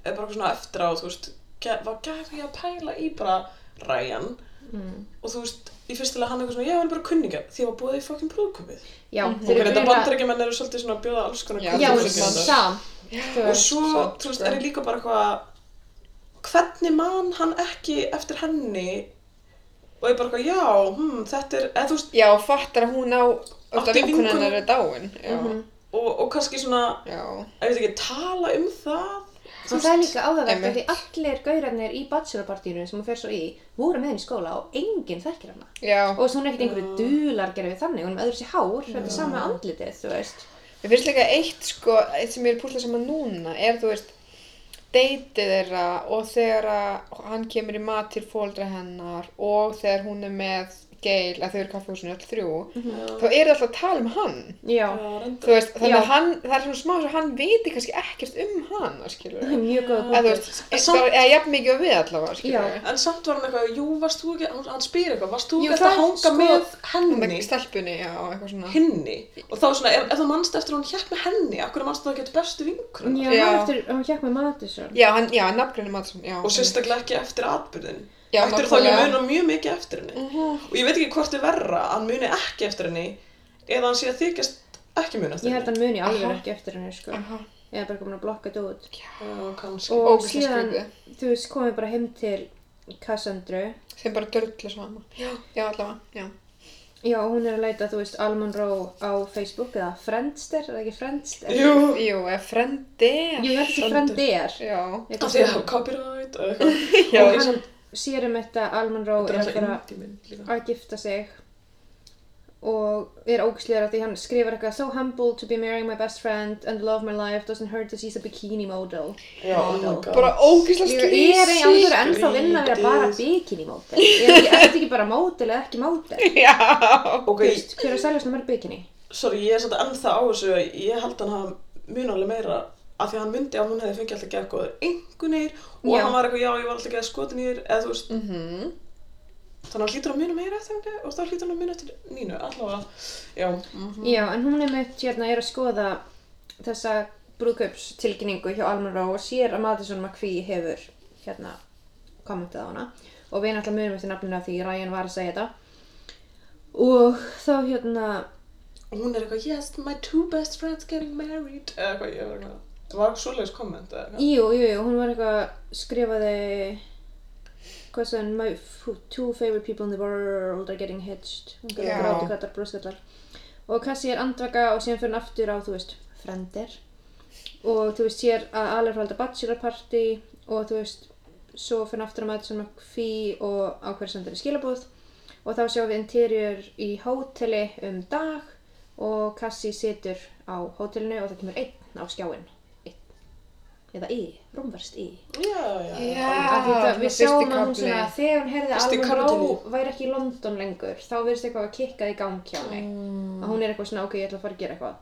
er bara svona eftir á, þú veist ge- var gæfi ég að pæla í bara Ryan Mm. og þú veist, í fyrstilega hann eitthvað svona, já hann er bara kunningar því að var búið í fokkin brúðkumið já, Mhm. Ok, þeir eru þetta meira- bandarækjumenn eru svolítið svona að bjóða alls konar Já, já, bandaríkjamenn- kunningjar en hérna. samt þú og veist. svo, Samt, þú veist, sko. er ég líka bara eitthvað hvernig man hann ekki eftir henni og ég bara eitthvað, já, hm, þetta er eða þú veist, já, og fattar að hún á, þú veist, Átti að vinkonu vinkonu- Mhm. hennar er dáin. Já, og, og kannski svona já. ég veit ekki, tala um það Og það er líka áhugavert af því einmitt. allir gaurarnir í bachelorpartíinu sem hún fer svo í voru með henni í skóla og enginn þekkir hana. Já, Og svo hún er ekkert Ah. einhverju dular gerði við þannig, hún er með öðru sér hár, þetta er sama andlitið, þú veist. Mér finnst líka eitt sko, eitt sem ég er púslað saman núna er þú veist, deytið þeirra og þegar að hann kemur í mat til fóldra hennar og þegar hún er með geil að þau eru í kaffehúsinu öll þrjú, Mhm. þá er það alltaf að tala um hann. Já, Já, Þú veist, þannig Já. að hann, það er svona smá eins og hann viti kannski ekkert um hana, skilur það við. er mjög góða Eða þú punktur. veist, En e- samt- bara, eða jafn mikið og við allavega, skilur Já. við. en samt var hann eitthvað, jú, varst þú ekki, hann- hann spyr eitthvað, varst þú Jú, ekki alltaf það að hanga sko- með Með henni, stelpunni, já, og eitthvað svona. henni, og þá svona, ef, ef þú manst eftir að hún hjekk með henni, akkur manst þú ekki eftir bestu vinkur, Já, Já. maður eftir, hún hjekk með Madison. Já, hann, já, nafngrinni Madsson, já. og sérstaklega ekki eftir atbyrðin, Já, ættir þá ekki að nákvæmlega. Mm. muna mjög mikið eftir henni, og ég veit ekki hvort er verra, að hann muni ekki eftir henni, eða hann sé að þykjast ekki muna eftir Ég held að hann muni alveg Aha. ekki eftir henni, sko. Aha, Ég er bara komin að blokka þetta út. Já, kannski, Og ógeðslega síðan, skrítið. þú veist, komum við bara heim til Cassandru. þeim bara dörrlega sama. Já, já allavega, já. Já, og hún er að leita, þú veist, Almond Rowe á Facebook eða Friendster, er það ekki Friendster? jú, Jú, eða frendi. Jú, ég held ekki Friendster. Já. af því að hafa copyright og eitthvað, Já. og hann sér um þetta Alman Ró þetta er er að fara alltaf intíminn líka. að gifta sig og er ógæslegar af því hann skrifar eitthvað so humble to be marrying my best friend and love my life doesn't hurt to she's a bikini model Já, oh my god. Bara ógeðslega ég skrýsið. er í alveg ennþá að vinna að vera bara bikini model ég er ekki, ekki bara model eða ekki model Já. Ok, Þú veist, hver er að selja svona mörg bikini sorry, ég er svolítið ennþá á þessu að ég held hann hafa mun alveg meira af því að hann myndi að hún hefði fengið alltaf geðgóður engunir og Já. hann var eitthvað, já, ég var alltaf geða skotin í þér eða þú veist, Mm Mhm. -hmm. þannig að hann hlýtur að muna meira eftir henni og þá hlýtur hann að muna eftir nínu, allavega já, já, en hún er mitt hérna er að skoða þessa brúðkaupstilkynningu hjá Alman Ró og sér að Madison McPhee hefur hérna kommentið á hana og við náttúrulega munum eftir nafninu af því Ryan var að segja þetta og þá hérna og hún er eitthvað, yes, my two best friends getting married eða eitthvað, ég var eitthvað það var eitthvað svoleiðis komment eða eitthvað jú, jú, jú, hún var eitthvað skrifaði hvað sem my f- two favorite people in the world are getting hitched hún Já. gerði grátukattar, brúskallar og Cassie er andvaka og síðan fyrir hann aftur á, þú veist, frendir og þú veist, sér að alveg frá alltaf bachelor party og þú veist svo fyrir hann aftur á maður sem McPhee og á hverju sendir í skilabúð og þá sjáum við interior í hóteli um dag og Cassie situr á hótelinu og það kemur einn á skjáinn einn, eða í, rómverst í já, já, Já. Af því þetta- svona við fyrsti sjáum að hún kafli. svona þegar hún heyrði að Fyrsti Alvin karakterinn. Ró væri ekki í London lengur þá verðist eitthvað að kikka í gang hjá henni Mm. að hún er eitthvað svona ok, ég ætla að fara að gera eitthvað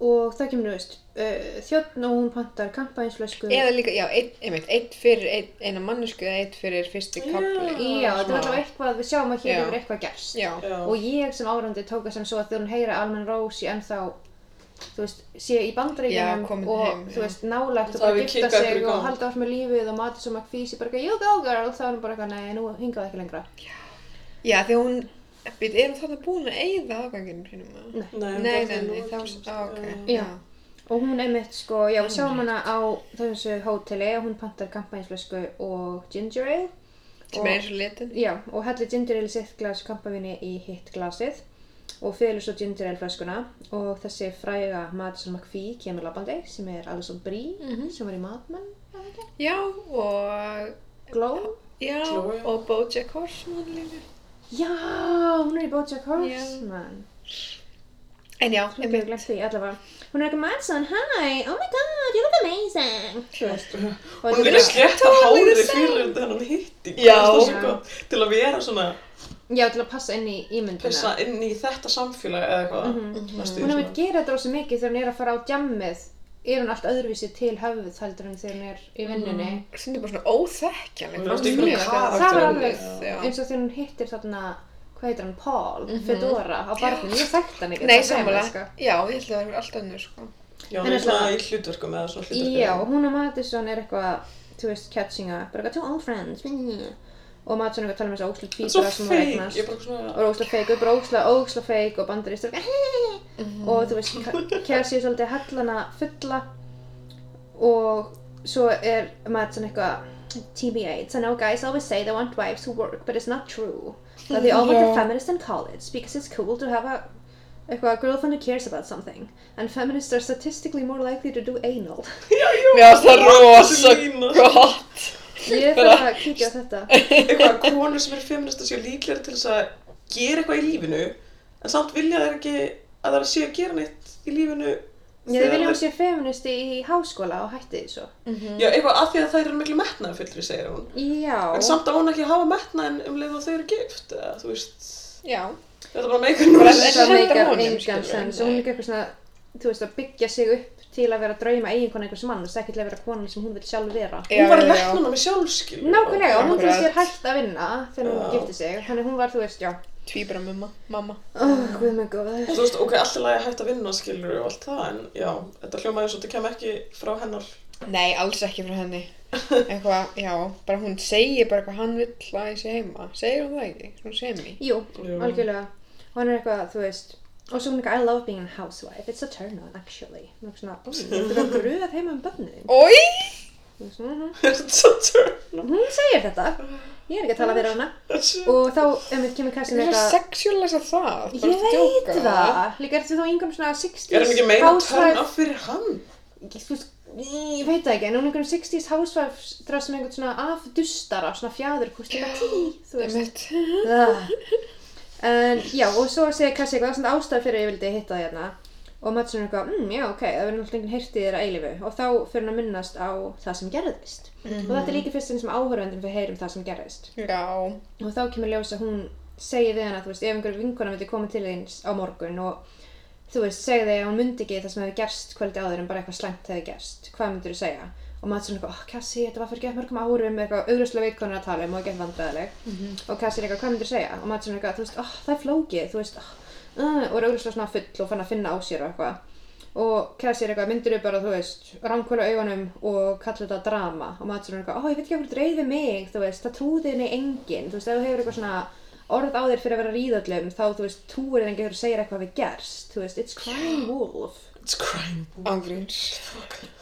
og það kemur, þú veist uh, þjóttn og hún pantar kampænsflösku Eða líka, já, einn, einmitt, einn fyrir ein, eina mannsku eða einn fyrir fyrsti Já. kapli. já, þetta var Svona. allavega eitthvað, við sjáum að hér Já. hefur eitthvað gerst Já. já. og ég sem árandi tók það sem svo að þegar hún heyra Alman Rose í ennþá þú veist, sé í Já, bandaríkjunum komin og heim, já. þú veist, nálægt og Það bara hafi gifta kikkað sig einhverju í og gang. halda átt með lífið og matið sem McPhee sé bara eitthvað, you go girl, þá er hún bara eitthvað, nei, nú hingað ekki lengra Já, því hún, við erum þarna búin að eigða afganginu sínum að. Mm. nei. nei, Nei, það nei, er nei, nú- sko. þá, á, ok. Já. og hún einmitt, sko, já, við sjáum hana á þessu hóteli og hún pantar kampænsflösku og ginger ale sem er eins og litin Já, og hellir ginger ale í sitt glas kampavíni í hitt glasið og fylur svo ginger ale flöskuna og þessi fræga Madison McPhee kemur labbandi sem er Alison Brie Mhm. sem var í Mad Men eða ekki? já og Glow? já Chloe. og Bojack Horseman líka Já, hún er í Bojack Horseman en já Ég hef glemt því, allavega Hún er ekki Madison, hi, oh my god, you look amazing Þú veist Og Hún þetta- er að slétta Totally the hárið same. fyrir þennan hitti. sko, Já. Til að vera svona, Já, til að passa inn í ímyndina passa inn í þetta samfélag eða eitthvað. Mm Mhm. -hmm. Hún er með gera þetta rosa mikið þegar hún er að fara á jammið er hún allt öðruvísi til höfuð heldur en þegar hún er í vinnunni stundum bara svona óþekkjanleg Hún er oft í einhverjum karakter. það var Aktorinn, alveg já. eins og þegar hún hittir þarna hvað heitir hann, Paul, Fedora á barnum, ég þekkti hann ekki Mhm. nei það er sammála sko. já ég held að það var allt önnur sko Já, En hún er er svona það- í hlutverkum eða svona hlutverkum. Já, hún og Madison er eitthvað, þú veist, catching up, bara eitthvað two old friends mm. og Madison er eitthvað að tala um með þess að óslut Svo fýbra sem hún feik, ég er eignast bara svona, og ósla feik, og bara ósla, ósla feik og bandaristur og þú veist, Kersi er svolítið hellana fulla og svo er Madison eitthvað TBH, I know guys always say they want wives who work but it's not true that they all went to Já. feminist in college because it's cool to have a eitthvað a girlfriend who cares about something and feminists are statistically more likely to do anal mér finnst það rosa Lína. gott Ég þarf að kíkja á þetta. eitthvað að konur sem eru feministar séu líklega til þess að gera eitthvað í lífinu en samt vilja þær ekki að þær séu að gera neitt í lífinu Ég þið þegar viljum þær- sé feministi í háskóla og hætti því svo. Mhm. Já, eitthvað að því að þær eru miklu metnaðarfyllri, segir hún en Já. samt á hún ekki að hafa metnaðin um leið og þau eru gift eða, þú veist, já þetta er bara meikar nú Bara já, þessi- Það þetta meikar honum, engan skilurðu, sens. og Hún er líka eitthvað svona, þú veist, að byggja sig upp til að vera að drauma eiginkona einhvers manns, ekki til að vera konan sem hún vil sjálf vera. Já, hún var já, að já. lekna hana með sjálfskil Eh, Nákvæmlega, og hún Akkurat. finnst sér hægt að vinna þegar hún Já. gifti sig. Þannig hún var, þú veist, já. tvíbra mamma mamma Ó, guð mig góður. og þú veist, ok, alltaf lagi hægt að vinna skilur og allt það, en já, þetta hljómaði svo þetta kem ekki frá hennar Nei, alls ekki frá henni. Eitthvað, já, bara hún segir bara hvað hann vill að ég sé heima. Segir hún það ekki? Hún semi. Jú, Jú. algjörlega. Og hann er eitthvað, þú veist, og svo hún er eitthvað, I love being a housewife, it's a turn on actually. Hún er svona, ó, ég þurfa að gruða heima um börnin. Ói! Þú veist, mhm. Þetta turn hún segir þetta ég er ekki að tala fyrir hana off. og þá um við kemur Það Kassin er eitthvað sexuálisa það. bara ég ertu að veit djóka? það líka ertu þá einhverjum svona 60s er hann ekki meira turn housewife- off fyrir hann Þú veist, ég veit það ekki en hún er einhverjum 60s housewives draf sem einhvern svona afdustara svona fjæður hvort líka tí þú veist Einmitt. Ah. en já og svo segir Kassi eitthvað það er svona ástæð fyrir að ég vildi hitta það hérna og Madsson er eitthvað, mm, já ok, það verður náttúrulega enginn hirtið þér að eilífu og þá fyrir hann að minnast á það sem gerðist Mhm. og þetta er líka fyrst sem áhörvendum við heyrum það sem gerðist Já. og þá kemur ljós að hún segir við hana, þú veist, ef einhver vinkona myndi koma til þín á morgun og þú veist, segði þig að hún myndi ekki það sem hefði gerst kvöldi áður en bara eitthvað slæmt hefði gerst hvað myndir þú segja? og maður svona eitthvað, oh, Cassie, þetta var fyrir gett mörgum árum eitthvað augljóslega veit hvað hún er að tala um og gett vandræðileg og Cassie er eitthvað, hvað myndir þú segja? og maður svona eitthvað, þú veist, oh, það er flókið, þú veist oh, uh, og er augljóslega svona full og fann að finna á sér og eitthvað og Cassie er eitthvað, myndir þú bara, þú veist, ránkvöla augunum og kalla þetta drama og maður svona eitthvað, ó, ég veit ekki hvað dreifir mig, þú veist, það trúði henni enginn, þú veist, ef þú hefur eitthvað svona orð á þér fyrir að vera ríðallum, þá, þú veist, trúir þér enginn þegar þú segir eitthvað við gerst, þú veist, it's crying wolf It's crying boy. Ángríns.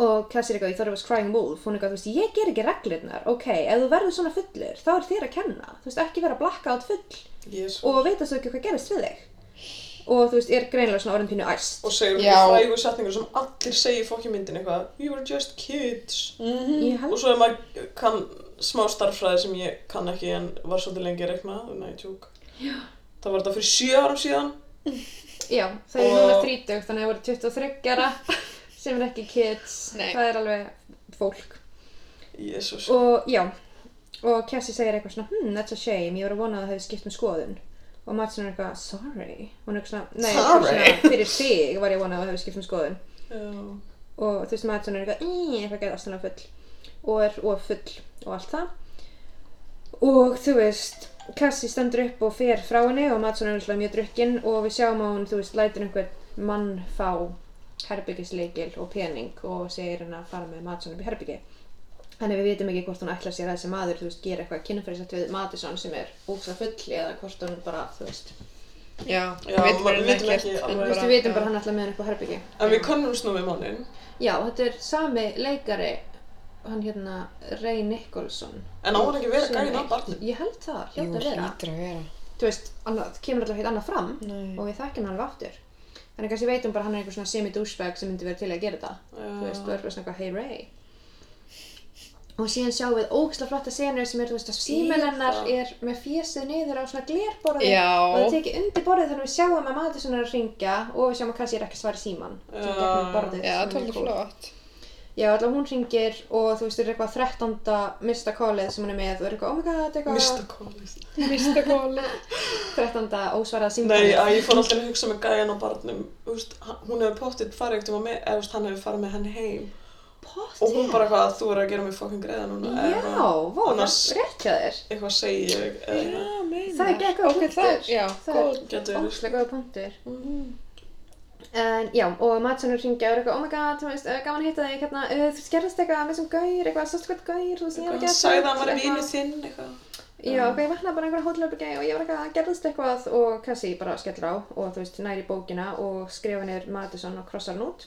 og Cassie er eitthvað, ég þarf að crying wolf, hún er eitthvað, þú veist, ég ger ekki reglirnar, ok, ef þú verður svona fullur, þá er þér að kenna, þú veist, ekki vera blackout full Yes. og veitast þú ekki hvað gerist við þig og þú veist, er greinilega svona orðin pínu æst og segir Já. hún frægu setningur sem allir segir fokki myndin eitthvað We were just kids Ég held og svo er maður kann smá starffræði sem ég kann ekki en var svolítið lengi að rekna nei, tjúk það var þetta fyrir sjö árum síðan Já, það er núna Og- 30, þannig að það voru 23 ára sem er ekki kids, Nei. það er alveg fólk. Jésús Og já, og Cassie segir eitthvað svona, hmm, that's a shame, ég var að vona að það hefði skipt um skoðun. Og Madsen er eitthvað, sorry, hún er eitthvað svona, nei, Sorry. eitthvað svona, fyrir sig var ég að vona að það hefði skipt um skoðun. já Og þú veist, Madsen er eitthvað, "Í, eitthvað gæði aðstæðlega full og er of full og allt það. Og þú veist, Cassie stendur upp og fer frá henni og Madsson er náttúrulega mjög drukkin og við sjáum að hún, þú veist, lætir einhvern mann fá herbyggisleikil og pening og segir henn að fara með Madsson upp í herbyggi. Þannig við vitum ekki hvort hún ætla sér að þessi maður, þú veist, gera eitthvað kynfærisætt við Madison sem er ógsa full eða hvort hún bara, þú veist, Já. Já, Við maður- vitum vitum ekkert. ekki en alveg. bara- þú veist, við vitum bara að hann ætla með henn upp á herbyggi. en við kannum snú við mannin Já, þetta er sami leikari hann hérna Ray Nicholson En á hann ekki verið sem gæðin eitt- að barnum? Ég held það, Jú, hljóta að vera hlýtur að vera. Þú veist, annað, það kemur alltaf hitt annað fram Nei. og við þekkjum hann alveg aftur Þannig kannski veitum bara að hann er einhver svona semi-douchebag sem myndi vera til í að gera þetta Þú Ah. veist, þú er bara svona eitthvað, hey Ray Og síðan sjáum við ógislega flotta senur sem er, þú veist, að símel hennar það. er með fésið niður á svona glerborði Já. og það tekið undir borðið þannig við sjáum að maður svona er að ringja og við sjáum að Kassi er ekki að svara í síman Já. Já, það er alveg flott. Já, alltaf hún ringir og þú veist, er eitthvað 13. mista callið sem hún er með og er eitthvað, oh my god, eitthvað Mista Collins. Mista kóli. 13. ósvarað Nei, símtalið. að ég fór alltaf að hugsa með gæðin á barnum. Þú veist, hann- hún hefur pottið farið ekkert um að með, eða þú veist, hann hefur farið með henni heim. Pottet. Og hún bara eitthvað þú er að gera mig fucking greiða núna. Já, eða vó, annars það er rétt hjá þér. eitthvað segi ég. Já, eða- meina. Það er gegn góð Ok, það er- punktur. já, það er Gæti verið. óslega góð punktur. Mm. En já, og Madsson ringja og er eitthvað, oh my god, þú veist, uh, gaman að hitta þig, hérna, uh, þú skerðist eitthvað með sem gaur, eitthvað, sástu hvað gaur, þú veist, ég er að Eitthvað, gera Hann sagði að hann var vinnu þinn, eitthvað. Já, ok, ég vaknaði bara einhverja hótelherbyggi og ég var eitthvað að gerðist eitthvað og Cassie bara skellur á og þú veist, næri bókina og skrifa niður Madison og krossar hann út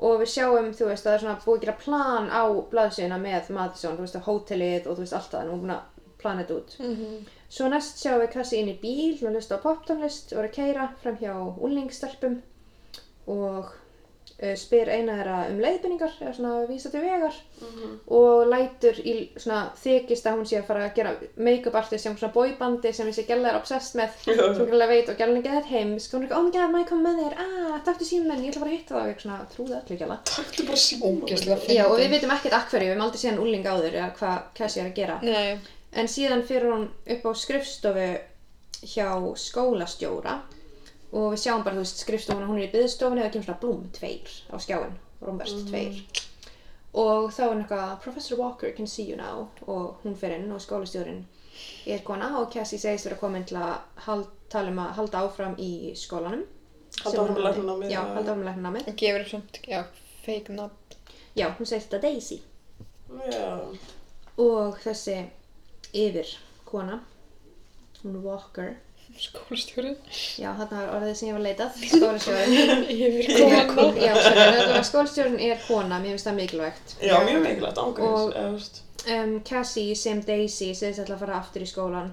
og við sjáum, þú veist, að það er svona búið að gera plan á blaðsíðuna með Madison, þú veist, að hótelið og þú veist, allt það, en hún er búin að plana þetta út Svo næst sjáum við Cassie inn í bíl og hlusta á poptónlist og er að keira fram hjá úlningsstelpum og uh, spyr eina þeirra um leiðbynningar eða svona að vísa til vegar og lætur í svona þykist að hún sé að fara að gera make-up artist sem svona boybandi sem þessi gæla er obsessed með sem hún gæla veit og gæla henni geðið heimsk og hún er ekki, oh my god, má ég koma með þér, ah, taktu símen, ég ætla bara að hitta þá og ég svona trúði öllu gæla Takktu bara síma. Ógæslega Já, og við vitum ekkert akkur, við hefum aldrei séð hann úling áður eða hvað Cassie er að gera Nei. En síðan fyrir hún upp á skrifstofu hjá skólastjóra og við sjáum bara, þú veist, skrifstofuna, hún er í byðstofunni og það kemur svona blúm, tveir á skjáin, rómverst, Mm. tveir. Og þá er hún eitthvað, Professor Walker can see you now og hún fyrir inn og skólastjórin er komin á og Cassie segist vera komin til að hald, tala um að halda áfram í skólanum. Halda Sem hún áfram hafði- læknanámið, Já, eða- halda áfram læknanámið. Og gefur upp samt, já, fake nafn. Já, hún segist þetta Daisy. Já. Og þessi yfir kona, hún Walker, Skólastjórið. Já, þarna var orðið sem ég var leitað, skólastjórun. Yfir Kon- kóli. Já, sorry, þetta var skólastjórun er kona, mér finnst það mikilvægt. Já, mjög mikilvægt, ángurins, Og- eða, þú veist. Um, Cassie sem Daisy segist ætla að fara aftur í skólan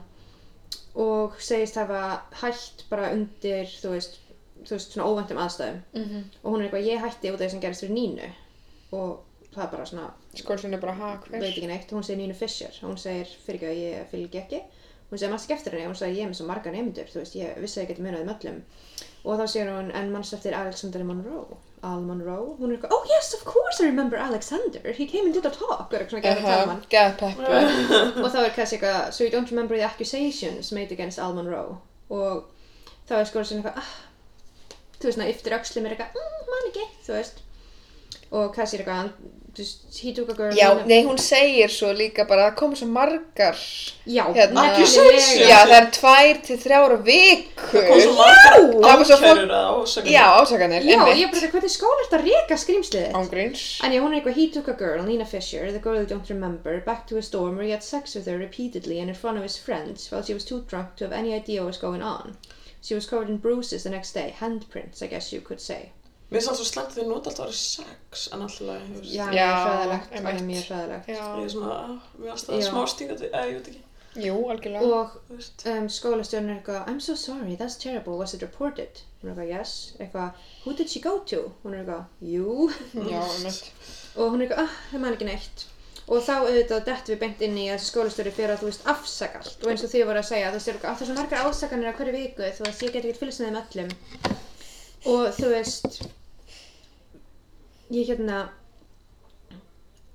og segist hafa hætt bara undir, þú veist, þú veist svona óvæntum aðstæðum. Mhm. Og hún er eitthvað, ég hætti út af því sem gerist fyrir Nínu og það er bara svona, Skólastjórið er bara ha, hver? veit ekki neitt, hún segir Nínu Fisher, hún segir fyrir ekki að ég fylgi ekki, hún segir mannst ekki eftir henni, hún segir ég er með svo marga nefndur, þú veist, ég vissi að ég geti munið um öllum og þá segir hún, en mannst eftir Alexander Monroe, Al Monroe, hún er eitthvað, oh yes, of course I remember Alexander, he came and did a talk, og er eitthvað svona gerðið að tala um hann Gæðpeppu. og þá er kannski eitthvað so you don't remember the accusations made against Al Monroe og þá er skóla sinni eitthvað ah, þú veist, ná, yftir öxlum er eitthvað mm, man ekki, þú veist og kannski er eitthvað hann- þú veist, he took a girl Já, in a- nei, hún segir svo líka bara að það koma svo margar. já, Hérna- Accusations? Já, það er tvær til þrjára viku. Kom svo margar Það var svo fólk- ákærur eða ásakanir. Já, ásakanir, já, einmitt. ég bara, þetta, hvernig skóla er þetta að reka skrýmslið þitt? Ángríns. En já, hún er eitthvað, he took a girl, Nina Fisher, the girl you don't remember, back to his dorm where he had sex with her repeatedly and in front of his friends while she was too drunk to have any idea what was going on. She was covered in bruises the next day, handprints, I guess you could say. Mér finnst alltaf slæmt að þið nota alltaf að vera sex en alltaf, þú veist. Já, Já, mjög hræðilegt, einmitt. alveg mjög hræðilegt. Ég Já, er svona, að, mér finnst það Já. smá stingandi, eða ég veit ekki, jú, algjörlega. Og þú veist. um, skólastjórn er eitthvað, I'm so sorry, that's terrible, was it reported? Hún er eitthvað, yes. Eitthvað, who did she go to? Hún er eitthvað, you. Já, einmitt. og hún er eitthvað, ah, það man ekki neitt og þá auðvitað dettum við beint inn í að skólastöru fyrir að þú veist afsakalt og eins og þið voru að segja, þú veist, "Ah, það er svo margar ásakanir á hverju viku, þú veist, ég get ekki fylgst með þeim öllum og þú veist ég hérna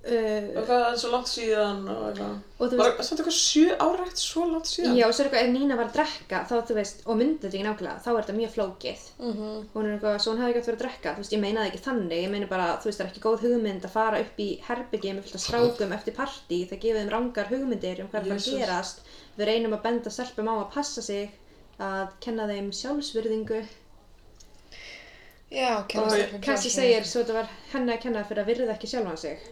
Og uh, hvað er svo langt síðan og eitthvað. og þú Var veist það samt eitthvað sjö ára eftir svo langt síðan? Já, og svo er eitthvað, ef Nína var að drekka, þá þú veist, og myndi þetta ekki nákvæmlega, þá er þetta mjög flókið. Mhm. Hún er eitthvað, svo hún hefði ekki átt að vera að drekka, þú veist, ég meina það ekki þannig, ég meina bara, þú veist, það er ekki góð hugmynd að fara upp í herbyggið með fullt af strákum eftir partí, það gefið þeim rangar hugmyndir um hvað er að fara Jesus. að gerast. Við reynum að benda stelpum á að passa sig, að kenna þeim sjálfsvirðingu Já, og kennast Cassie segir svo þetta var henni að kenna fyrir að virða ekki sjálfan sig.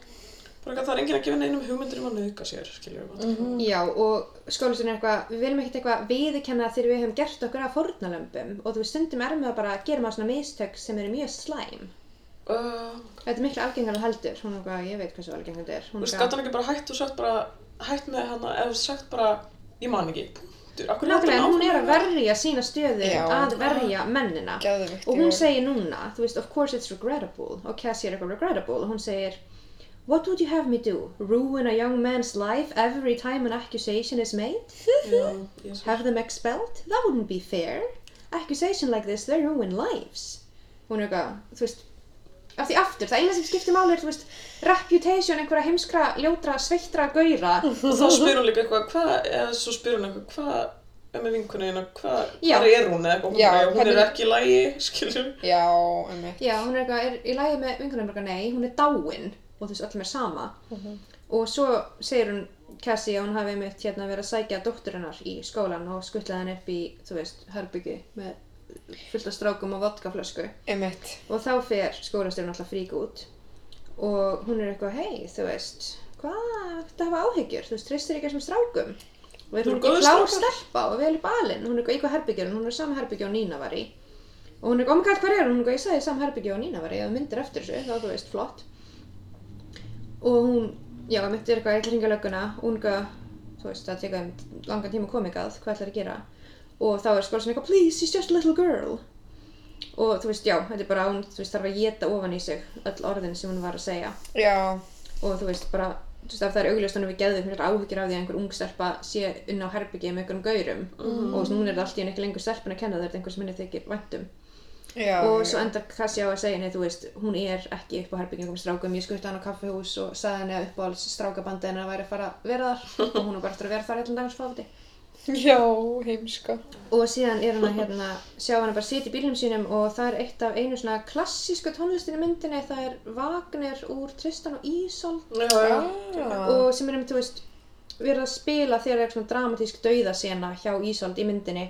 Bara eitthvað, það er enginn að gefa neinum hugmyndir um að nauðka sér, skiljum við. Mm -hmm. Já, og skólastunni er eitthvað, við viljum ekkert eitthvað viðurkenna þegar við höfum gert okkur að fornalömbum og þú veist, stundum er með að bara gera maður svona mistök sem eru mjög slæm. uh, Eða Þetta er miklu algengar en þú heldur, hún er eitthvað, ég veit hversu algengar þetta er. Þú Hún er veist, eitthvað- gæti hann ekki bara hætt og sagt bara, hætt með hana, eða sagt bara, ég man ekki, punktur. Akkur Nákvæmlega, en hún er að verja sína stöðu Já. að verja mennina. Geðveikt, Og hún já. segir núna, þú veist, of course it's regrettable. Og Cassie er eitthvað regrettable og hún segir What would you have me do? Ruin a young man's life every time an accusation is made? verið. Have them expelled? That wouldn't be fair. Accusation like this, they ruin lives. Hún er eitthvað, þú veist, af því aftur, það eina sem skiptir máli er, þú veist, reputation einhverja heimskra, ljótra, sveittra gauðra. Og þá spyr hún líka eitthvað, hvað, eða svo spyr hún eitthvað, hvað er með vinkuna hérna, hvað, Já. hvað er hún eða eitthvað, hún, Já, bara, hún er hvernig- ekki í lagi, skiljum. Já, emmitt. Já, hún er eitthvað, er í lagi með vingunum eitthvað, nei, hún er dáin og þú veist, öllum er sama. Og svo segir hún Cassie að hún hafi einmitt hérna verið að sækja dóttur hennar í skólan og skuttlaði henni upp í, þú veist, herbyggi með fullt af strákum og vodkaflösku. Emmitt. Og þá fer skólastjórn alltaf frík út og hún er eitthvað, hei, þú veist, hvað, þetta hafa áhyggjur, þú veist, treystir ekki þessum strákum. Og er Þú hún eru góðir ekki klár strákar. stelpa og vel í balinn, hún er eitthvað í hvað herbyggjur, hún er í sama herbyggi og Nína var í. Og hún er eitthvað, oh my god, hvað er hún? Hún er eitthvað, ég sagði í sama herbyggi og Nína var í, ef þú myndir eftir þessu, þá þú veist, flott. Og hún, já, mitt er eitthvað, ég ætla að ringa lögguna, og hún eitthvað, þú veist, það tekur þeim langan tíma að koma komikað, hvað ætlar að gera? Og þá er skólasinn eitthvað, please, she's just a little girl. Og þú veist, já, þetta er bara, hún, þú veist, þarf að geta ofan í sig öll orðin sem hún var að segja. Já, Og þú veist, bara, þú veist, ef það er augljóst hann við geðum, hún er áhyggjur af því að einhver ung stelpa sé inn á herbyggi með einhverjum gaurum. Mhm. Mm. Og núna er það allt í henni ekki lengur stelpun að kenna það, þetta er einhver sem henni þykir væntum. já. Og já. svo endar Kassi á að segja henni, þú veist, hún er ekki upp á herbyggingum strákum, ég skutti hann á kaffihús og sagði henni að uppáhalds strákabandi henni væri að fara að vera þar og hún er bara eftir að vera þar allan dagins fáti. Já, heimska. Og síðan er hann að hérna, sjá hann bara sitja í bílnum sínum og það er eitt af einu svona klassísku tónlistinni í myndinni, það er Wagner úr Tristan og Ísold Já, já. Ah. og sem er um, þú veist, verið að spila þegar er svona dramatísk dauðasena hjá Ísold í myndinni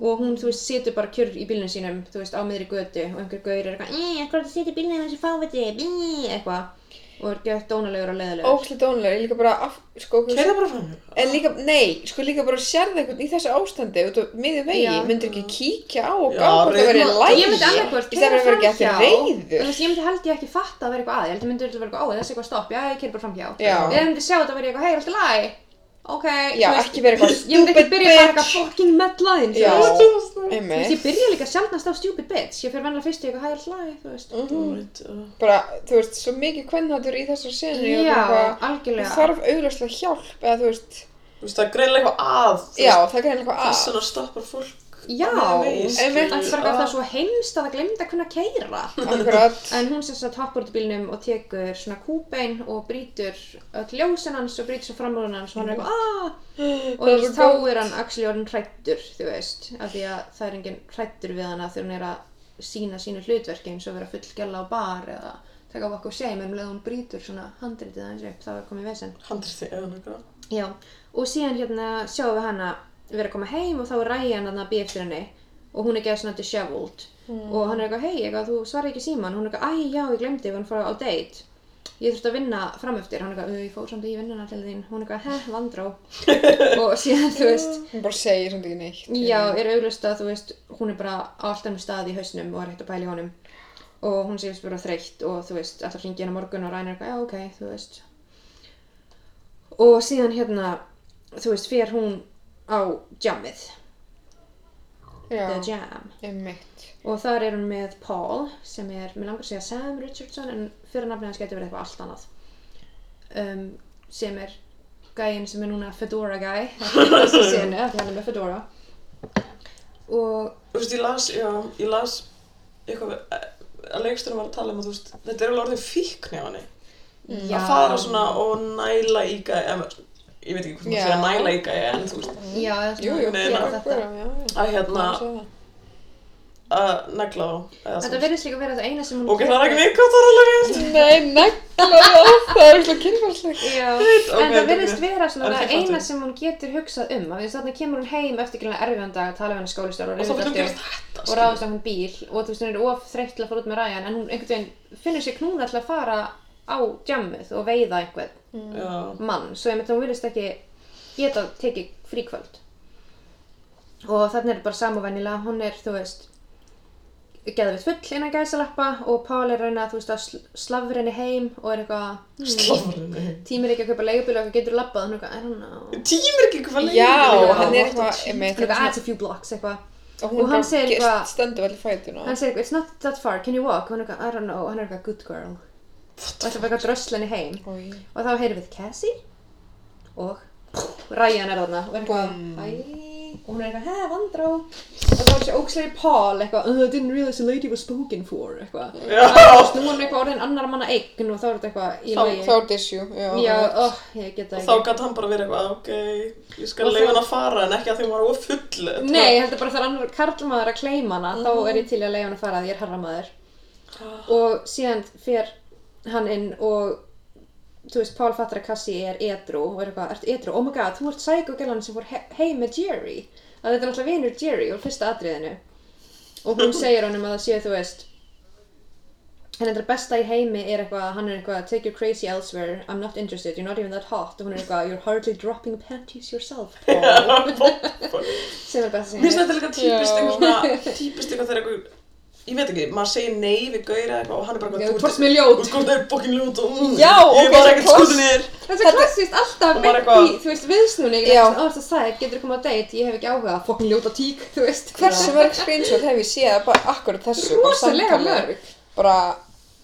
og hún, þú veist, situr bara kjörr í bílnum sínum, þú veist, á miðri götu og einhver gaur er eitthvað, eeeh, hvað er það situr í bílnum þessi fáviti, eeeh, eitthvað og er gett dónalegur og leðilegur. Ókslega dónulega, ég líka bara af, sko, þú veist- Keira bara fram. en líka, nei, sko líka bara sérði eitthvað í þessu ástandi út á miðju vegi, Já. myndir ekki kíkja á og Já, gá hvort það verið reyna- lægi Ég myndi annarkvort í stæðan keyra að vera ekki framhjá. reyður Þú veist, Ég myndi held ég ekki fatta að vera eitthvað að Ég held ég myndi örugglega vera eitthvað, ó þessi eitthvað stopp, já ég keyri bara framhjá Já. Ég myndi sjá þetta að vera eitthvað, hei, er alltaf læg Ok, Já, þú ekki vera eitthvað Ég myndi stupid ekki byrja bara eitthvað bitch. fucking mellaðinn Já. Þú veist, Einmitt. ég byrja líka sjaldnast á stupid bitch Ég fer vennilega fyrst í eitthvað, hei, er alltaf læg, þú veist Mhm. bara, þú veist, svo mikið kvennhatur í þessar senu Já, þú algjörlega þarf augljóslega hjálp eða þú veist, Þú veist, það er greinlega eitthvað að. þú já, veist, það er greinlega Þess eitthvað vegna stoppar fólk. Já, einmitt. Það er bara alltaf svo heimst að það glemd að kunna keyra að akkurat, En hún sem sagt hoppar út í bílnum og tekur svona kúbein og brýtur öll ljósin hans og brýtur svo framrúðan hans og hann er eitthvað aaaah og þú Það er veist, svo þá gott. er hann actually orðin hrættur, þú veist af því að það er enginn hrættur við hana þegar hún er að sína sínu hlutverki eins og vera full gæla á bar eða taka okkur shame en um leið og hún brýtur svona handritið hans upp þá er komið vesen Handrið þig eða eitthvað. Já, og síðan hérna sjáum við hana vera að koma heim og þá er Ryan að býja eftir henni og hún er geða svona disheveled og hann er eitthvað, hei, eitthvað, þú svarar ekki síman hún er eitthvað, æ, já, ég glemdi, ég var að fara á date ég þurfti að vinna framöftir hann er eitthvað, "Ö, ég fór samt í vinnuna til þín hún er eitthvað, heh, vandró og síðan, þú veist, hún bara segir samt ekki neitt já, er auglust að, þú veist hún er bara á allt ennum stað í hausnum og er hægt að pæla í honum og hún sé bara þreytt og þú veist, alltaf hringi hennar morgun og Ryan er eitthvað, já, ok, þú veist og síðan hérna þú veist, fer hún á jammið, the já, jam einmitt og þar er hún með Paul sem er, mér langar að segja Sam Richardson en fyrir nafnið hans getur verið eitthvað allt annað um, sem er gæinn sem er núna Fedora gæ þessu senu, af því hann er með Fedora og Þú veist, ég las, já, ég las eitthvað, eh, að leiksturinn var að tala um að þú veist, þetta er alveg orðin fíkn hjá henni. já, Að fara svona og næla í gæja, ég veit ekki hvort maður Já. sé að næla í gæja, en þú veist, já, það er svona- jú, jú, Nei, já, nei. já, já, já. að hérna, Má segja það. að negla þá. eða þú þetta veist. verðist líka verið það eina sem hún Ok, það er ekki neikvæmt orðalegt. nei, negla það, það er eitthvað kynfærslega Já, ok, en það þetta er verðist vera svona Það er það ekki eina fattur. sem hún getur hugsað um af því að þannig kemur hún heim eftir gæla erfiðan dag að tala við hann skólistar Og þá og fyrir hún rifrildi gerast þetta, og ráðast á hann bíl og þú veist hún er of þreytt til að fara út með Ryan en hún einhvern veginn finnur sér knúna til að fara á djammið og veiða einhvern Já, mann svo ég myndi að hún verðist ekki geta tekið fríkvöld og þannig er þetta bara samúvennilega hún er þú veist geðvitt full innan gæsalappa og Pál er að reyna þú veist, að sl slafra henni heim og er eitthvað Slofrinu. tímir ekki að kaupa leigubíl og eitthvað getur labbað hann er eitthvað, I don't know Tímir ekki hvað lengi. Já, Já. hann er what eitthvað- the- einmitt, eitthvað, eitthvað "Ah, it's a few blocks eitthvað og hún Og bara hann segir gerst- eitthvað- stendur vel í fætuna hann segir eitthvað, it's not that far, can you walk og hann er eitthvað, I don't know, og hann er eitthvað, good girl og ætlar bara eitthvað að drösla henni heim Oj. og þá heyrum við Cassie og Ryan er þarna og er eitthvað Búmm. "Æ," og hún er eitthvað, hei, vandrá og þá er þessi ógslæri Paul eitthvað "Uh, I didn't realize the lady was spoken for eitthvað Já. Nú er hann eitthvað orðin annar manna eign og þá er þetta eitthvað í Þá- lagi. þá er disjú Já, oh, ég get Og það þá ekki. gæti hann bara verið eitthvað, "Ah, ok, ég skal Og leiða þá- hann að fara en ekki að því hún var of full. Nei, ég heldur bara þegar annar karlmaður að kleima hana, Mhm. þá er ég til að leiða hann að fara því ég er harramaður. Og síðan fer hann inn og, þú veist, Pál fattar að Cassie er edru og er eitthvað, ertu edru? Oh my god, þú ert sækogælan sem fór he heim með Jerry. Það þetta er náttúrulega vinur Jerry úr fyrsta atriðinu. Og hún segir honum að það sé, þú veist, En þetta besta í heimi er eitthvað, hann er eitthvað, take your crazy elsewhere, I'm not interested, you're not even that hot, og hún er eitthvað, you're hardly dropping panties yourself, Paul. sem er best Mér að finnst segja þetta líka típist Já. eitthvað svona, típist eitthvað þegar eitthvað, ég veit ekki, maður segir nei við gauðir eitthvað og hann er bara Já, eitthvað, þú ert mér ljót. Þú ert bókin ljót og mm, Já, ég ok, var ekkert klass. skoðin er. þetta er klassíst alltaf Og bara beint í, eitthvað- þú veist, viðsnúning Já. og það sagði, getur þú komað að date, ég hef ekki áhuga fokkin ljóta tík, þú veist hversu mörg screenshot hef ég séð bara akkurat þessu bara rosalega samtalið? mörg bara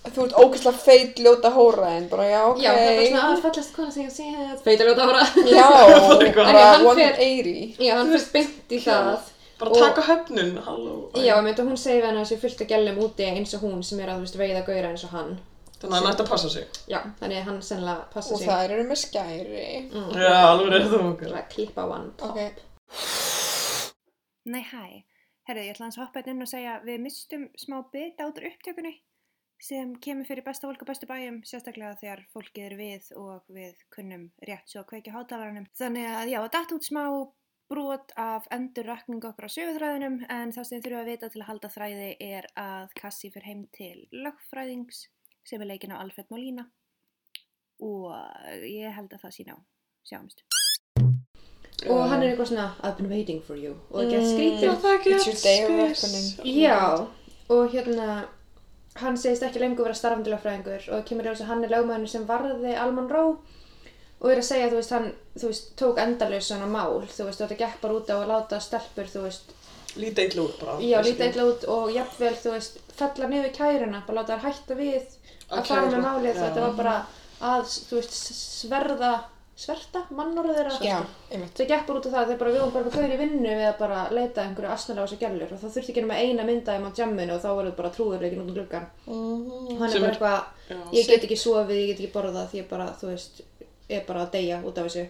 þú ert ógeðslega feit ljóta hóra en bara já ok já, það er bara svona aðfallast kona sem ég sé feita ljóta ára já Bara eitthvað. bara En já, hann fer- 180 já, hann fyrir beint í það Bara Og- taka höfnun, halló. já, ég myndi að hún segi við hann að þessi fullt að gælum úti eins og hún sem er að, þú veist, veiða gauðra eins og hann Þannig að hann ætti að passa sig. já, þannig að hann sennilega passa og sig Mm. það eru með skæri Já, alveg er það okkar. að klippa á hann ok Nei, hæ. Herðu, ég ætla hans að hoppa hérna inn og segja við mistum smá bita út úr upptökunni sem kemur fyrir besta fólk og bestu bæjum, sérstaklega þegar fólkið er við og við kunnum rétt svo að kveikja hátalarunum. Þannig að já, datt út smá brot af endurrakningu okkur á sögurþræðunum en það sem þurfum að vita til að halda þræði er að Kassi fyrir heim til lögfræðings sem er leikinn á Alfred Molina og ég held að það sé ná. Sjáumst. og hann er eitthvað svona, I've been waiting for you og það Mm. gett skrítið það er It's your day of reckoning. Já, og hérna hann segist ekki lengur vera starfandi lögfræðingur og það kemur í ljós að hann er lögmaðurinn sem varði Alman Ró og er að segja, þú veist, hann þú veist, tók endalaus svona mál þú veist, og þetta gekk bara út á að láta stelpur þú veist, Lítið eitthvað út bara. já, líta eitthvað út og jafnvel, þú veist, fella niður kæruna bara láta þær hætta við að Að fara kæra, með málið, já. þetta var bara að, þú veist, s- sverða sverta mannorðu þeirra já einmitt Það gekk bara út af það að þeir bara við vorum bara gauðir í vinnu við að bara leita að einhverju asnalega á þessu gælur og þá þurfti ekki nema eina mynda þeim á jamminu og þá var þetta bara trúðurleikin út um gluggan. Og hann er Sem bara er- eitthvað, Já. ég get ekki sofið, ég get ekki borðað því ég bara, þú veist, er bara að deyja út af þessu.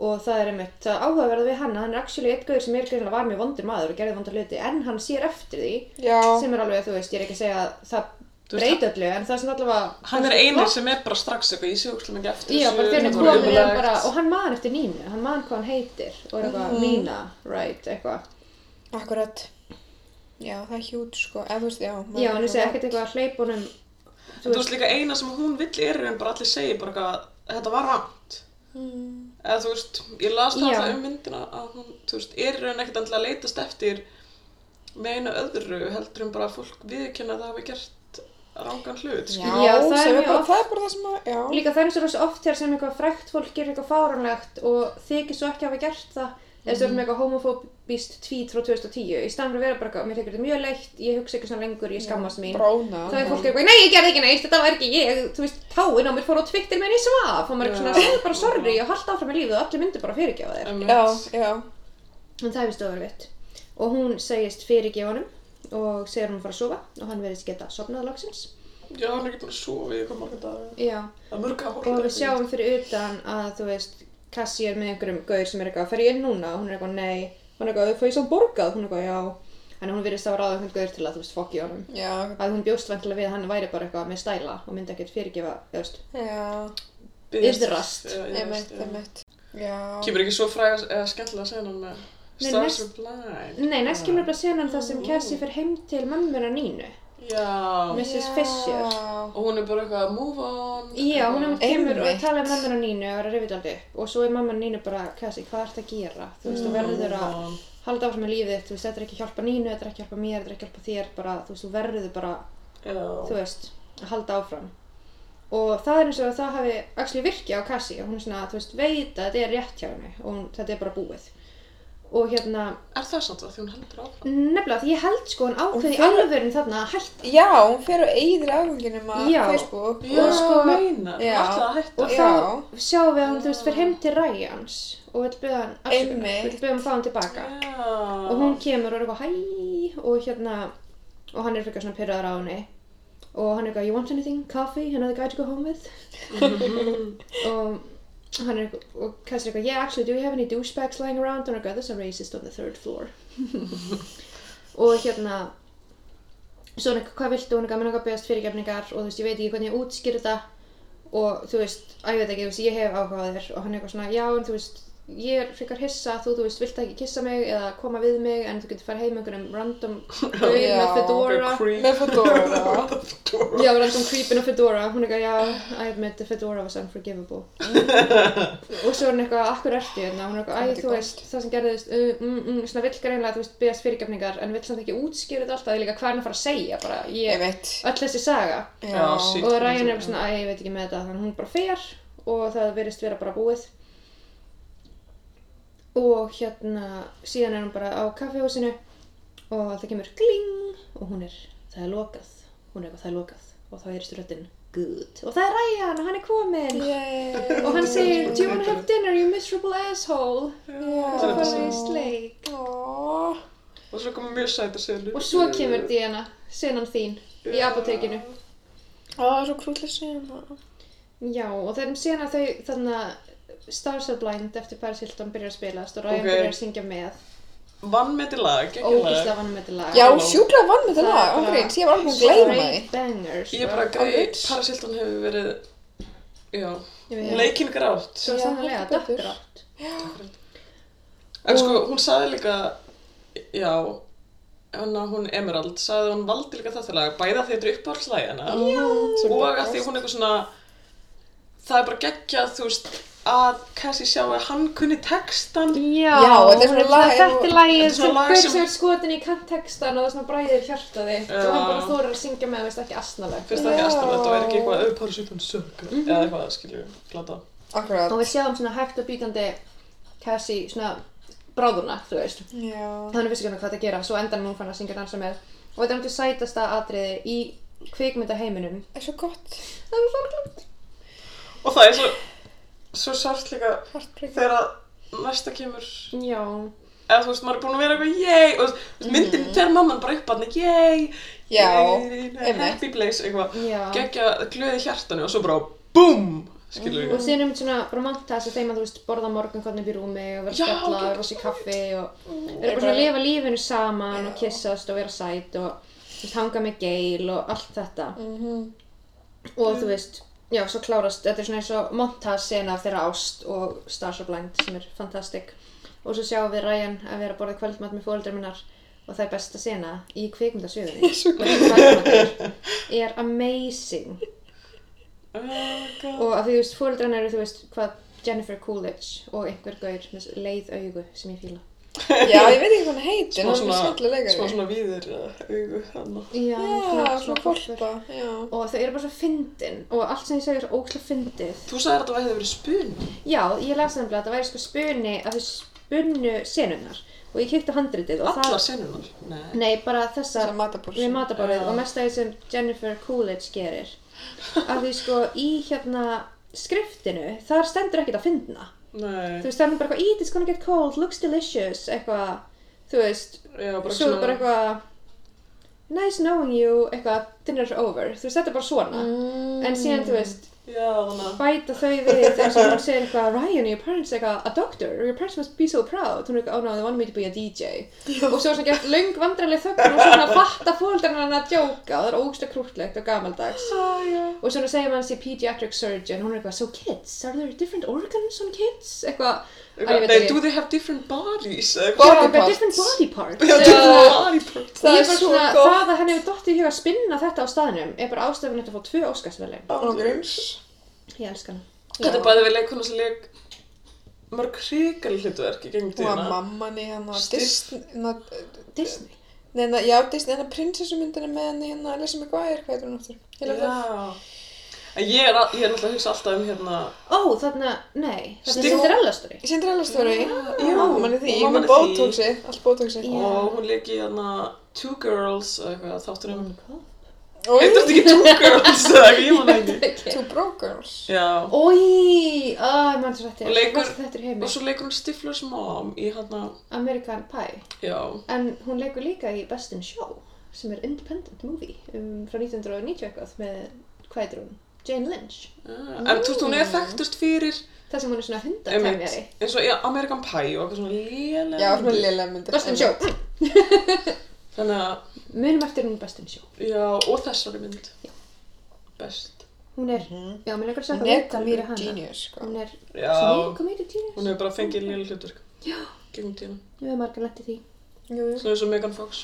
Og það er einmitt, það áhugaverða við hann, að hann er actually eitt gauður sem er greinlega var mjög vondur maður og gerði vondar hluti en hann sér eftir því já sem er alveg, þú veist, ég er ekki að segja að það veist, breyti öllu en það er svona allavega... Hann er eini sem er bara strax eitthvað, ég sé okkur ekki eftir Já, bara fyrir þetta hann var komin er ömurlegt. bara, og hann man eftir Nínu, hann man hvað hann heitir og er eitthvað Nína, right, eitthvað akkurat já það er hjút sko eða þú veist já maður Já, en er ég segi bara- ekkert eitthvað að hleypa honum Þú veist líka eina sem hún vill er en bara allir segir bara eitthvað þetta var rangt. Eða þú veist, ég las það Hmm. Já. alltaf um myndina að hún, þú veist, er raun ekkert endilega að leitast eftir með einu öðru heldur en bara að fólk viðkynna að það hafi gert rangan hlut. skilur. já Já, það er sem mjög bara oft- það er bara það sem að já Líka það er eins og rosa oft þegar sem eitthvað frækt fólk gerir eitthvað fáranlegt og þykir svo ekki hafa gert það eða svo erum eitthvað homofóbist tweet frá 2010 í staðan fyrir að vera bara eitthvað, mér þykir þetta mjög leitt ég hugsa ekki svona lengur, ég skammast mín bróna þá er fólk eitthvað, nei ég gerði ekki neitt, þetta var ekki ég þú veist, táin á mér fór á Twitter meðan ég svaf og maður er eitthvað svona, Já. segðu bara sorry og halda áfram í lífið og allir myndir bara fyrirgefa þér Einmitt. já já En það er vist ofurvitt. Og hún segist fyrirgefunum og segir hún að fara að sofa og hann verðist geta sofnað loksins. Já, hann er ekki búin að sofa í eitthvað marga daga. Já. Það er mörg að Og við sjáum fyrir utan að þú veist, Cassie er með einhverjum gaur sem er eitthvað, fer ég inn núna? Og hún er eitthvað, nei. Hún er eitthvað, þau fóðu samt borgað? Hún er eitthvað, já. Þannig að hún virðist að ráða einhvern gaur til að þú veist, fokki honum. já Að hún bjóst vantilega við að hann væri bara eitthvað með stæla og myndi ekkert fyrirgefa, þú veist. já Iðrast. einmitt einmitt já Kemur ekki svo fræg eða skemmtilega að segja hann með Nei, Stars næst- are blind. Nei, næst kemur bara senan það sem Cassie fer heim til mömmuna Nínu, Já. Mrs. Fisher. Já. Og hún er bara eitthvað move on. Já, hún einmitt kemur og Einmitt. talaði um Mm. mamman og Nínu og er að rifið aldrei upp og svo er mamman og Nínu bara, Kassi, hvað ert að gera? Þú veist, þú verður að on. halda áfram með lífið þitt, þú veist, þetta er ekki að hjálpa nínu, þetta er ekki að hjálpa mér, þetta er ekki að hjálpa þér, bara, þú veist, þú verður bara, þú Já, veist, að halda áfram. Og það er eins og að það hafi axli virki á Cassie, að hún er svona, þú veist, veit að þetta er rétt hjá henni og hún, þetta er bara búið. Og hérna, er það samt það því hún heldur áfram? nefnilega, því ég held sko hún ákveði í fer- alvörun þarna að hætta Já, hún fer og eigðir afganginum að Já. Facebook Já, og sko meina, já. alltaf að hætta. og Já. þá sjáum við að hún, þú veist, fer heim til Ryans og vil byrja hann afsökunar, Einmitt. vil byrja hann fá hann tilbaka Já. og hún kemur og er eitthvað hæ og hérna, og hann er frekar svona pyrraður á henni og hann er eitthvað, you want anything, coffee, another guy to go home with og hann er eitthvað, og Cass er eitthvað, yeah, actually, do you have any douchebags lying around? Og hann er eitthvað, there's a racist on the third floor og hérna svo hann eitthvað, hvað viltu, hún er eitthvað, mér er eitthvað beðast fyrirgefningar og þú veist, ég veit ekki hvernig ég útskýr þetta og þú veist, að ég veit ekki, þú veist, ég hef áhuga á þér og hann er eitthvað svona, já, en þú veist ég er frekar hissa, þú, þú veist, vilt ekki kissa mig eða koma við mig, en þú getur farið heim með einhverjum random gauð Já, með fedora Eitthvað creep. með Fedora Fedora. já, random creepin og fedora, hún er eitthvað, já I admit, the fedora was unforgivable og svo er hann eitthvað, akkur ertu hérna, hún er eitthvað, æ, Þetta er þú veist, það sem gerðist uh, mm, mm, svona vill greinlega, þú veist, beðast fyrirgefningar en vill samt ekki útskýra þetta alltaf, eða líka hvað er hann að fara að segja bara, Ég ég, veit öll þessi saga Já, shit. og Ryan er bara svona, æ, ég veit ekki með þetta þannig að hún bara fer og það verist vera bara búið og hérna síðan er hún bara á kaffihúsinu og það kemur gling og hún er, það er lokað hún er eitthvað, það er lokað og þá erist röddinn good og það er Ryan og hann er kominn Yay. og hann segir, do you wanna have dinner you miserable asshole og Þetta það er fara svo- í sleik Aww. Og svo koma mjög sæta senu. og svo kemur Diana, senan þín í apotekinu Á, það er svo krúlið sem Já, og þeim síðan að þau þarna Stars are Blind eftir Paris Hilton byrjar að spilast og Ryan Ok. byrjar að syngja með Vann með til lag, ekki ógísla lag. vann með þetta lag Já, Hello. sjúkla vann með þetta Það er lag, bara- ángríns, ég var alveg að gleyma því Straight bangers Ég er bara Á greið, Roots. Parasilton hefur verið, já, Ég veit. leikinn grátt. Svo Já, sannlega, heldur betur. dökkrátt En sko, hún saði líka, já, hana, hún Emerald, saði að hún valdi líka þetta lag, bæði að þetta er uppáhaldslægi hennar Já. og að því hún er eitthvað svona, það er bara geggjað, þú veist, að Cassie sjá að hann kunni textan. Já, Já, þetta er hún svona lag- þetta er Þetta er lagið svona sem lag gaur sem- sem er skotin í kantekstan og það er svona bræðir hjartaði Já. og hann bara þorir að syngja með, veist ekki asnalegt Fyrst það Já. ekki Mhm. aðstæðanlegt og er ekki eitthvað auðpáru sýtun sögur eða eitthvað, skiljum, glata. Akkurat. og við sjáum svona hægt og býtandi Cassie, svona bráðuna, þú veist Já. þannig vissi ekki alveg hvað það gera svo endan hún fann að syngja og dansa með og þetta er náttúrulega sætasta atriði í kvikmyndaheiminum Það er svo gott. það er sorglegt Og það er svo, svo sárt líka Heartbreaker. þegar að næsta kemur já, eða þú veist, maður er búin að vera eitthvað yey og þú veist, myndin fer mamman bara upp að yey, Mhm. Já, einmitt. happy place, eitthvað já geggja glöði hjartanu og svo bara búm, skilur Mhm. og við síðan er mitt svona romantas að þeim að þú veist borða morgun hvernig upp í rúmi og vera Já, spjalla geggjað. og rosi kaffi og vera bara svona að lifa lífinu saman og kissast og vera sæt og þú veist, hanga með geil og allt þetta Mhm. og þú veist já, svo klárast, þetta er svona eins og montas sena af þeirra ást og Stars are Blind sem er fantastic og svo sjáum við Ryan að vera að borða kvöldmatt með fóreldrar minnar og það er besta sena í kvikmyndasögunni og þessi kvöldmatur er amazing oh og að því þú veist, fóreldrarna eru þú veist hvað Jennifer Coolidge og einhver gaur með leið augu sem ég fíla Já, ég veit ekki hvað hann heitir, en smá hann er svolítið svona, smá leikari. svona víðir eða augu hana já, Já, svona kolpa, já. og þau eru bara svo fyndin og allt sem ég segir er svo ókslega fyndið Þú sagðir að það hefði verið spun Já, ég las nefnilega að það væri sko spuni að þau spunnu senunnar og ég kýtti handritið og Alla það senunar Nei Nei, bara þessar Þessar matabórsum. við matabórið Já. og mest að því sem Jennifer Coolidge gerir að því sko í hérna skriftinu þar stendur ekkert að finna Nei þú veist, það er bara eitthvað eat, it's gonna get cold, looks delicious eitthvað, þú veist Já, bara svo er bara eitthvað nice knowing you, eitthvað dinner's over þú veist, þetta er bara svona Mm. Mm. en síðan, þú veist, Já, þannig bæta þau við eins og hún segir eitthvað Ryan, your parents are eitthvað a doctor, your parents must be so proud hún er eitthvað, oh no, they want me to be a DJ og svo er svona gett löng vandræðileg þöggun og svo svona fatta fóldarinn hann að djóka og það er ógsta krútlegt og gamaldags að og svona segir mann sé pediatric surgeon hún er eitthvað, so kids, are there different organs on kids? eitthvað, að ég veit Nei, ekki. do they have different bodies? Body "Yeah, but parts." different body parts Uh, Já, different body parts Það Það er er bara svo svona, gott. það að henni hefur dottið í huga að spinna þetta á staðnum er bara ástæðan eftir að fá tvö óskarsvelin. Ángríns. Ég elska hana. Þetta er bæðið við leikona sem leik mörg hrigal hlutverk í gengum Hún var tíðina. mamman í hérna Styrst. Disney, hérna, Disney neina, já, Disney, hérna prinsessumyndina með henni hérna, Elisa McGuire, hvað heitir hún aftur? Ég lefði það. Já. En ég er, al- ég er alltaf að hugsa alltaf um hérna, Ó, þarna, nei, þarna Stig- er Cinderella story Ég sendir alveg stóri. já, Mamman í því, mamman með í því. botoxi, allt botoxi. Já. og hún leik í hérna Two Girls eða eitthvað þáttur um. Og Heitir þetta ekki Two Girls eða eitthvað, ég man það ekki. Two Broke Girls. Já. Ói, að ég mann svo þetta Og leikur- Manstu þetta er Og heimi svo leikur hún Stifler's mom í hérna, American Pie já, En hún leikur líka í Best in Show sem er independent movie um, frá 1990 eitthvað með, hvað heitir hún? Jane Lynch Já, Ah, en þú veist, hún er þekktust fyrir, Það sem hún er svona einmitt, hundatæmjari eins og ja, American Pie og eitthvað svona lélega. Já, svona lélega myndir. Best in Show Þannig að, Munum eftir hún í Best in Show já, og þessari mynd. Best. Hún er, já, mér leikur að Hún segja er viðtal við comedic hana. genius, sko. Hún er Já. svona comedic genius Hún hefur bara fengið lélega hlutverk. Já. Gengum tíðina. Nú er margar lent í því Jú, jú, Svona eins og Megan Fox.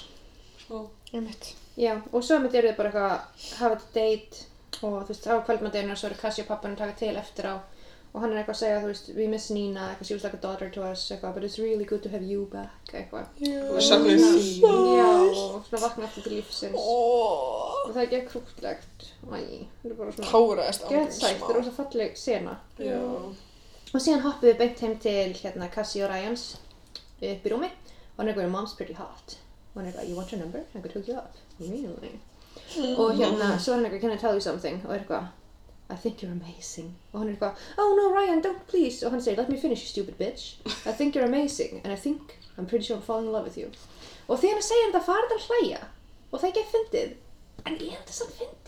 Smá. ég mitt. Já, og svo mitt eru þið bara eitthvað að hafa þetta date og þú veist, á kvöldmandeginu og svo eru Kassi og pappan að taka til eftir á og hann er eitthvað að segja, þú veist, we miss Nina, eitthvað, she was like a daughter to us, eitthvað, but it's really good to have you back, eitthvað. Og við saknum þín. Já, og svona vakna aftur til lífsins Óóóó. Oh. og það er ekki krútlegt, æj, það er bara svona Háraðist gett sætt, það er rosa falleg sena. Já. Og síðan hoppum við beint heim til hérna Cassie og Ryans upp í rúmi og hann er eitthvað, mom's pretty hot og hann er eitthvað, you want your number? I could hook you up really og hérna, svo er hann eitthvað, can I tell you something? og er eitthvað, I think you're amazing og hann er eitthvað, oh no Ryan, don't please og hann segir, let me finish you stupid bitch I think you're amazing and I think I'm pretty sure I'm falling in love with you og þegar hann segir þetta farið að hlæja og það er ekki að fyndið en ég held þess að fyndið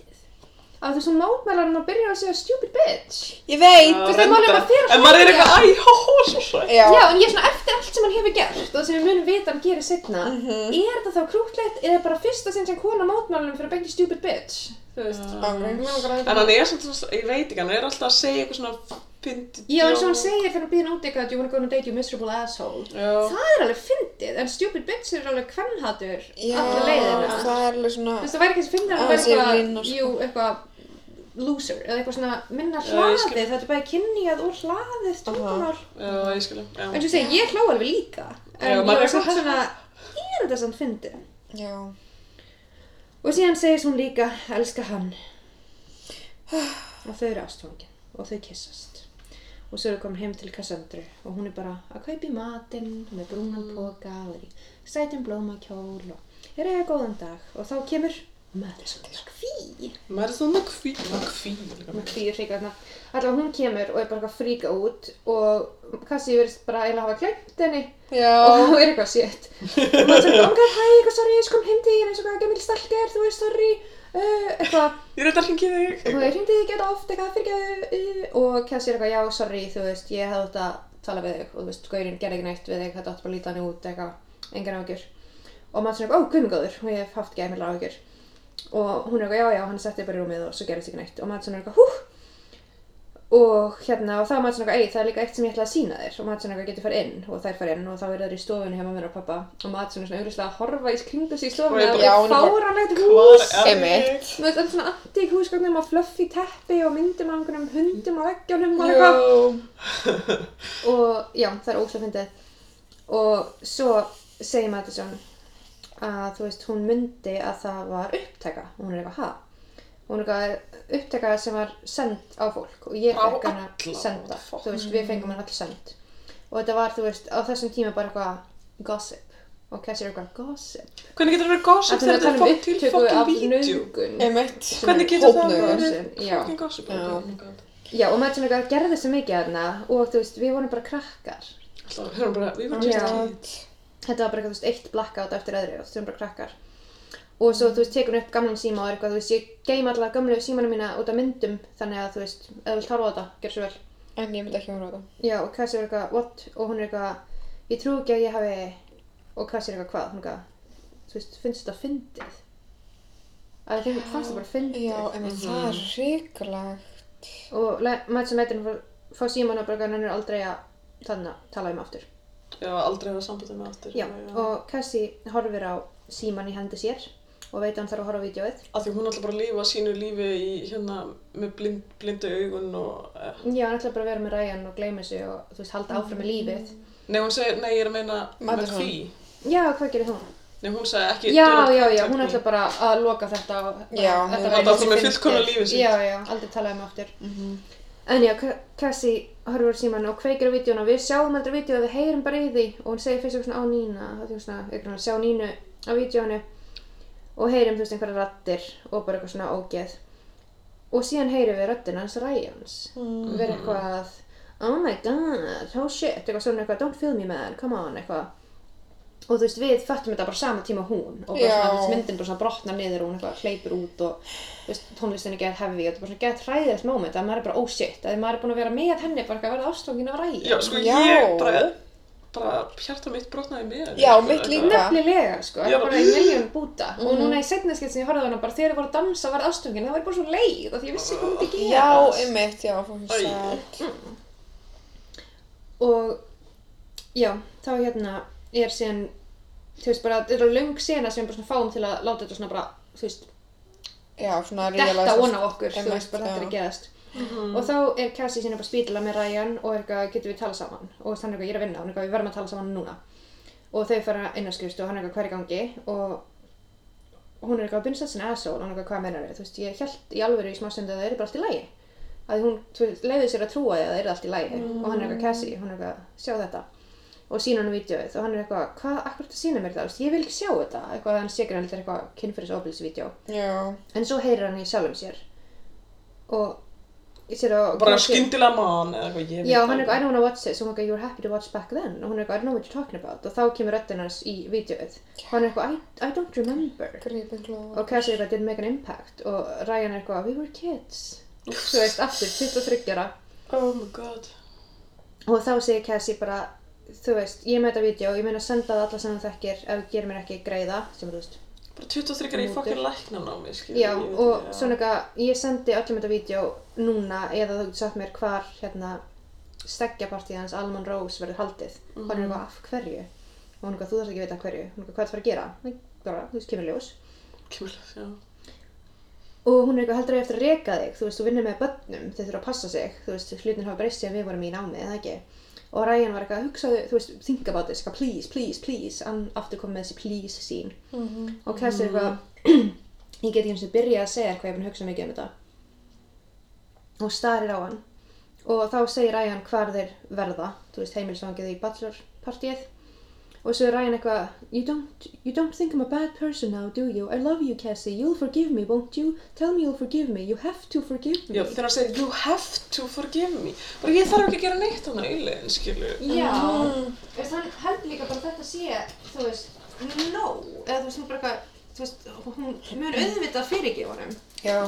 að þessum mótmælar hann að byrja að segja stupid bitch Ég veit. Já, veist, það er málið að maður fer að En maður er hlæja. eitthvað, æ, hó, hó, svo sætt. Já. Já, en ég er svona eftir allt sem hann hefur gert og sem við munum vita hann gerir setna Mhm. Er þetta þá krútlegt eða bara fyrsta sinn sem kona mótmælunum fyrir að bengja stupid bitch? Þú veist En hann er samt, svo- ég veit ekki, hann er alltaf að segja eitthvað svona pyndi Já, eins og hann segir þegar hann býðir út eitthvað You wanna go on a date, you miserable asshole Já, Það er alveg fyndið, en stupid bitch er alveg kvennhatur Já, alla leiðina það er alveg svona, Þú veist, það væri ekki þessi fyndið að Aðeins það væri yfir eitthvað, línuna, sko. jú, eitthvað loser eða eitthvað svona minna Já, ég skil. hlaðið Þetta er bara kynjað og hlaðið tungumál já, ég skilja. En svo segi, ég hló alveg líka Já, En ég maður var er samt svona- svona, er þetta samt fyndið? já. Og síðan segist hún líka, elska hann. Og þau eru ástfangin og þau kissast. Og svo eru komin heim til Cassandru og hún er bara að kaupa í matinn með brúnan póka og er í sætum blómakjól og er eiga góðan dag. Og þá kemur Madison McPhee. Maður er svona kví, kví, líka. McPhee er hreika þarna. Alltaf hún kemur og er bara eitthvað að fríka út og Cassie verðist bara eiginlega hafa klemt henni Já, Oh og hún er eitthvað shit og hann sagði, omgar, hæ, eitthvað sorry, ég kom heim til þér eins og hvað gemil stalk er, þú veist, sorry uh, eitthvað, Ég er um þetta hringið þig. og ég hindi þig geta oft eitthvað fyrirgjöðu uh, og Cassie er eitthvað, já, sorry, þú veist, ég hefði átt að tala við þig og þú veist, gaurinn gerði ekki neitt við þig, þetta átt bara að líta hann út eitthvað, engan ágjur og maður svona eitthvað, ó, guðmengóður, og ég hef haft gemil ágjur og hún er eitthvað, já, já, hann setti þig bara í rúmið og svo gerðist ekki neitt og maður svona eitthvað, hú, og hérna og þá er maður svona eitthvað, ei það er líka eitt sem ég ætla að sína þér og maður svona eitthvað getur farið inn og þær farið inn og þá eru þær í stofunni hjá mamma og pappa og maður svona svona auðvitað að horfa í kringu sig í stofunni Og ég bara- að það Já, er hún er bara- fáranlegt hús einmitt. þú veist, allt svona antík húsgögnum og fluffy teppi og myndum af einhvernum hundum á veggjónum Já. og eitthvað og já, það er óslega fyndið og svo segir Madison að þú veist, hún myndi að það var upptaka og hún er eitthvað, ha og hún er eitthvað upptaka sem var send á fólk og ég Á fekk hana alla, senda what the fuck? Mm. þú veist, við fengum hana all send og þetta var, þú veist, á þessum tíma bara eitthvað gossip og Cassie er eitthvað gossip Hvernig getur það verið gossip að þegar það þetta er er um fólk til upptöku af fokkin vídeo? nöðgun Einmitt. Hvernig getur það Hópnauðgun. verið Já. fokkin gossip? Já. Oh my god. já, og maður svona eitthvað gerði svo mikið að hana og þú veist, við vorum bara krakkar Alltaf, við erum bara, við erum Já. just kids. þetta var bara eitthvað, þú veist, eitt blackout eftir öðru og þú erum bara krakkar og svo, þú veist, tekur hún upp gamlan síma og er eitthvað, þú veist, ég geim alla gamlu símanu mína út af myndum þannig að, þú veist, ef þú vilt horfa á þetta, gerð svo vel En ég myndi ekki horfa á það. já, og Cassie er eitthvað, what, og hún er eitthvað ég trú ekki að ég hafi og Cassie er eitthvað, hvað, hún er eitthvað þú veist, finnst þetta fyndið að þeim fannst það bara fyndið Já, einmitt, Mhm. það er ríkulegt. og maður sem eitthvað fá, fá síman og bara eitthvað, hann er aldrei að þannig að tala um aftur Já, aldrei hafa sambandið með aftur. Já, og Cassie horfir á síman í hendi sér og veit að hann þarf að horfa á vídjóið. Af því hún ætla bara að lifa sínu lífi í hérna með blind, blindu augun og... eh, Já, hann ætlaði bara að vera með Ryan og gleyma þessu og þú veist, halda áfram með lífið. Nei, hún segir, nei, ég er að meina Mother með því. Mm. Já, hvað gerir hún? Nei, hún sagði ekki... Já, do not já, já, touch hún me. ætlaði bara að loka þetta og Já, hún þetta ætlaði væri bara þessi með fyndið. fullkomna lífið sitt. Já, já, aldrei talaði um aftur. En já, Ca- Cassie horfur síman og kveikir á vídjónu og við sjáum aldrei vídjóið, við heyrum bara í því og hún segir fyrst eitthvað svona á Nína, þá þjóðum svona, eitthvað svona, sjá Nínu á vídjónu og heyrum þú veist einhverja rattir og bara eitthvað svona ógeð. Og síðan heyrum við röddina hans Ryans, mm. verið eitthvað að, oh my god, oh shit, eitthvað svona eitthvað, don't feel me man, come on, eitthvað. Og þú veist, við föttum þetta bara sama tíma og hún og bara Já. svona, þú veist, myndin bara svona brotnar niður og hún eitthvað hleypur út og þú veist, tónlistin er gett hefði og þetta er bara svona gett hræðilegt moment að maður er bara oh shit að maður er búin að vera með henni bara eitthvað að verða ástofngin af ræði. Já, sko, Já. ég bara, bara hjarta mitt brotnaði með henni, Já, sko, mitt þetta- líka. Nefnilega, sko, Já. það er bara í miljón búta Mhm. og núna í setna skilt sem ég horfði á hana bara þegar ég voru að dansa og verða ástofngin það var ég bara svo leið af því ég vissi hvað myndi gerast. Já, einmitt, já, fókin Æ. satt. og já, þá hérna er síðan þú veist bara, þetta er löng sena sem við bara svona fáum til að láta þetta svona bara, þú veist, Já, svona detta realize- von á okkur, þú Einmitt, veist, bara þetta er já. að geðast og þá er Cassie sína bara spítila með Ryan og er eitthvað, getum við tala saman og þú veist, hann er eitthvað, ég er að vinna, hann er eitthvað, við verðum að tala saman núna og þau fara inn að skrifstu og hann er eitthvað hverju gangi og og hún er eitthvað að byrja sessin asshole og hann er eitthvað, hvað meinar þú veist, ég held í alvöru í smá stundu að það er bara allt í lagi að hún þú veist, leiði sér að trúa því að það er allt í lagi og hann er eitthvað Cassie, hún er eitthvað, sjá þetta og sína hann vídeoið og hann er eitthvað, hvað, akkur þetta sína mér þetta, Þú veist, ég vil ekki sjá þetta eitthvað að hann sé greinlega eitthvað kynfyrirsofbilsvídeó Já, En svo heyrir hann í sjálfum sér og ég sér að Bara skyndilega mann eða eitthvað, ég veit Já, hann er ekki. eitthvað, I don't wanna watch this, og hún er eitthvað, you were happy to watch back then og hún er eitthvað, I don't know what you're talking about og þá kemur röddinn hans í vídeoið og hann er eitthvað, I, I don't remember grípin glóð. og Cassie er eitthvað, didn't make an impact og Ryan er eitthvað, we were kids Þú veist, aftur, 23 ára Oh my god. og þá segir Cassie bara þú veist, ég er með þetta vídeo og ég meina að senda það alla sem þú þekkir ef þú gerir mér ekki greiða sem þú veist Bara 23 er í Mútur. fokkin læknan á mig, skilur. Já, og svona eitthvað, ég sendi öllum þetta vídeo núna eða þú getur sagt mér hvar hérna steggjapartíð hans Alman Rose verður haldið mm hann er eitthvað af hverju og hún er eitthvað, þú þarfst ekki að vita af hverju hún er eitthvað, hvað það fara að gera Nei, bara, þú veist, kemur í ljós Kjumlega, já. og hún er eitthvað heldur að ég eftir að reka þig þú veist, þú vinnir með börnum, þau þurfa að passa sig þú veist, hlutin hafa breyst síðan við vorum í námi, eða ekki og Ryan var eitthvað, hugsaðu, þú veist, think about this eitthvað, please, please, please, hann aftur kom með þessi please sín Mhm. og Cassie er eitthvað ég get ekki eins og byrja að segja hvað ég er búin að hugsa mikið um þetta og starir á hann og þá segir Ryan hvar þeir verða þú veist heimilsvangið í bachelorpartíið og svo er Ryan eitthvað you don't, you don't think I'm a bad person now, do you? I love you, Cassie, you'll forgive me, won't you? Tell me you'll forgive me, you have to forgive me Já, þegar hann segir, you have to forgive me. Bara ég þarf ekki að gera neitt hann að auðlegin, skilur. Já, þú veist, hann heldur líka bara að þetta sé, þú veist, no, eða þú veist, hún bara eitthvað, þú veist, hún mun auðvitað fyrirgefa honum. Já,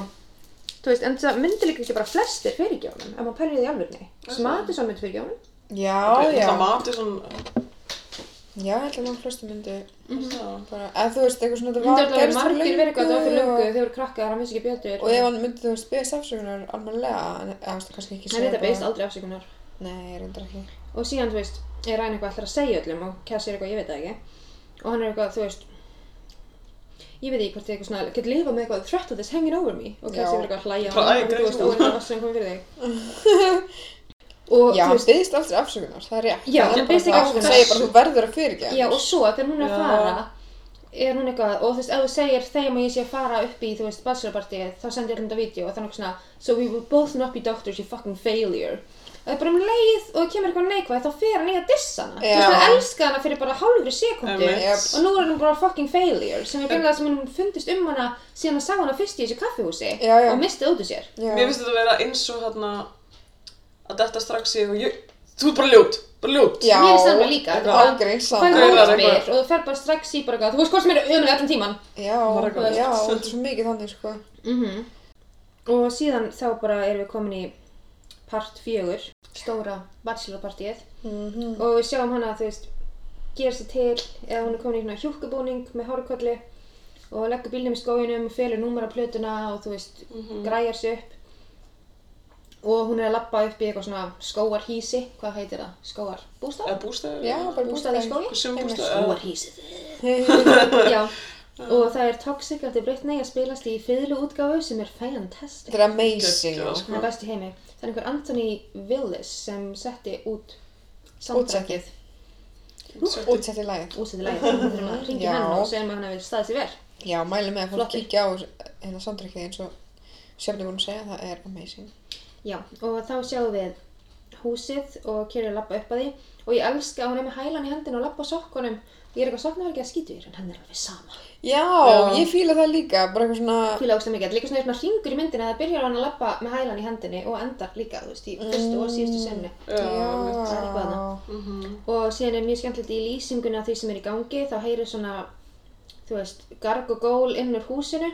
Þú veist, en það myndir líka ekki bara flestir fyrirgefa honum, ef maður pælir í því alvörni. Smatis hann myndi fyrirgefa honum. já, já. Það mati svona, Já, ég held að maður flestu myndi já. bara, eða þú veist, eitthvað svona, þetta Myndi var alltaf verið gerðist fyrir margir verið eitthvað, það var fyrir og- löngu, þau voru krakkað, hann vissi ekki betur. Og ef hann myndi þú veist beðast afsökunar almennilega, en eða þú veist kannski ekki Hann segja reyndar bara- beist aldrei afsökunar. Nei, reyndar ekki. Og síðan, þú veist, er Ryan eitthvað alltaf að segja öllum og Cassie er eitthvað, ég veit það ekki. Og hann er eitthvað, þú veist, ég veit ekki hvort þið eitthvað svona, getur lifað með eitthvað, threat of this hanging over me. Og Cassie Já. er eitthvað að hlæja á Bara, æ, hann, þú veist, greyið og þú. hann er alltaf sem komið fyrir þig. Og, Já, þú hann veist, beðist aldrei afsökunar, það er rétt. Já, Það er hann bara biðst ekki það að Hún afsökunar. segir bara, þú verður að fyrirgefa. já, og svo, þegar hún er að Já. fara, er hún eitthvað, og þú veist, ef þú segir þeim að ég sé að fara upp í, þú veist, bachelorpartíið, þá sendir ég öllum þetta vídeo og þannig svona, so we will both not be doctors, you fucking failure. Og það er bara um leið og það kemur eitthvað neikvæð, þá fer hann í að dissa hana. Þú Já. veist, hann elska hana fyrir bara hálfri sekundu Einmitt. Yep. og nú er hann bara fucking failure, sem er beinlega sem hann fundist um hana síðan hann sá hana fyrst í þessu kaffihúsi Já, já. og mistið út úr sér. Já. Mér finnst þetta að vera eins og hérna, að þetta strax ég og ég, þú er bara ljót, bara ljót. Já, Mér finnst það bara líka, þetta bara- er ágrein Hvað saman. Gaurar er það eitthvað. og þú fer bara strax í bara eitthvað, þú veist hvað sem er ömulega allan tíman. Já, Bara eitthvað. já, þetta er svo mikið þannig, sko. Mhm. Og síðan þá bara erum við komin í part fjögur, stóra bachelorpartíið Mhm. og við sjáum hana, þú veist, gera sér til eða hún er komin í svona hjúkkubúning með hárkolli og leggur bílnum í skóinum og felur númar á plötuna og þú veist, græjar sér upp og hún er að labba upp í eitthvað svona skóarhísi, hvað heitir það? Skóarbústað? Eða bústæður? Já, bara Bústað í skógi? Sumbústað, Skóarhísið. bústað. Já, og það er Toxic eftir Britney að spilast í fyrirlu útgáfu sem er fantastic Þetta er amazing. Geggjað, já. sko. Það er best í heimi. Það er einhver Anthony Willis sem setti út Útsettið. samtrakið. Útsettið. Útsettið lagið. Útsettið lagið. Við þurfum að Já. ringja henn og segja um að hann hafi staðið sér vel. Já, mæli með að fólk Flottur. kíkja á hérna soundtrackið eins og sjöfnum búin að segja, það er amazing. Já, og þá sjáum við húsið og Kiri lappa upp að því og ég elska að hún er með hælan í hendin og lappa á sokkunum og ég er eitthvað soknaverkið að skýtu þér en hann er alveg sama. Já, ég fíla það líka, bara eitthvað svona, Fýla ógst það mikið. Líka svona, svona ringur í myndinni að það byrjar á hann að lappa með hælan í hendinni og endar líka, þú veist, í fyrstu og síðustu sennu. Já. Það er eitthvað já, þarna. Mhm. Og síðan er mjög skemmtilegt í lýsingunni af því sem er í gangi, þá heyrir svona, þú veist, garg og gól innur húsinu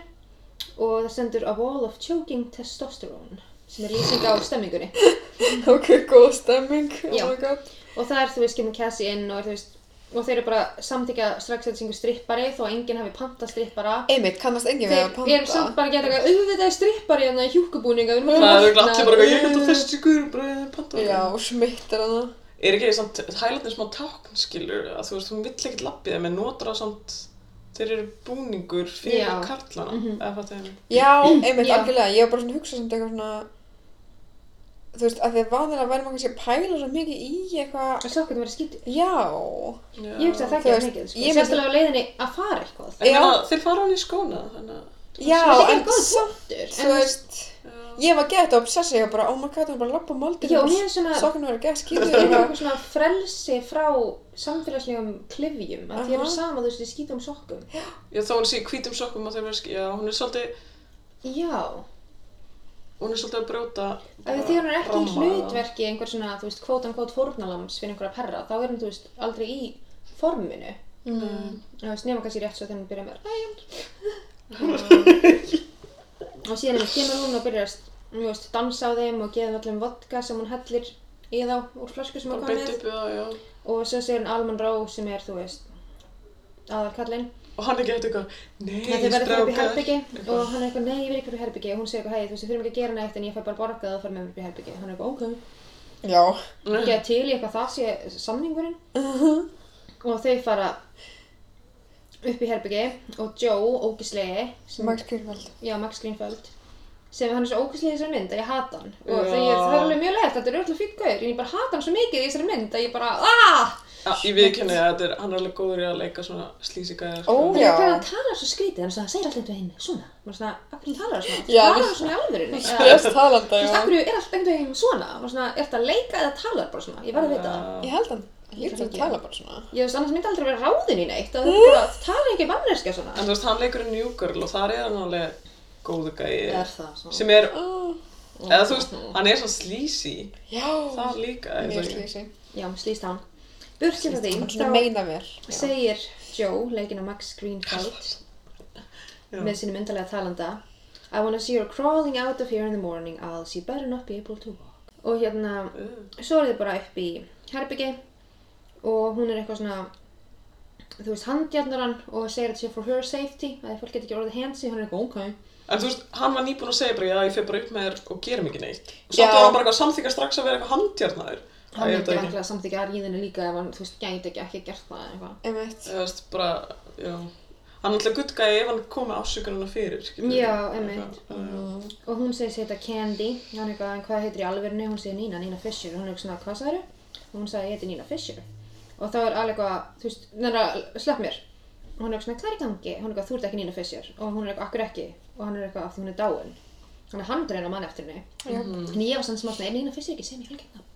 og það sendur a wall of choking testosterone sem er lýsing á stemmingunni. ok, góð stemming, oh Já. my god. Og það er, þú veist, kemur Cassie inn og er, þú veist, og þeir eru bara að samþykja strax þetta syngur strippari þó að enginn hafi panta strippara. Einmitt, kannast enginn við að Þeir eru samt panta. bara að geta eitthvað auðvitað er strippari hérna í hjúkubúninga, við Það erum að er allir bara eitthvað, ég veit á þessi guður, bara ég panta Já, og smittar hana. Er ekki samt, hælarnir smá tákn, skilur, að þú veist, hún vill ekkert lappið þeim, en notar það samt, þeir eru búningur fyrir Já. Mhm. karlana, eða fattu þeim. Já, einmitt, Já. algjörlega, ég var bara svona að hugsa samt eitthvað svona, þú veist, að því að vanlega væri maður kannski að pæla svo mikið í eitthvað, Og sokkarnir verið skýtið. já. Ég hugsa að það Þú gerir veist, mikið, ég sko. myndi- Sérstaklega á leiðinni að fara eitthvað. En Já. meina, þeir fara hann í skóna, þannig að... Já, Það er en góð samt, punktur. þú veist, ég var gett obsessið, ég var bara, oh my god, hún er bara að labba um aldrei. Já, og mér er svona- Sokkarnir verið gett Það er skýtur eitthvað svona frelsi frá samfélagslegum klifjum, að þér eru Aha. sama, þú veist, í skítum sokkum. Já, þá hún sé í hvítum sokkum og þeir verið, já, hún er svolítið, Já, hún er svolítið að brjóta... ef bara þið eru ekki í ramma eða- hlutverki einhver svona, þú veist, kvót an kvót fórnalams fyrir einhverja perra, þá er hann, þú veist, aldrei í forminu. Mm. Þú veist, nema kannski rétt svo þegar hann byrja með Ryan. og síðan einmitt kemur hún og byrjar að, þú veist, dansa á þeim og gefa þeim öllum vodka sem hún hellir í þá úr flösku sem hún Bara kom beint með. upp í það, já. Og svo segir hann Alman Ró sem er, þú veist, aðalkallinn. Og hann er gett eitthvað, nei, Nei, þau verða fyrir upp í strákar. herbyggi og hann er eitthvað, nei, ég vil ekki upp í herbyggi og hún segir eitthvað, hei, þú veist, við þurfum ekki að gera neitt en ég fær bara borgað og fara með mér upp í herbyggi hann er eitthvað, Já. ok, ekki að til í eitthvað það sé samningurinn Uh-huh. og þau fara upp í herbyggi og Joe, ógislegi sem, Max Kirkvald. já, Max Greenfeld sem hann er svo ógislegi í þessari mynd að ég hata hann og Já. það er, það er alveg mjög leitt, þetta er öllu fín gaur en ég bara hata hann svo mikið í þessari mynd að ég bara, "Ah!" aaaah Já, ég viðkynni að þetta er, hann er alveg góður í að leika svona slísigæðar, Ó, sko. já. hvernig hann talar svo skrítið, hann er svona, segir alltaf einhvern veginn svona, maður svona, af hvernig talar svona, Já, talar við- svona í alvörunni Eða- Stress talanda, Þú veist, af já. hverju er allt einhvern veginn svona? Og svona, er þetta að leika eða talar bara svona? Ég verði að vita það. Já. Ég held hann. Ég held hann Ekki. tala bara svona. Ég veist, annars myndi aldrei vera ráðin í neitt. að Það er bara, það talar ekki um manneskja En svona. þú veist, hann leikur í New Girl og þar er hann alveg góðu gæi Er það svona? sem er, Ah, eða þú veist, hann er svo sleazy Já. þar líka eða Mér þú veist. slísi. Já, slýst hann. Burkir það Hann því, svona meina mér. þá segir Joe, leikinn af Max Greenfield, Já. með sínum myndalega talanda, I wanna see her crawling out of here in the morning, I'll she better not be able to walk. Og hérna, Uh, svo er þið bara upp í herbyggi og hún er eitthvað svona þú veist, handjarnar hann og segir þetta sé for her safety að fólk getur ekki orðið handsy, hann er eitthvað ok En þú veist, hann var nýbúinn að segja bara, já, ég fer bara upp með þér sko, og gerum ekki neitt. Og Já. samt var hann bara eitthvað samþykja strax að vera eitthvað handjarnaður. hann Æ, ég er veit það ekki ekki. alltaf samþykja að ríðinu líka ef hann, þú veist, gæti ekki ekki gert það eða eitthvað Einmitt. Þú veist, bara, já. Hann er alltaf guttgæði ef hann kom með afsökununa fyrir, skilur. Já, einmitt. Uh, og hún segir sér þetta Candy hann er eitthvað, en hvað heitir í alverðinu, hún segir Nina, Nina Fisher og hann er eitthvað svona, hvað sagði og hún sagði, ég heiti Nina Fisher og þá er alveg eitthvað, þú veist, neina, slepp mér og hann er eitthvað svona, hvað er í gangi hún er eitthvað, þú ert ekki Nina Fisher og hún er eitthvað, akkur ekki og hann er eitthvað, af því hún er dáin þannig að hann er einu mann eftir henni Mhm. en ég var sann sem að, er Nina Fisher ekki sem ég hérna?" helgætna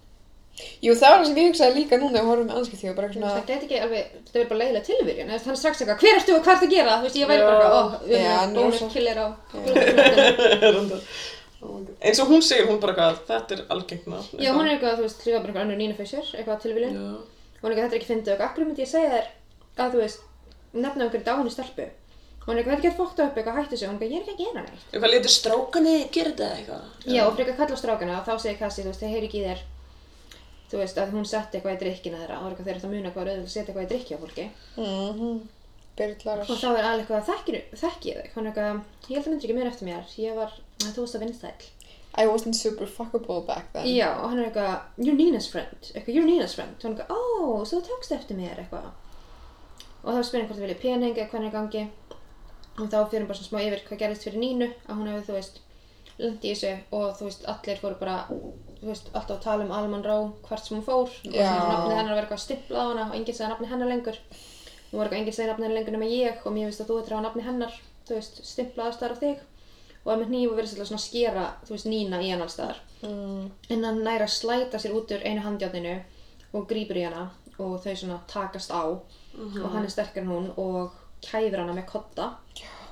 Jú, það var það sem ég hugsaði líka núna þegar við horfum með anskipti og bara eitthvað það svona... gæti ekki alveg, þetta verður bara leiðilega tilvirjun eða hann er strax eitthvað, hver ertu og hvað ertu að gera þú veist, ég væri bara Já. eitthvað, ó, við Já, erum nú bónus svo- killer á Brúðarkaupi." Reyndar. Oh my god. eins og hún segir, hún bara eitthvað, þetta er algengna. Já, hún er eitthvað, þú veist, líka bara einhver annar Nina Fisher, eitthvað tilviljun. Já, hún er eitthvað, þetta er ekki fyndið og akkur myndi ég segja þér að þú veist, nefna einhverju dáinu stelpu hún er eitthvað, þetta er ekki fótt upp eitthvað hættu sig, hún er eitthvað, ég er ekki að gera neitt eitthvað letur strákani gera þetta eitthvað. já, og frekar kalla á strákana og þá segir Kassi, þú veist, þeir heyri ekki í þér þú veist, að hún setti eitthvað í drikkina þeirra og eitthvað þeir eru að muna hvað er auðvitað að setja eitthvað í drikki á fólki Mhm. Berit Laras. og þá er alveg eitthvað, þekkir, þekki ég þig hún er eitthvað, ég held að myndir ekki meira eftir mér ég var, að þú veist að vinstæl I wasn't super fuckable back then. já, og hann er eitthvað, you're Nina's friend eitthvað, you're Nina's friend, hún er eitthvað, "Oh, ó, svo þú tókst eftir mér eitthvað og þá spyrir hann hvort það vilja pening eða hvernig gangi og þá fyrir bara svona smá yfir hvað gerðist fyrir Nínu að hún hefði, þú veist, lendi í þessu og þú veist, allir fóru bara þú veist, alltaf að tala um Alman Ró hvert sem hún fór og Já. svona nafnið hennar var eitthvað stimplað á hana og enginn segði nafnið hennar lengur hún var eitthvað enginn segði nafnið hennar lengur nema ég og mér finnst að þú ættir að hafa nafnið hennar þú veist, stimplað allstaðar á þig og að með hníf og verið svolítið svona að skera þú veist, Nína í hann allstaðar Mm. en hann nær að slæta sér út úr einu handjátninu og grípur í hana og þau svona takast á og hann er sterkar en hún og kæfir hana með kotta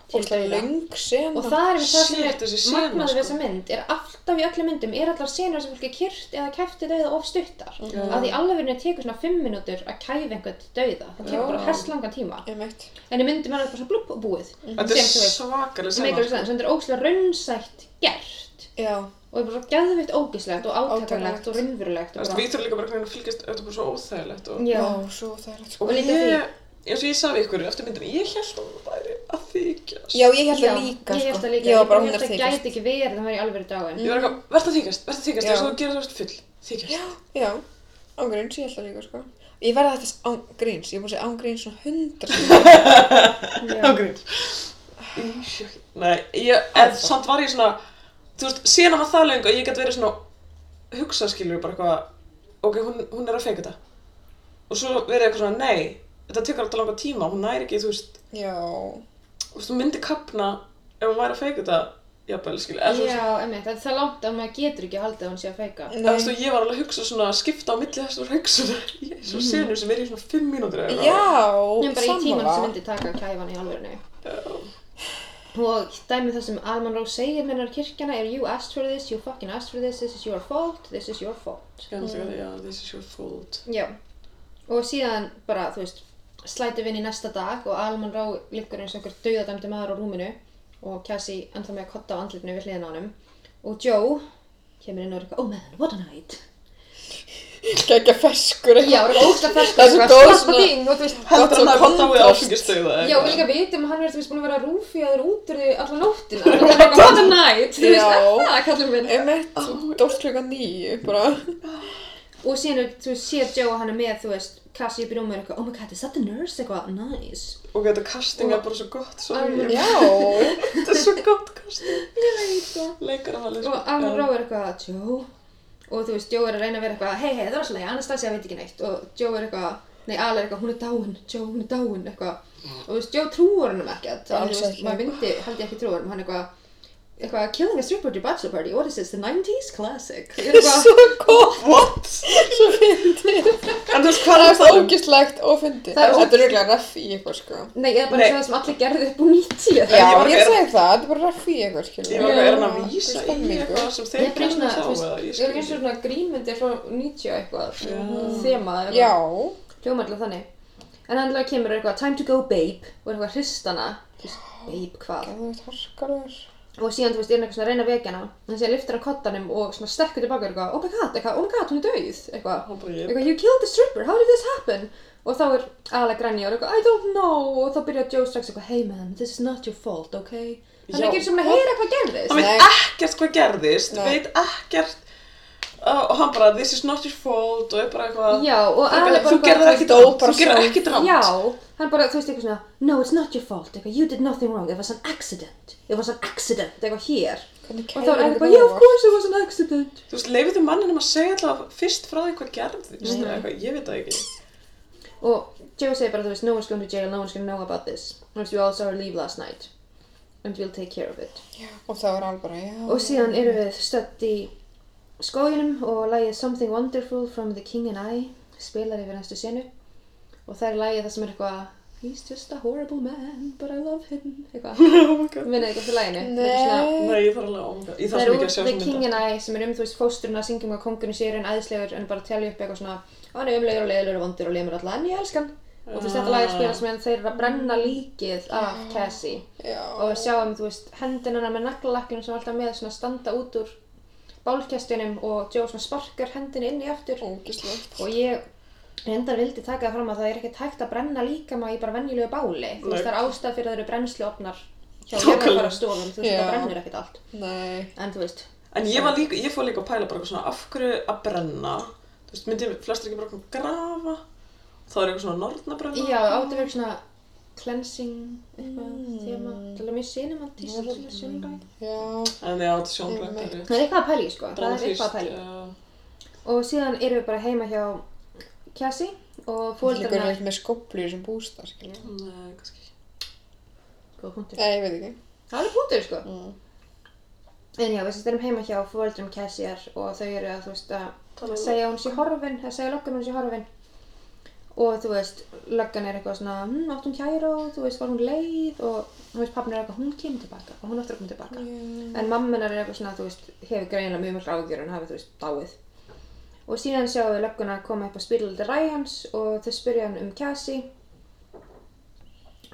til Og það dauða. löng sena. og það er einmitt það Shit, þessi sem sena, er magnaði við sko. þessa mynd er alltaf í öllum myndum er allar senur sem fólki kyrt eða kæfti dauða of stuttar Já. að í alvegurinu tekur svona 5 minútur að kæfi einhvern dauða það tekur bara Já. herslangan tíma Ég meitt. en í myndum er það bara svona blúpp og búið Mhm. Þetta er Sem þú veist. svakalega sem eitthvað sem þetta er ógæslega raunsætt gert Já. og er bara svo geðvitt ógæslegt og átakanlegt Átakanlegt. og raunverulegt og Þú veist, bara- Við þurfum líka bara hvernig að fylgjast, þetta er bara svo óþægilegt og, Já, Ó, svo það er sko. og Og líka ég, eins og ég sagði við ykkur eftir myndina, ég held að hún væri að þykjast. Já, ég held það líka, ég sko. held það líka, Já, ég bara held hún er það þykist. gæti ekki verið, það væri alveg dáin. Mm. Ég var eitthvað, verð að þykjast, verð að þykjast, Já. þess að þú gerir það verið full, þykjast. Já, já. Ángríns, ég held það líka, sko. Ég verði þetta ángríns. Ég er búin að segja ángríns svona hundra sinni. Ágríns. Nei, ég, en samt var ég svona, þú veist, síðan var það lengi að ég gæti verið svona, hugsa skilur bara eitthvað, ok, hún, hún er að feika þetta. Og svo verið eitthvað svona, nei, þetta tekur alltaf langa tíma, hún næri ekki, þú veist, Já. þú veist, hún myndi kapna ef hún væri að feika þetta, jafnvel, skilur, eða þú veist, Já, emmitt, það er það langt að maður getur ekki haldið að hún sé að feika. En þú veist, og ég var alveg að hugsa svona, skipta á milli þessar hugsunar, ég er svo Mhm. senur sem er í svona fimm mínútur eða eitthvað. Já, Nefnum bara í tíman sem myndi taka kæfan í alvörinu. Og dæmið það sem Alman Rós segir með hennar kirkjana er You asked for this, you fucking asked for this, this is your fault, this is your fault. Ég er alltaf að, já, this is your fault. Já. Og síðan bara, þú veist, slætum við inn í næsta dag og Alman Ró liggur eins og einhver dauðadæmdi maður á rúminu og Cassie enda með að kotta á andlitinu við hliðina á honum. Og Joe kemur inn og er eitthvað, oh man, what a night. Gækja ferskur Já, það er ógst að ferska Það er svo sko. góð svona- ding og þú veist Gott Heldur svona hann að kontrast. Það er kontrast. áfengistöða Já, og líka vitum að hann verður þú veist búin að vera rúfi að þeir út úr því alla nóttina og það er bara what a night, þú veist Já. er það, kallum minn Emmett, Um dóst klukka nýju, bara. Og síðan, er- þú veist, sér Joe að hann er með, þú veist, Cassie upp í rúmið eitthvað, oh my god, is that the nurse, eitthvað, nice Og þetta casting er bara svo gott, svo Alveg. ég- Já. þetta er svo gott casting. sko. Ég veit það Leikar að Sko, valið. Og um, Alan Rowe er eitthvað, Joe Og þú veist, Joe er að reyna að vera eitthvað, hei, hei, það er alltaf leið, Anastasia veit ekki neitt Og Joe er eitthvað, nei, Alan er eitthvað, hún er dáin, Joe, hún er dáin, eitthvað Og þú veist, Joe trúar hennum ekkert Alls Þannig, þú veist, Mm. ekki. maður myndi, held ég ekki trúar hennum, hann eitthvað Eitthvað, killing a stripper at your bachelor party, what is this, the 90s classic Ég er eitthvað, Svo góð, What? svo fyndið. En þú veist hvað Það er er svo það um? ógistlegt og fyndið. Það er Þetta er röglega ref í eitthvað, sko. nei, eða bara Nei. eins og það sem allir gerðu upp úr 90 eða Já, ég var ég að- segi það, þetta er bara ref í eitthvað, skilur. Ég var Já. eitthvað, er hann að vísa Þú veist, í sko. eitthvað sem sko. Ég þeir er bara casting svona, sá þú veist, eða ég ég er eins og skil. svona grínmyndir frá 90 og eitthvað Þema eða Já, Hljómarlega þannig. En hann alveg kemur eitthvað, time to go babe, og er eitthvað hristana. Babe hvað? það er harkarlegar. Og síðan, þú veist, er hann eitthvað svona að reyna að vekja hana. En síðan lyftir hann kottanum og svona stekkur tilbaka og er eitthvað, oh my god, eitthvað, oh my god, hún er dauð, eitthvað. Hún bara, ég- Eitthvað, you killed the stripper, how did this happen? Og þá er Alec grænja og er eitthvað, I don't know, og þá byrjar Joe strax eitthvað, hey man, this is not your fault, okay? Hann er Já. ekki eins og með að heyra hvað gerðist. Hann veit Nei. ekkert hvað gerðist, Nei. veit ekkert. Uh, Og hann bara, this is not your fault og er bara eitthvað. Já, og Þú gerðir- Alec Þú bara gerðir eitthvað- ekki dó drátt, bara þú gerðir sjálf. ekki drátt. Já, hann bara, þú veist, eitthvað svona No, it's not your fault, eitthvað, you did nothing wrong It was an accident, it was an accident, eitthvað hér Hvernig Og þá kæður er þetta eitthvað, yeah, of course it was an accident Þú veist, leifið þið manninum að segja alltaf fyrst frá því hvað gerðist, eða eitthvað, ég veit það ekki. Og Joe segir bara, þú veist, no one's going to jail, no one's going to know about this Unless you all saw her leave last night And we'll take care of it Og þá er alveg bara, já. Oh Og síðan erum við stödd í skóginum og lagið Something Wonderful from The King and I spilar yfir næstu senu og það er lagið það sem er eitthvað He's just a horrible man, but I love him eitthvað, Oh my god. minnið ekki eftir laginu Þetta er svona- Nei. Nei, ég þarf alveg, oh my god, ég Það þarf er svo mikið úr að sjá The þessa King mynda. and I sem er um þú veist fósturinn að syngjum að kongurinn sér en æðislegur en bara telja upp eitthvað svona hann er umlegur og leiðilegur og vondur og lemur alla en ég elskan og þú veist þetta lag er spilast meðan þeir eru að brenna líkið af Cassie Já. og við sjáum þú veist hendina hennar með naglalakkinu sem er alltaf með svona standa út úr bálkjastinum og Joe svona sparkar hendinu inn í aftur Ógistlegt. og ég reyndar vildi taka það fram að það er ekkert hægt að brenna líkama í bara venjulegu báli þú veist Nei. það er ástæð fyrir að það eru brennsluofnar hjá Nákvæmlega. jarðarfararstofum, þú veist, Já. það brennur ekkert allt. Nei. En þú veist, En ég var líka, ég fór líka að pæla bara eitthvað svona, af hverju að brenna? Þú veist, myndi flestir ekki bara eitthvað grafa? Það er eitthvað svona nornabrenna? Já, áttu verið svona cleansing eitthvað Mm. þema, það er mjög cinematist til að sjónræk Já, En já, þetta er sjónbrættari. það er eitthvað að pæli sko, það er eitthvað að pæli og síðan erum við bara heima hjá Cassie og líkur hann fólkarnar ekki með skoplu sem bústa, skilja. Nei, kannski ekki. góð punktur Nei, ég veit ekki. Það er alveg punktur sko. Mm. En já, við sem erum heima hjá fóreldrum Cassiar og þau eru að, þú veist, að Tala um- segja að hún sé horfin, að segja löggan að hún sé horfin. Og þú veist, löggan er eitthvað svona, hm, átt hún kæra og þú veist, var hún leið og þú veist, pappin er eitthvað, hún kemur tilbaka og hún aftur að koma tilbaka. Mm. En mamminar er eitthvað svona, þú veist, hefur greinilega mjög mjög ágjör en hafi, þú veist, dáið. Og síðan sjáum við lögguna koma upp á spyrjaldi Ryans og þau spyrja hann um Cassie. Og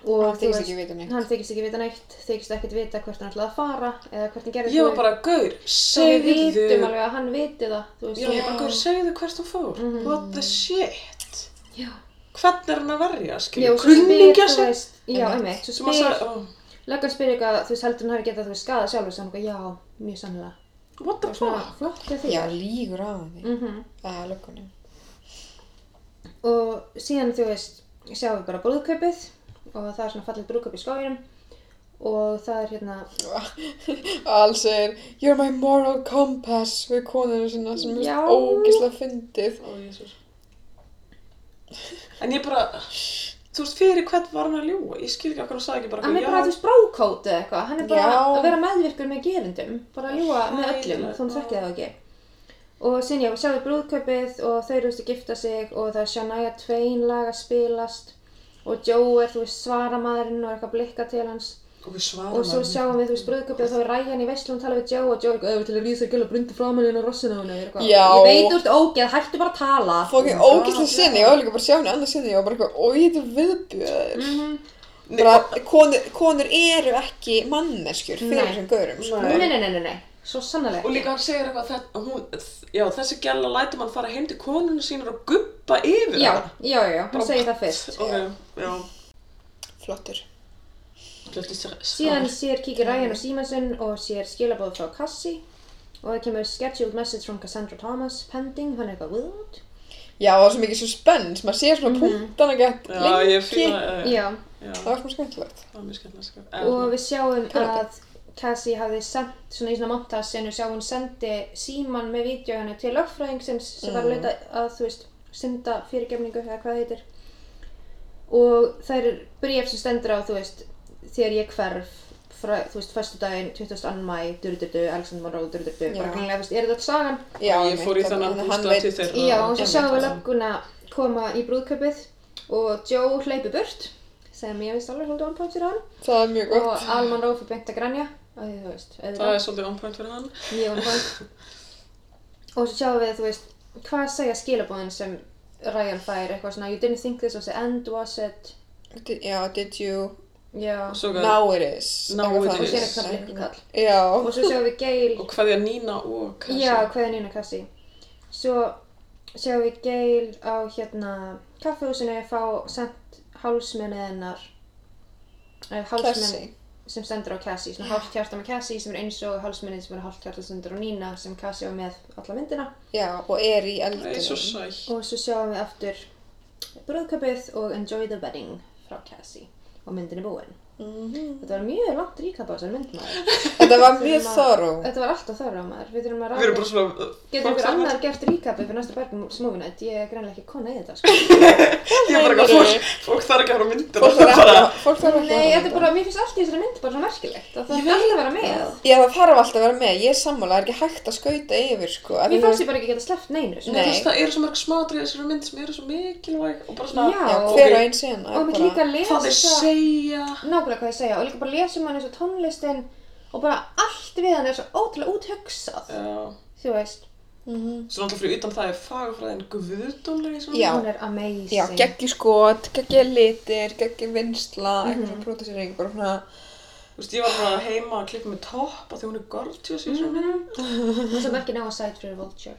Hann þú þykist veist- ekki vita neitt. Hann þykist ekki vita neitt, þykist ekkert vita hvert hann ætlaði að fara eða hvert hann gerði Ég var bara, gaur, Svo við segðu. vitum alveg að hann viti það, þú veist. Já, ég bara, gaur, segðu hvert þú fór. Mhm. What the shit? Já. Hvernig er hann að verja, Já, skilja? og svo spyr, Kunningja þú sig? veist, já, einmitt, svo Sem að sagði, spyr, oh, löggan spyr eitthvað, þú veist, heldur hann hafi getað þú veist skadað sjálfur, svo hann eitthvað, já, mjög sannlega. what the Og svona, fuck? flott hjá því. Já, líkur á því. Mm Það er löggunni. Og síðan, þú veist, sjáum við bara brúðkaupið og það er svona fallið brúðkaup í skóginum og það er hérna, Alls er, you're my moral compass við konuna sinna sem Já. er ógislega fyndið. Ó, Jesús. Oh, En ég bara, þú veist, fyrir hvern var hann að ljúa? Ég skil ekki okkur að sagði ekki bara, hann er já, bara, þú veist, brókót eða eitthvað, hann er bara Já. að vera meðvirkur með gefendum, bara að ljúa með öllum, Hræðilegt. þó hann þekkja það ekki. Og síðan já, við sjáum brúðkaupið og þau eru þú veist að gifta sig og það er Shania Twain lag að spilast og Joe er, þú veist, svaramaðurinn og er eitthvað að blikka til hans. og við svarum Og svo sjáum við, þú veist, brúðkaupið og þá er Ryan í veislu og tala við Joe og Joe er eitthvað öður til að rísa að gjöla brundi frá manni inn á rossinu á henni og er eitthvað. Já. Ég veit þú ert ógeð, hættu bara að tala. Fokkin Oh ógislega sinni, ég var líka bara að sjá henni annars sinni, ég var bara eitthvað, og ég þetta viðbjöður. Mhm. Mm. Bara, konur, konur eru ekki manneskjur fyrir Nei. þessum gaurum, sko. Nei. Nei, nei, nei, nei, nei, svo sannlega. Og líka hann segir eitthvað að þetta- hún, já, þessi gæla lætur mann fara heim til konunum sínur og guppa yfir Já, hana. já, já, já, hann segir það fyrst. Ok, já. Flottur. Fljótt í sér- Síðan sér kíkir Ryan og Simonsen og sér skilabóð frá Cassie og það kemur scheduled message from Cassandra Thomas pending, hann er eitthvað what? Já, það var svo mikið svo spens, maður sér Mhm. svona mm -hmm. punktana gett Já, ég fýla, já, Já, já, Það var svona skemmtilegt. það var mjög sko. skemmt að og skrifa. við sjáum Pirate. að Cassie hafði sendt svona í svona montasinu, sjáum hún sendi Simon með vídeo henni til lögfræðingsins sem var að leita að, þú veist, synda fyrirgemningu eða hvað það heitir og það er bréf sem stendur á, þú veist, þegar ég hverf frá, þú veist, föstudaginn, 22. mæ, durdudu, Alexander Monroe, durdudu, bara Já. grunlega, þú veist, er þetta sagan? Já, Ég fór í einmitt, þennan hann- hann bústa veit- til þeirra. Já, og svo Einmitt. sjáum við lögguna koma í brúðkaupið og Joe hleypi burt sem ég veist alveg svolítið onpáttir á hann Það er mjög gott. og Alman Rófi beint að grænja af því þú veist, Það er auðvitað, svolítið on point fyrir hann. mjög onpátt sko- og svo sjáum við, þú veist, hvað segja skilabóðin sem Ryan fær eitthvað svona You didn't think this was the end, was it? Did, já, did you... Já, Og svo gæ- Now it is. Now Eitthvað it þannig. is. og sér eitthvað blikkukall Já. og svo sjáum við Gail Og hvað er Nína og Kassi? Já, hvað er Nina Kassi? Svo sjáum við Gail á hérna kaffehúsinu fá sent hálsmennið hennar eh, hálsmenn Kassi. sem stendur á Cassie, svona hálft hjarta með Cassie sem er eins og hálsmennið sem er hálft hjarta stendur á Nina sem Cassie var með alla myndina Já, og er í Það er svo eldunum. sæl. og svo sjáum við aftur brúðkaupið og Enjoy the Wedding frá Cassie og myndin er búin Mhm. Þetta var mjög langt ríkap á þessar myndmaður Þetta var mjög Þurfum að- þorru. Þetta var alltaf þar á maður, við þurfum að Við erum bara svona... Getur ykkur annar gert ríkapið fyrir næsta bergum smófinætt? Ég er greinlega ekki kona í þetta, sko. Ég er bara Nei, eitthvað, nei, fólk, fólk þarf ekki að hafa myndir. Fólk þarf ekki að- fólk þarf ekki að... Nei, þetta er bara, mér finnst allt í þessari mynd bara svona merkilegt. Það þarf alltaf að vera með. Já, það þarf alltaf að vera með. Ég er sammála, það er ekki hægt að skauta yfir, sko. af því þú Mér fannst veist- ég bara ekki geta sleppt neinu, sko. Þú Nei. veist, það eru svo mörg smáatriði í þessari mynd sem eru svo mikilvæg og bara svona... Já. Já, ok. hver og einn sena. Og mér líka að lesa Hvað þeir segja... nákvæmlega hvað ég segja og líka bara lesa um hann eins og tónlistin og bara allt við hann er svo ótrúlega úthugsað, Já. þú veist. Mhm. Svo náttúrulega fyrir utan það er fagfræðin guðdómlega í svona Já. Hún er amazing. Já, geggi skot, geggi litir, geggi vinsla, Mhm. eitthvað svona prótisering, bara svona... Þú veist, ég var bara heima að klippa með topp af því hún er gorgeous í svona mm. Hún sem ekki ná að sæt fyrir Vulture.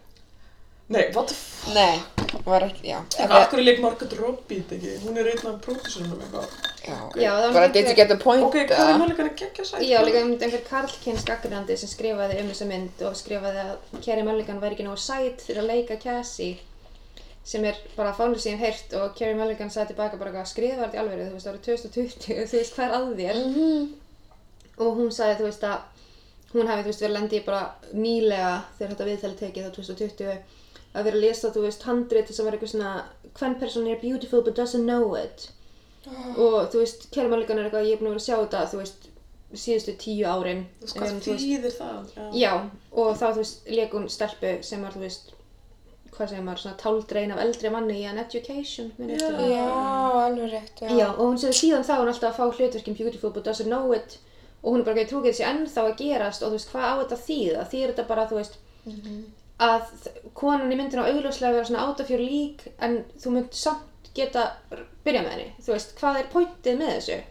Nei, what the fuck? Nei, var ekki, já. En af hverju leik Margaret Robbie þetta ekki? Hún er einn af pródúsunum eitthvað. Já, Já, það var bara miklu- did you get the point? Ok, hvað er mörgulega að gegja sætt? Já, líka um einhver Karlkins gaggrinandi sem skrifaði um þessa mynd og skrifaði að Kerry Mulligan væri ekki nógu sæt fyrir að leika Cassie. sem er bara fánu síðan heyrt og Kerry Mulligan sagði tilbaka bara eitthvað skrifa þetta í alveg, þú veist, það var 2020 þú veist, hvað er að þér og hún sagði, þú veist, að hún hafi, þú veist, verið lendi bara nýlega þegar þetta viðtali tekið þá 2020 að vera að lesa, þú veist, handrit sem var eitthvað svona, hvern person er beautiful but doesn't know it og þú veist, Kerry Mulligan er eitthvað, ég er búin að vera að sjá þetta, þú veist, síðustu tíu árin Hvað En, þú veist, þýðir það? Já, og þá, þú veist, leik hún stelpu sem var, þú veist, hvað segir maður, svona táldrein af eldri manni í an education, minn Já. eftir. Já, alveg rétt, já. Já, og hún segir síðan þá er hún alltaf að fá hlutverkin beautiful but doesn't know it og hún er bara ekki trúkið þessi ennþá að gerast og þú veist, hvað á þetta að þýða? Þýðir þetta bara, þú veist, Mhm. að þ- konan í myndinu á augljóslega vera svona átafjör lík en þú mynd samt geta r- byrja með henni, þú veist, hvað er pointið með þessu?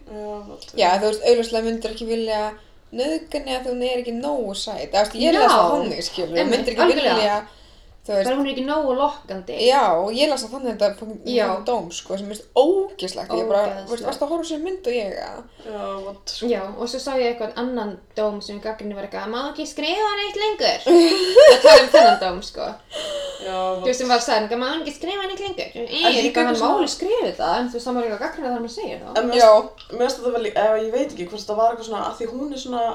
Já, þú veist, auðvitað myndir ekki vilja nöðgunni að hún er ekki nógu sæt. Það veist, ég Já. las það þannig, skilur. Þú Einmitt, myndir ekki algjörlega. vilja, þú Bara veist, hún er ekki nógu lokkandi. já, og ég las það þannig að þetta fók Já. mjög dóm, sko, sem er ógislegt. Ég bara, Ógeðslegt. þú veist, varst að horfa á sér mynd og ég, að? Já, vant sko. Já, og svo sá ég eitthvað annan dóm sem í gaggrinni var eitthvað, má ekki skrifa neitt lengur. Það tala um þennan dóm, sko. Já, Þú veist, sem var sagði eitthvað, má ekki skrifa neitt lengur. Ég líka er eitthvað, hann eitthvað máli skrifið það, en þú veist, hann var eitthvað gaggrinni þar hann segir það. En mér Já. finnst- mér finnst þetta vel, eða ég veit ekki hvort þetta var eitthvað svona, að því hún er svona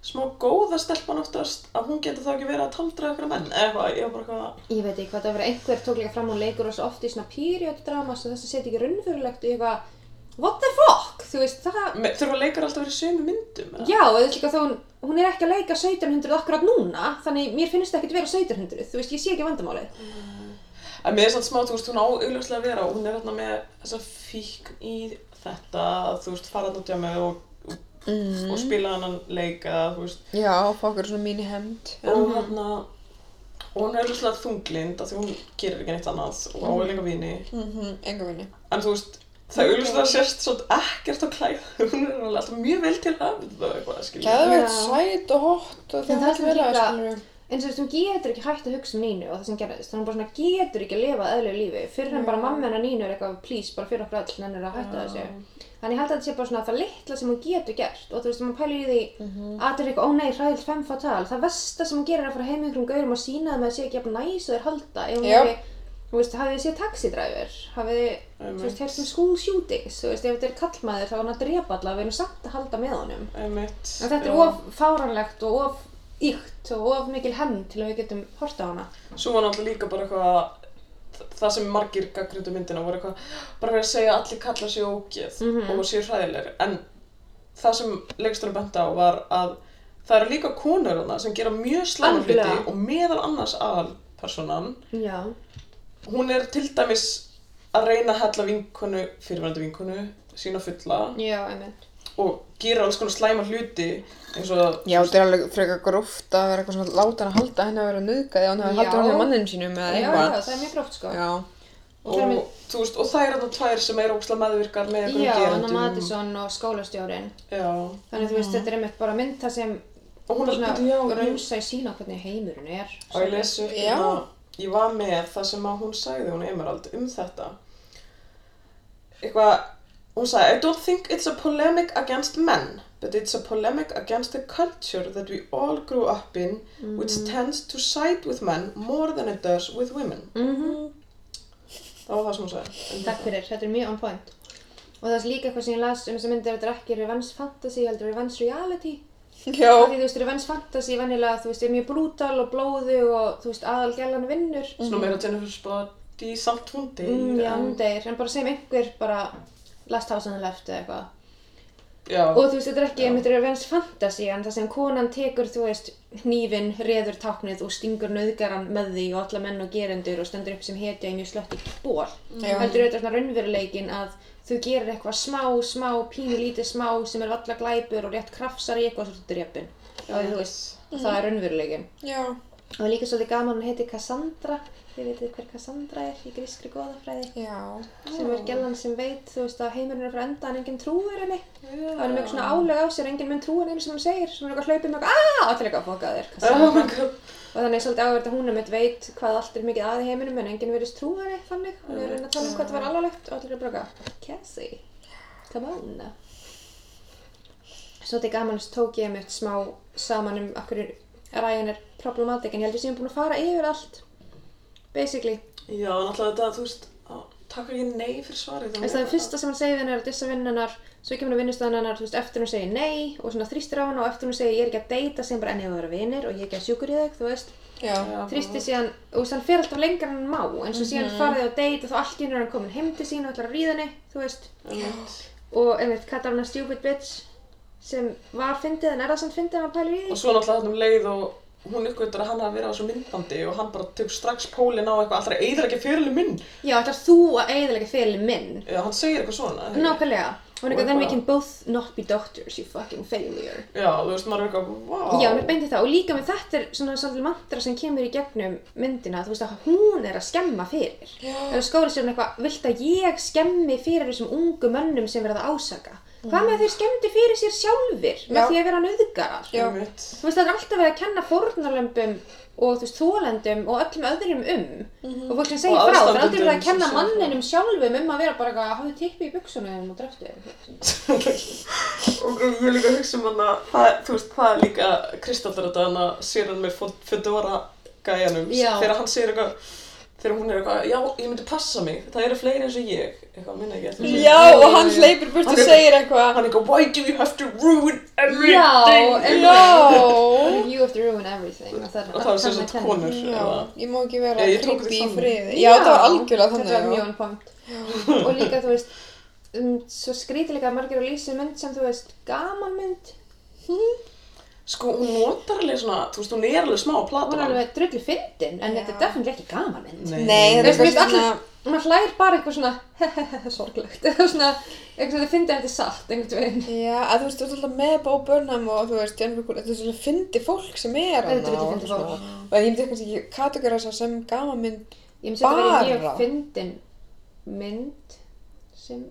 smá góða stelpan oftast, að hún getur þá ekki verið að taldra ykkur menn, eða eitthvað, ég var bara eitthvað, Ég veit ekki hvað það var, einhver tók líka fram og leikur og svo oft í svona period drama, svo þess að setja ekki raunverulegt og ég eitthvað, what the fuck, þú veist, það... Me- þurfa leikar alltaf að vera í sömu myndum, eða? Já, og þú veist líka þá hún, hún er ekki að leika 1700 akkurat núna, þannig mér finnst ekkert vera 1700, þú veist, ég sé ekki vandamálið. En mér er svona smá, þú veist, hún á augljóslega að vera og hún er hérna með þessa fíkn í þetta, að þú veist, fara þarna út hjá mig og, Mm. og spila hann leika, þú veist, Já, fá okkur svona mínu hemd. Mhm. og hérna, og hún er augljóslega þunglind af því hún gerir ekki neitt annað og á er lengur vini, Mhm, enga vinni. en þú veist, það augljóslega sérst svolítið ekkert á klæða, hún er alveg alltaf mjög vel til hafð og eitthvað, skiljið. Geðveikt Já. sæt og hott og En það það er sem vel að líka- skilur. eins og þú veist, hún getur ekki hægt að hugsa um Nínu og það sem gerðist, þannig bara svona getur ekki að lifa eðlilegu lífi, fyrir hann bara mamma hennar Nínu er eitthvað please, bara fyrir okkur all, hennar að hætta þessu þannig ég held að þetta sé bara svona það litla sem hún getur gert og þú veist, ef maður pælir í því að þetta er eitthvað, ó nei, hræðilt fem fatal það versta sem hún gerir er að fara heim einhverjum gaurum og sína þeim að það sé ekki jafn næs og þeir halda ef hún Já. hefði, þú veist, hafið þið séð taxidræfur hafið þið, þú veist, heyrt um school shootings þú veist, ef þetta er kallmaður þá er hann að drepa alla við erum samt að halda með honum Einmitt. En þetta er Já. of fáranlegt og of ykt og of mikil hemmt til að við getum horta á hana. Svo var náttúrulega líka bara eitthvað það sem margir gaggrindu myndina voru eitthvað bara verið að segja að allir kallar sér ógeð Mhm. og séu hræðilegir en það sem leiksturinn bent á var að það eru líka konur hana sem gera mjög slæma hluti Algjörlega. og meðal annars aðalpersonan Já. hún er til dæmis að reyna að hella vinkonu, fyrirvændi vinkonu sína fulla Já, einmitt. og gera alls konar slæma hluti eins og Já, þetta er alveg frekar gróft að vera eitthvað svona láta hann að halda henni að vera nöðgæði og hann hafi Já. haldið hann í manninu sínum Já, eða já, eitthvað. það er mjög gróft sko. Já, Og það er mjög... og, þú veist, og það er þarna tvær sem er ókslega meðvirkar með Já, einhverjum Anna Madison og skólastjórin. Já. Þannig að þú veist, þetta er einmitt bara mynd það sem og hún er bíddu, já, ég- raunsa í sína hvernig heimurinn er. Og ég lesu upp Já. hérna, ég var með það sem að hún sagði, hún Emerald, um þetta. Eitthvað, hún sagði, I don't think it's a polemic against men, but it's a polemic against the culture that we all grew up in, Mm-hmm. which tends to side with men more than it does with women. Mhm. Það var það sem hún sagði. um Takk fyrir, þetta er mjög on point. Og það er líka eitthvað sem ég las um þess að myndir að þetta er ekki revenge fantasy, heldur revenge reality. já, Af því þú veist, revenge fantasy venjulega, þú veist, er mjög brútal og blóðu og þú veist, aðalgjallan vinnur. þetta. Svona meira Jennifer's body, samt hún deyr. Mm, já, en- hún deyr, en bara segjum einhver bara last house on the left eða eitthvað. Já. Og þú veist, þetta er ekki, einmitt er revenge fantasy, en það sem konan tekur, þú veist, hnífin, reður táknið og stingur nöðgaran með því og alla menn og gerendur og stendur upp sem hetja í mjög slötti ból. Já. Heldur auðvitað svona raunveruleikin að þú gerir eitthvað smá, smá, pínu lítið smá sem er valla glæpur og rétt krafsar í eitthvað svolítið drefin. Og þú veist, það er raunveruleikin. já. Mhm. Og líka svolítið gaman, hún heiti Cassandra, þið veitir hver Cassandra er í grískri goðafræði, Já, sem er gellan sem veit, þú veist, að heimurinn er frá enda en enginn trúir henni. Já. Það er með eitthvað svona álög á sér, enginn mun trúir henni sem hún segir, sem er eitthvað "Ah!" hlaupið með eitthvað, aaaah, allir eitthvað að foka þér, Oh Cassandra. my god. og þannig er svolítið áverð að hún er mitt veit hvað allt er mikið að í heiminum en enginn verðist trúa henni þannig. Hún er að reyna að tala um hvað það var alvarlegt og allir er bara eitthvað, Cassie, come on. Svo þetta er gaman, svo tók ég mitt smá saman um okkur ræðin er problematik en ég held við séum búin að fara yfir allt. basically. Já, náttúrulega þetta, þú veist, á- takk ekki nei fyrir svarið. Þú veist, Það er fyrsta sem hann segir við hennar er að dissa vinnunar, svo kemur hann vinnustöðunar, þú veist, eftir hún segir nei og svona þrýstir á hann og eftir hún segir ég er ekki að deyta sem bara enni að vera vinir og ég er ekki að sjúkur í þig, þú veist. Já. Þrýstir síðan, þú veist, hann fer alltaf lengra en hann má, eins og síðan farið á deyta þá allt í hennar hann komin heim til sín og ætlar að ríða henni, þú veist. Og einmitt kallar hann að stupid bitch sem var fyndið en er það samt fyndið ef hann pælir í Og því. svo náttúrulega þarna um leið og hún uppgötur að hann hafi verið á þessu myndbandi og hann bara tök strax pólinn á eitthvað allra eðalega fyrirli minn. Já, ætlar þú að eiðilega fyrir minn? Eða hann segir eitthvað svona. eða ekki? Nákvæmlega. Og hún Og er eitthvað, then we eitthvað- can both not be doctors, you fucking failure. Já, þú veist, maður er eitthvað, wow. Já, hún er beintið það. Og líka með þetta er svona svolítið mantra sem kemur í gegnum myndina, þú veist að hún er að skemma fyrir. Já. Þegar skóla sér hún eitthvað, vilt að ég skemmi fyrir þessum ungu mönnum sem verða að ásaka? Hvað með að þeir skemmdi fyrir sér sjálfir með Já. því að vera nöðgarar? Já. Einmitt. Þú veist, það er alltaf verið að kenna fórnarlömbum og þú veist, þólendum og öllum öðrum um Mhm. og fólk sem segir Og frá, það er aldrei aðstandendum verið að kenna sem segja frá. manninum sjálfum um að vera bara eitthvað, hafðu tippi í buksunum og dreftu þér. og ég er líka að hugsa um hann að það, þú veist, það er líka kristallar þetta hann að sér hann með Fod- Fedora gæjanum Já. þegar hann segir eitthvað þegar hún er eitthvað, já, ég myndi passa mig það eru fleiri eins og ég, eitthvað minna ekki eftir þessu. Já, og hann hleypur burt og Hann er- segir eitthvað. hann er eitthvað, why do you have to ruin everything Já, en- Já. You have to ruin everything. Og það og það er sem þarna sagt kenna. konur Já, eða, ég má ekki vera Ég- ég tók creepy því í þannig. friði. Já, það var algjörlega þannig. Þetta var já. mjög on point. og líka, þú veist, um, svo skrítið líka að margir og lýsi mynd sem, þú veist, gaman mynd. sko, hún notar alveg svona, þú veist, hún er alveg smá að Hún er plata alveg drullu fyndin, en þetta er definitely ekki gaman mynd. Nei, Þú þetta er veist, eitthvað mér finnst svona... allir, maður hlægir bara eitthvað svona sorglegt, eitthvað svona, eitthvað svona, þið fyndið að þetta er satt einhvern veginn. Já, að þú veist, þú ert alltaf með Bó Burnham og þú veist, Jennifer Coolidge, þetta er svolítið fyndi fólk sem er hana. Þetta er og fyndið svona. fólk. Og ég myndi kannski ekki kategóra þess sem gama mynd. Ég myndi að þetta verið Bara? mjög fyndin mynd sem,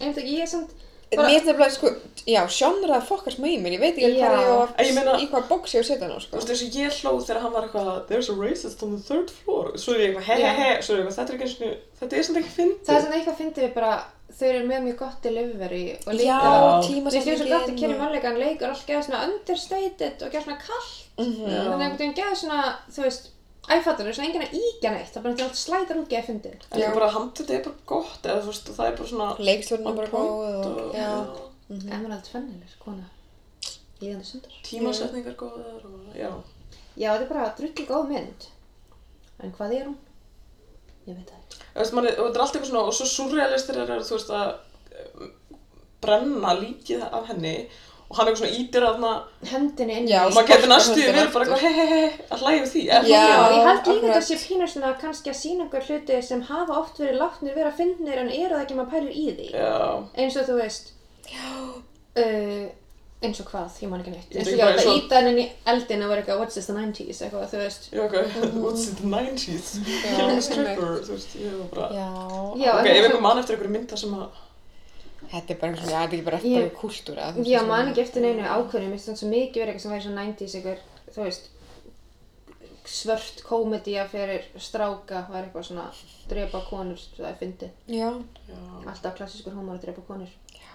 einmitt ekki, ég er samt, Mér Bara- finnst þetta bara, sko, já, sjónra fokkar smá í mér, ég veit ekki Já. hvað ég á að, En ég meina- í hvað bóks ég á að setja hana, á, Þú sko. veist eins og ég hlóð þegar hann var eitthvað There's a racist on the third floor Svo er ég eitthvað he he he Svo er ég eitthvað þetta er ekki einu sinni- Þetta er sem ekki fyndið það er svona eitthvað fyndið við bara, þau eru með mjög gott delivery og Já, líka, mér tímasetningin. finnst svo gott að kynna mannleika, hann leikur alltaf geða svona understated og geða svona kallt, Mhm. þannig að einhvern veginn geða svona, þú veist, æfattur, svona enginn að íkja neitt, það er bara alltaf slætar út geða fyndið. En Já. bara handtöð er bara gott eða þú veist það er bara svona Leikstjórn er bara góð point og, já. Emerald Fennilir, kona, líðandi sundar. tímasetningar góðar og já. Já, þetta er bara drullu góð mynd. En hvað er hún? Ég veit það ekki. Þú Veist, manni, og þetta er allt eitthvað svona og svo surrealistir er þú veist að um, brenna líkið af henni og hann er eitthvað svona ítir að hana Hendinni inn í Já, og því. maður getur næstu Sparkar verið höndin bara eitthvað he he he he að hlæja við því er, Já. Já, ég held líka akkurat. þessi pínur svona kannski að sína einhver hluti sem hafa oft verið látnir vera fyndnir en eru það ekki maður pælir í því. já. Eins og þú veist, uh, eins og hvað, ég man ekki neitt. Ég Eins veit og ég bara var eins að og- íta henni inn í eldin og vera eitthvað, what's this the 90s, eitthvað, þú veist. Já, ok, what's in the 90s? Já, Young einmitt. stripper, þú veist, ég var bara... Já. Já, Ok, en ef þú- einhver mann eftir einhverju mynda sem að... Þetta er bara, já, þetta er ekki bara Ég- eftir kultúra. þú veist, Já, það man sem- ekki eftir neinu ákveðinu, mér finnst þannig svo mikið verið eitthvað sem væri svona 90s ykkur, þú veist, svört komedía fyrir stráka, var eitthvað svona drepa konur, það er fyndið. Já. Já, Alltaf klassískur hómar að drepa konur. Já.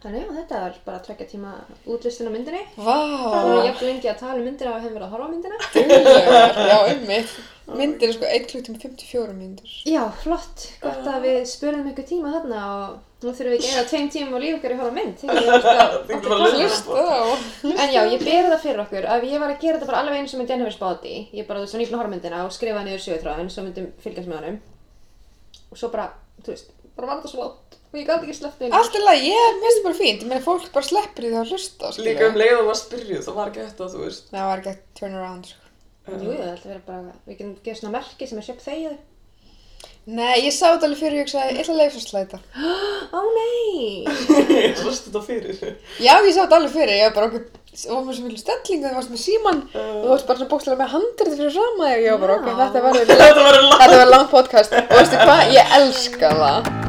Þannig já, þetta er bara að tvekja tíma útlistin á myndinni. Það Vá. er jafn lengi að tala um myndina og hefum verið að horfa á myndina. Duglegar, já, einmitt. Myndir er sko 1 klukkutíma 54 myndir. Já, flott, gott að við spurðum ykkur tíma þarna og nú þurfum við ekki eða tveim tímum á líf okkar í að horfa á mynd. Þegar við Þið erum getum bara að alltaf lesa það. Vá. En já, ég ber það fyrir okkur að ég var að gera þetta bara alveg eins og með Jennifer's Body. Ég bara, þú veist, var nýfn að horfa á myndina og skrifa niður sögutráðin, svo myndum fylgjast með honum. Og svo bara, þú veist, bara var þetta svo látt og ég gæti ekki sleppt neina. Allt er lagi, ég mér finnst það bara fínt, ég meina fólk bara sleppir því það að hlusta, skilja. Líka um leið og var spyrjuð, það var ekki þetta, þú veist. Það var ekki að turn around, sko. Jú, það ætla að vera bara, við getum gefa svona merki sem er sjöpp þegið. Nei, ég sá þetta alveg fyrir og ég hugsaði, ég ætla að leifa svo slæta. Ó nei! Ég varst þetta fyrir. Já, ég sá þetta alveg fyrir, ég var bara okkur, það var svo miklu stelling, það varst með síman, og þú varst bara svona bókslega með handrið fyrir fram að ég var bara Já. okkur, þetta verður, Þetta var langt. þetta var langt podcast, og veistu hvað, ég elska það.